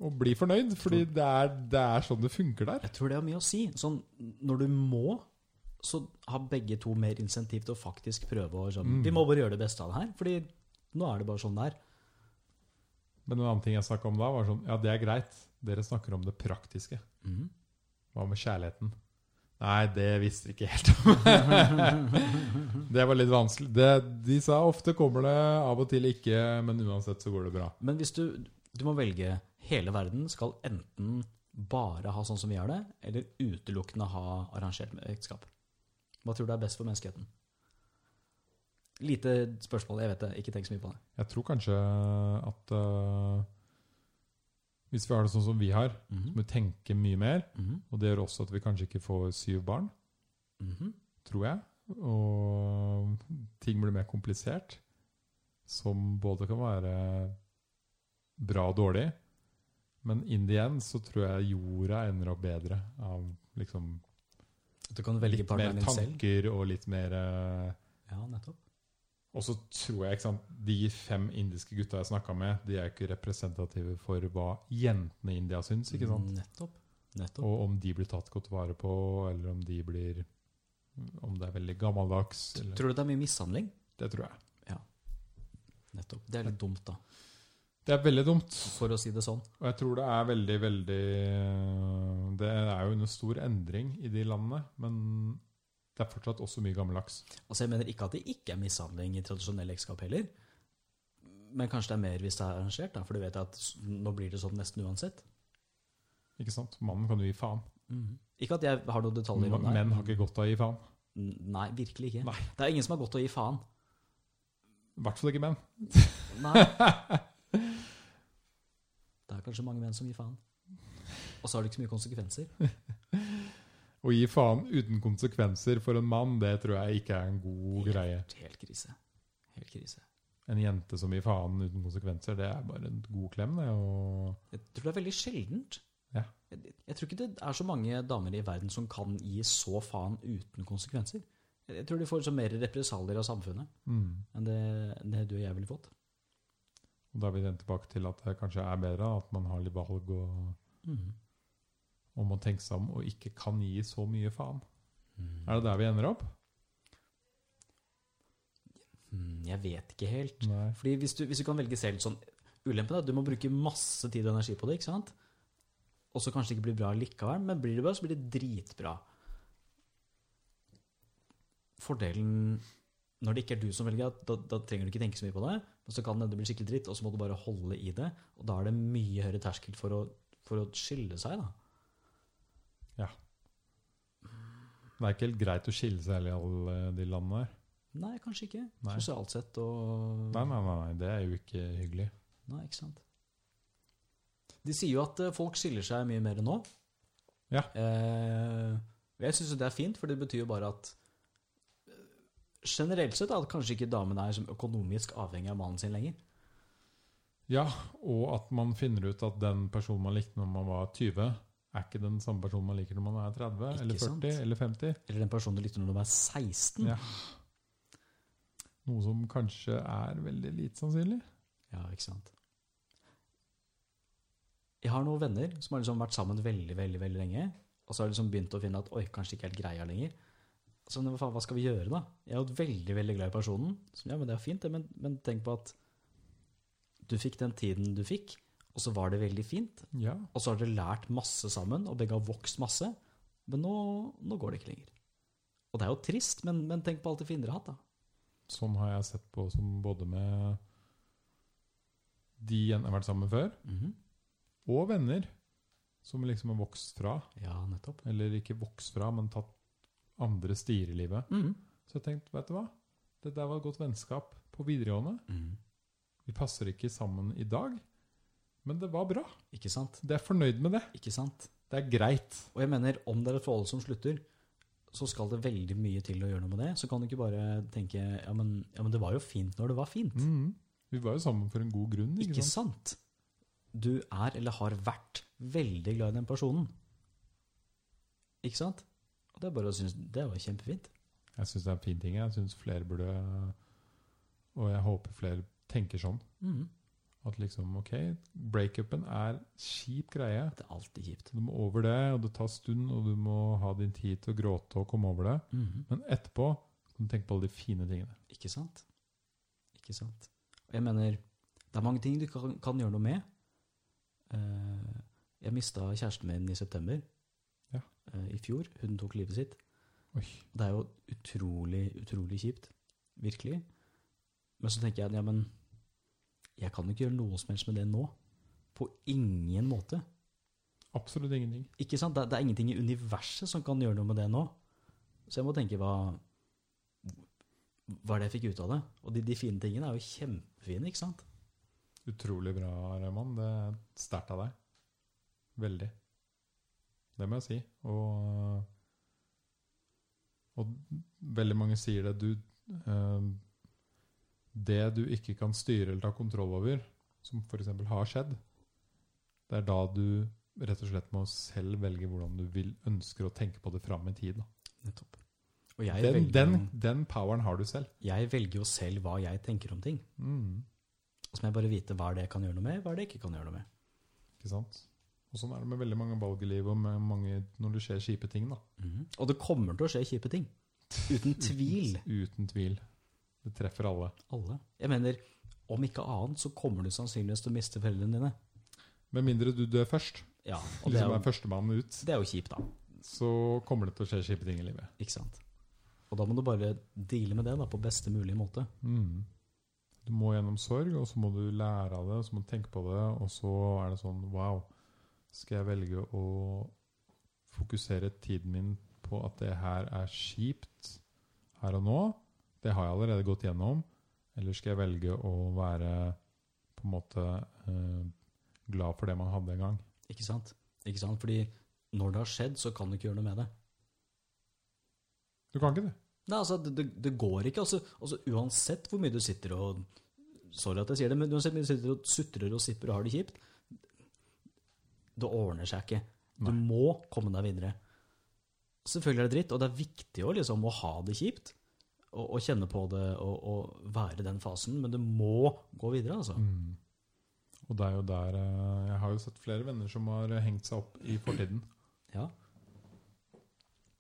å bli fornøyd. Fordi det er, det er sånn det funker der. Jeg tror det har mye å si. Sånn, når du må, så har begge to mer insentiv til å faktisk prøve å sånn, Mm. Vi må bare gjøre det beste av det her, fordi nå er det bare sånn det er. Men en annen ting jeg snakka om da, var sånn Ja, det er greit. Dere snakker om det praktiske. Hva med kjærligheten? Nei, det visste vi ikke helt om. det var litt vanskelig. Det, de sa ofte kommer det, av og til ikke, men uansett så går det bra. Men hvis du, du må velge Hele verden skal enten bare ha sånn som vi gjør det, eller utelukkende ha arrangert ekteskap. Hva tror du er best for menneskeheten? Lite spørsmål, jeg vet det. Ikke tenk så mye på det. Jeg tror kanskje at øh, hvis vi har det sånn som vi har, så må vi tenke mye mer. Mhm. Og det gjør også at vi kanskje ikke får syv barn, Mhm. tror jeg. Og ting blir mer komplisert, som både kan være bra og dårlig. Men in the end så tror jeg jorda ender opp bedre av liksom Du kan velge litt mer partneren din selv. tanker og litt mer eh, Ja, nettopp. Og så tror jeg ikke sant, de fem indiske gutta jeg snakka med, de er jo ikke representative for hva jentene i India syns. ikke sant? Nettopp. Mm, Nettopp. Og om de blir tatt godt vare på, eller om de blir Om det er veldig gammeldags. Eller, Tror du det er mye mishandling? det tror jeg. Nettopp. Det er litt dumt, da. Det er veldig dumt. For å si det sånn. Og jeg tror det er veldig, veldig eh, Det er jo under stor endring i de landene, men det er fortsatt også mye gammeldags. Altså, jeg mener ikke at det ikke er mishandling i tradisjonelle ekteskap heller. Men kanskje det er mer hvis det er arrangert, da, for du vet at s- nå blir det sånn nesten uansett. Ikke sant? Mannen kan jo gi faen. Ikke at jeg har noen detaljer om det. Menn Mhm. har ikke godt av å gi faen. N- Nei, virkelig ikke. Nei. Det er ingen som har godt å gi faen. I hvert fall ikke menn. Nei. Det er kanskje mange menn som gir faen. Og så har det ikke så mye konsekvenser. Å gi faen uten konsekvenser for en mann, det tror jeg ikke er en god greie. Helt krise. Helt krise. En jente som gir faen uten konsekvenser, det er bare en god klem, det. Og Jeg tror det er veldig sjeldent. Ja. Jeg, jeg tror ikke det er så mange damer i verden som kan gi så faen uten konsekvenser. Jeg, jeg tror de får så mer represalier av samfunnet mm. enn det, enn det du og jeg ville fått. Og da er vi igjen tilbake til at det kanskje er bedre at man har litt valg, og, og man tenker seg om og ikke kan gi så mye faen. Mm. Er det der vi ender opp? Hmm, Jeg vet ikke helt. Nei. Fordi hvis du, hvis du kan velge selv sånn Ulempen er at du må bruke masse tid og energi på det, ikke sant? Og så kanskje det ikke blir bra likevel, men blir det bra, så blir det dritbra. Fordelen når det ikke er du som velger, da, da trenger du ikke tenke så mye på det. Men så kan det hende det blir skikkelig dritt, og så må du bare holde i det. Og da er det mye høyere terskel for å, for å skille seg, da. Det er ikke helt greit å skille seg heller i alle de landene her. Nei, kanskje ikke. Nei. Sosialt sett og Nei, nei, nei, nei, det er jo ikke hyggelig. Nei, ikke sant. De sier jo at eh, folk skiller seg mye mer nå. Ja. Eh, og jeg syns jo det er fint, for det betyr jo bare at eh, Generelt sett at kanskje ikke damene er som økonomisk avhengig av mannen sin lenger. Ja, og at man finner ut at den personen man likte når man var 20, er ikke den samme personen man liker når man er 30, Ikke eller 40, sant? Mm. eller 50. Eller den personen du likte når du var 16. Ja. Noe som kanskje er veldig lite sannsynlig. Ja, ikke sant. Jeg har noen venner som har liksom vært sammen veldig, veldig veldig lenge. Og så har de liksom begynt å finne at oi, kanskje ikke helt greia lenger. Så men hva faen, hva skal vi gjøre, da? Jeg er jo veldig veldig glad i personen. Så, ja, men det er fint, det, men, men tenk på at du fikk den tiden du fikk, og så var det veldig fint. Ja, Og så har dere lært masse sammen, og begge har vokst masse. Men nå, nå går det ikke lenger. Og det er jo trist, men, men tenk på alt det fine dere har hatt, da. sånn har jeg sett på som både med de jeg har vært sammen med før, og venner som liksom har vokst fra, Ja, nettopp. eller ikke vokst fra, men tatt andre Mhm. stier i livet. Så jeg tenkte, vet du hva? Det der var et godt vennskap på videregående. Vi passer ikke sammen i dag, men det var bra. Ikke sant? Det er fornøyd med det. Ikke sant? Det er greit. Og jeg mener, om det er et forhold som slutter, så skal det veldig mye til å gjøre noe med det. Så kan du ikke bare tenke ja, men, ja, men det var jo fint når det var fint. Mhm. Vi var jo sammen for en god grunn. Ikke, Ikke sant? sant? Du er eller har vært veldig glad i den personen. Ikke sant? Og det er bare å synes, det var kjempefint. Jeg syns det er en fin ting. Jeg syns flere burde Og jeg håper flere tenker sånn. Mhm. At liksom, ok, breakupen er kjip greie. Det er alltid kjipt. Du må over det, og det tar stund, og du må ha din tid til å gråte og komme over det. Mhm. Men etterpå kan du tenke på alle de fine tingene. Ikke sant? Ikke sant? Og jeg mener, det er mange ting du kan, kan gjøre noe med. Eh, jeg mista kjæresten min i september Ja. eh, i fjor. Hun tok livet sitt. Oi. Det er jo utrolig, utrolig kjipt. Virkelig. Men så tenker jeg at ja, men jeg kan jo ikke gjøre noe som helst med det nå. På ingen måte. Absolutt ingenting. Ikke sant? Det, det er ingenting i universet som kan gjøre noe med det nå. Så jeg må tenke hva hva er det jeg fikk ut av det? Og de, de fine tingene er jo kjempefine, ikke sant? Utrolig bra, Raymond. Det er sterkt av deg. Veldig. Det må jeg si. Og, og veldig mange sier det. Du, eh, det du ikke kan styre eller ta kontroll over, som f.eks. har skjedd, det er da du rett og slett må selv velge hvordan du vil ønsker å tenke på det fram i tid. da. Nettopp. Og jeg, Den, velger, den, jo- den poweren har du selv. jeg velger jo selv hva jeg tenker om ting. Mm, Og så må jeg bare vite hva er det jeg kan gjøre noe med, hva er det jeg ikke kan gjøre noe med. ikke sant? Og sånn er det med veldig mange valg i livet og med mange, når det skjer kjipe ting. da. Og det kommer til å skje kjipe ting. Uten tvil. Uten tvil. Det treffer alle. Alle. Jeg mener, om ikke annet så kommer du sannsynligvis til å miste foreldrene dine. Med mindre du dør først, Ja, og det er liksom er jo, førstemann ut, det er jo kjipt, da. så kommer det til å skje kjipe ting i livet. Ikke sant? Og da må du bare deale med det da, på beste mulig måte. Mm. Du må gjennom sorg, og så må du lære av det, og så må du tenke på det, og så er det sånn Wow, skal jeg velge å fokusere tiden min på at det her er kjipt her og nå? Det har jeg allerede gått gjennom. Eller skal jeg velge å være på en måte eh, glad for det man hadde en gang? Ikke sant? Ikke sant? Fordi når det har skjedd, så kan du ikke gjøre noe med det. Du kan ikke det. Nei, altså, det, det, det går ikke. Altså, altså, uansett hvor mye du sitter og Sorry at jeg sier det, men uansett hvor mye du sitter og sutrer og sipper og har det kjipt, det ordner seg ikke. Du må komme deg videre. Selvfølgelig er det dritt, og det er viktig å, liksom, å ha det kjipt. Og, og kjenne på det og, og være i den fasen, men du må gå videre, altså. Mm. Og det er jo der eh, Jeg har jo sett flere venner som har eh, hengt seg opp i fortiden. Ja.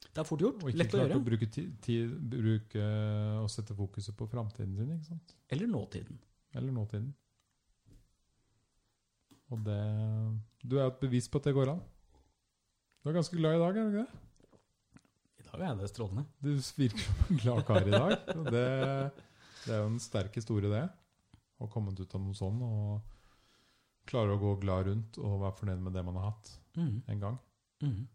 Det er fort gjort. Og ikke Lett å klart gjøre. å bruke tid, tid bruke og sette fokuset på framtiden sin. ikke sant? Eller nåtiden. Eller nåtiden. Og det Du er jo et bevis på at det går an. Du er ganske glad i dag, er du ikke det? I dag er det strålende. Du virker som en glad kar i dag. og Det, det er jo en sterk historie, det. Å ha kommet ut av noe sånn og klare å gå glad rundt og være fornøyd med det man har hatt Mhm. en gang. Mhm.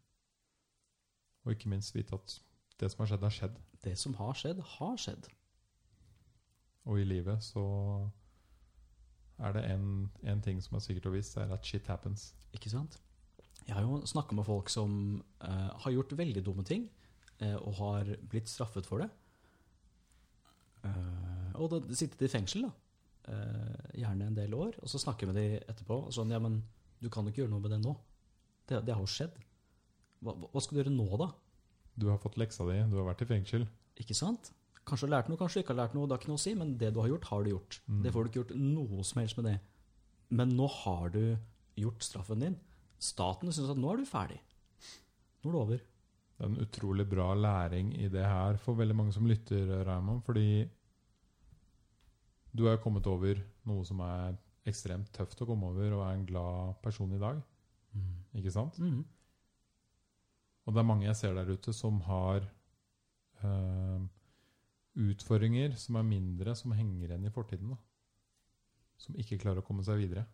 Og ikke minst vite at det som har skjedd, har skjedd. Det som har skjedd, har skjedd. Og i livet så er det en, en ting som er sikkert og visst, det er at shit happens. Ikke sant? Jeg har jo snakka med folk som eh, har gjort veldig dumme ting, eh, og har blitt straffet for det. Eh, og da sittet i fengsel, da. Eh, gjerne en del år. Og så snakker jeg med de etterpå. Og sånn, ja, men du kan jo ikke gjøre noe med det nå. Det, det har jo skjedd. Hva, hva skal du gjøre nå, da? Du har fått leksa di, du har vært i fengsel. Ikke sant? Kanskje du har lært noe, kanskje du ikke har lært noe. Det har ikke noe å si, men det du har gjort, har du gjort. Mm. Det får du ikke gjort noe som helst med det. Men nå har du gjort straffen din. Staten syns at nå er du ferdig. Nå er det over. Det er en utrolig bra læring i det her for veldig mange som lytter, eh, Raymond, fordi du har jo kommet over noe som er ekstremt tøft å komme over, og er en glad person i dag. Ikke sant? Mhm. Og det er mange jeg ser der ute som har eh, utfordringer som er mindre, som henger igjen i fortiden. da. Som ikke klarer å komme seg videre.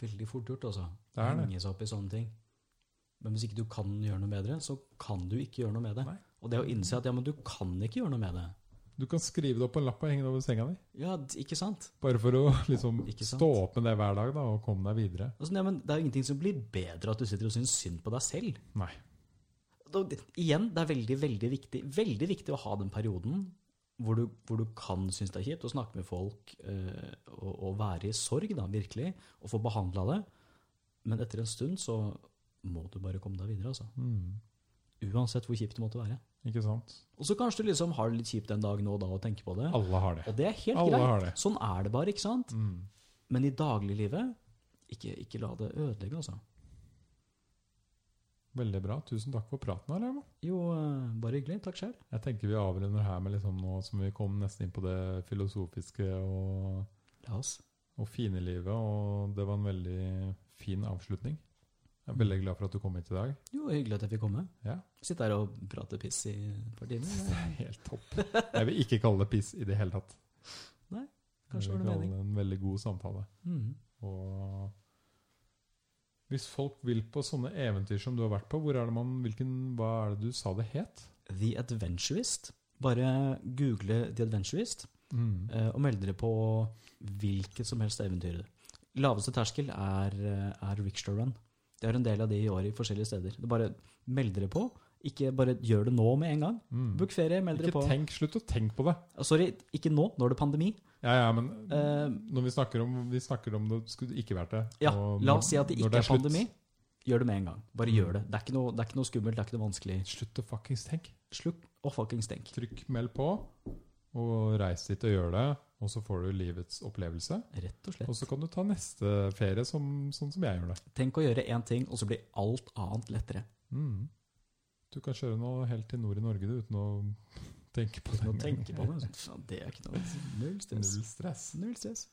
Veldig fort gjort, altså. Det er det. Henge seg opp i sånne ting. Men hvis ikke du kan gjøre noe bedre, så kan du ikke gjøre noe med det. Nei. Og det å innse at ja, men du kan ikke gjøre noe med det. Du kan skrive det opp på en lapp og henge det over senga di. Ja, d- ikke sant? Bare for å liksom Ikke sant? stå opp med det hver dag da, og komme deg videre. Altså, nei, men det er jo ingenting som blir bedre at du sitter og syns synd på deg selv. Nei. Da, det- igjen, det er veldig, veldig viktig, veldig viktig å ha den perioden hvor du, hvor du kan synes det er kjipt, og snakke med folk eh, og, og være i sorg, da, virkelig, og få behandla det. Men etter en stund så må du bare komme deg videre, altså. Mm. Uansett hvor kjipt det måtte være. Ikke sant? Og så kanskje du liksom har det litt kjipt en dag nå og da og tenker på det. Alle har det. Og det er helt Alle har greit. det. Sånn er det bare, ikke sant? Mm. Men i dagliglivet, ikke, ikke la det ødelegge, altså. Veldig bra. Tusen takk for praten her, Emma. Jo, eh, bare hyggelig. Takk selv. Jeg tenker vi avrunder her med liksom nå som vi kom nesten inn på det filosofiske og, La oss. og fine livet, og det var en veldig fin avslutning. Jeg er veldig glad for at du kom hit i dag. Jo, hyggelig at jeg fikk komme. Ja. Sitte her og prate piss i et par timer. Det er helt topp. Jeg vil ikke kalle det piss i det hele tatt. Nei, kanskje Jeg vil var det kalle det en veldig god samtale. Mm. Og hvis folk vil på sånne eventyr som du har vært på, hvor er det man, hvilken, hva er det du sa det het? The Adventurist. Bare google The Adventurist Mm. eh, og meld dere på hvilket som helst eventyr. Laveste terskel er, eh, er Rickshaw Run. Det er en del av de i år i forskjellige steder. Det bare meld dere på. Ikke bare gjør det nå med en gang. Mm. Book ferie, meld dere Ikke på. tenk, slutt å tenke på det. Ah, Sorry, ikke nå, når det er pandemi. Ja, ja, men Eh, når vi snakker om, vi snakker om det, skulle det ikke vært det. Ja, Og la når- oss si at det når ikke er slutt, pandemi. Gjør det med en gang. Bare Mm. gjør det. Det er ikke noe, det er ikke noe skummelt, det er ikke noe vanskelig. Slutt å fuckings tenke. Slukk og fuckings tenk. Trykk meld på, og reis dit og gjør det. Og så får du livets opplevelse. Rett og Og slett. så kan du ta neste ferie som, sånn som jeg gjør det. Tenk å gjøre én ting, og så blir alt annet lettere. Mm. Du kan kjøre nå helt til nord i Norge du, uten å tenke på det. Uten å engang. tenke på det. Faen, Det er ikke noe Null stress. Null stress. Null stress.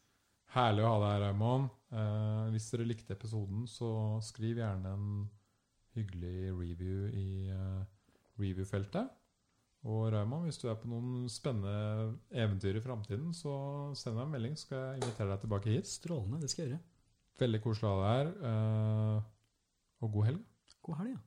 Herlig å ha deg her, Raymond. Eh, hvis dere likte episoden, så skriv gjerne en hyggelig review i eh, reviewfeltet. Og Raymond, hvis du er på noen spennende eventyr i framtiden, så send meg en melding, så skal jeg invitere deg tilbake hit. Strålende. Det skal jeg gjøre. Veldig koselig å ha deg her. eh, og god helg. God helg, ja.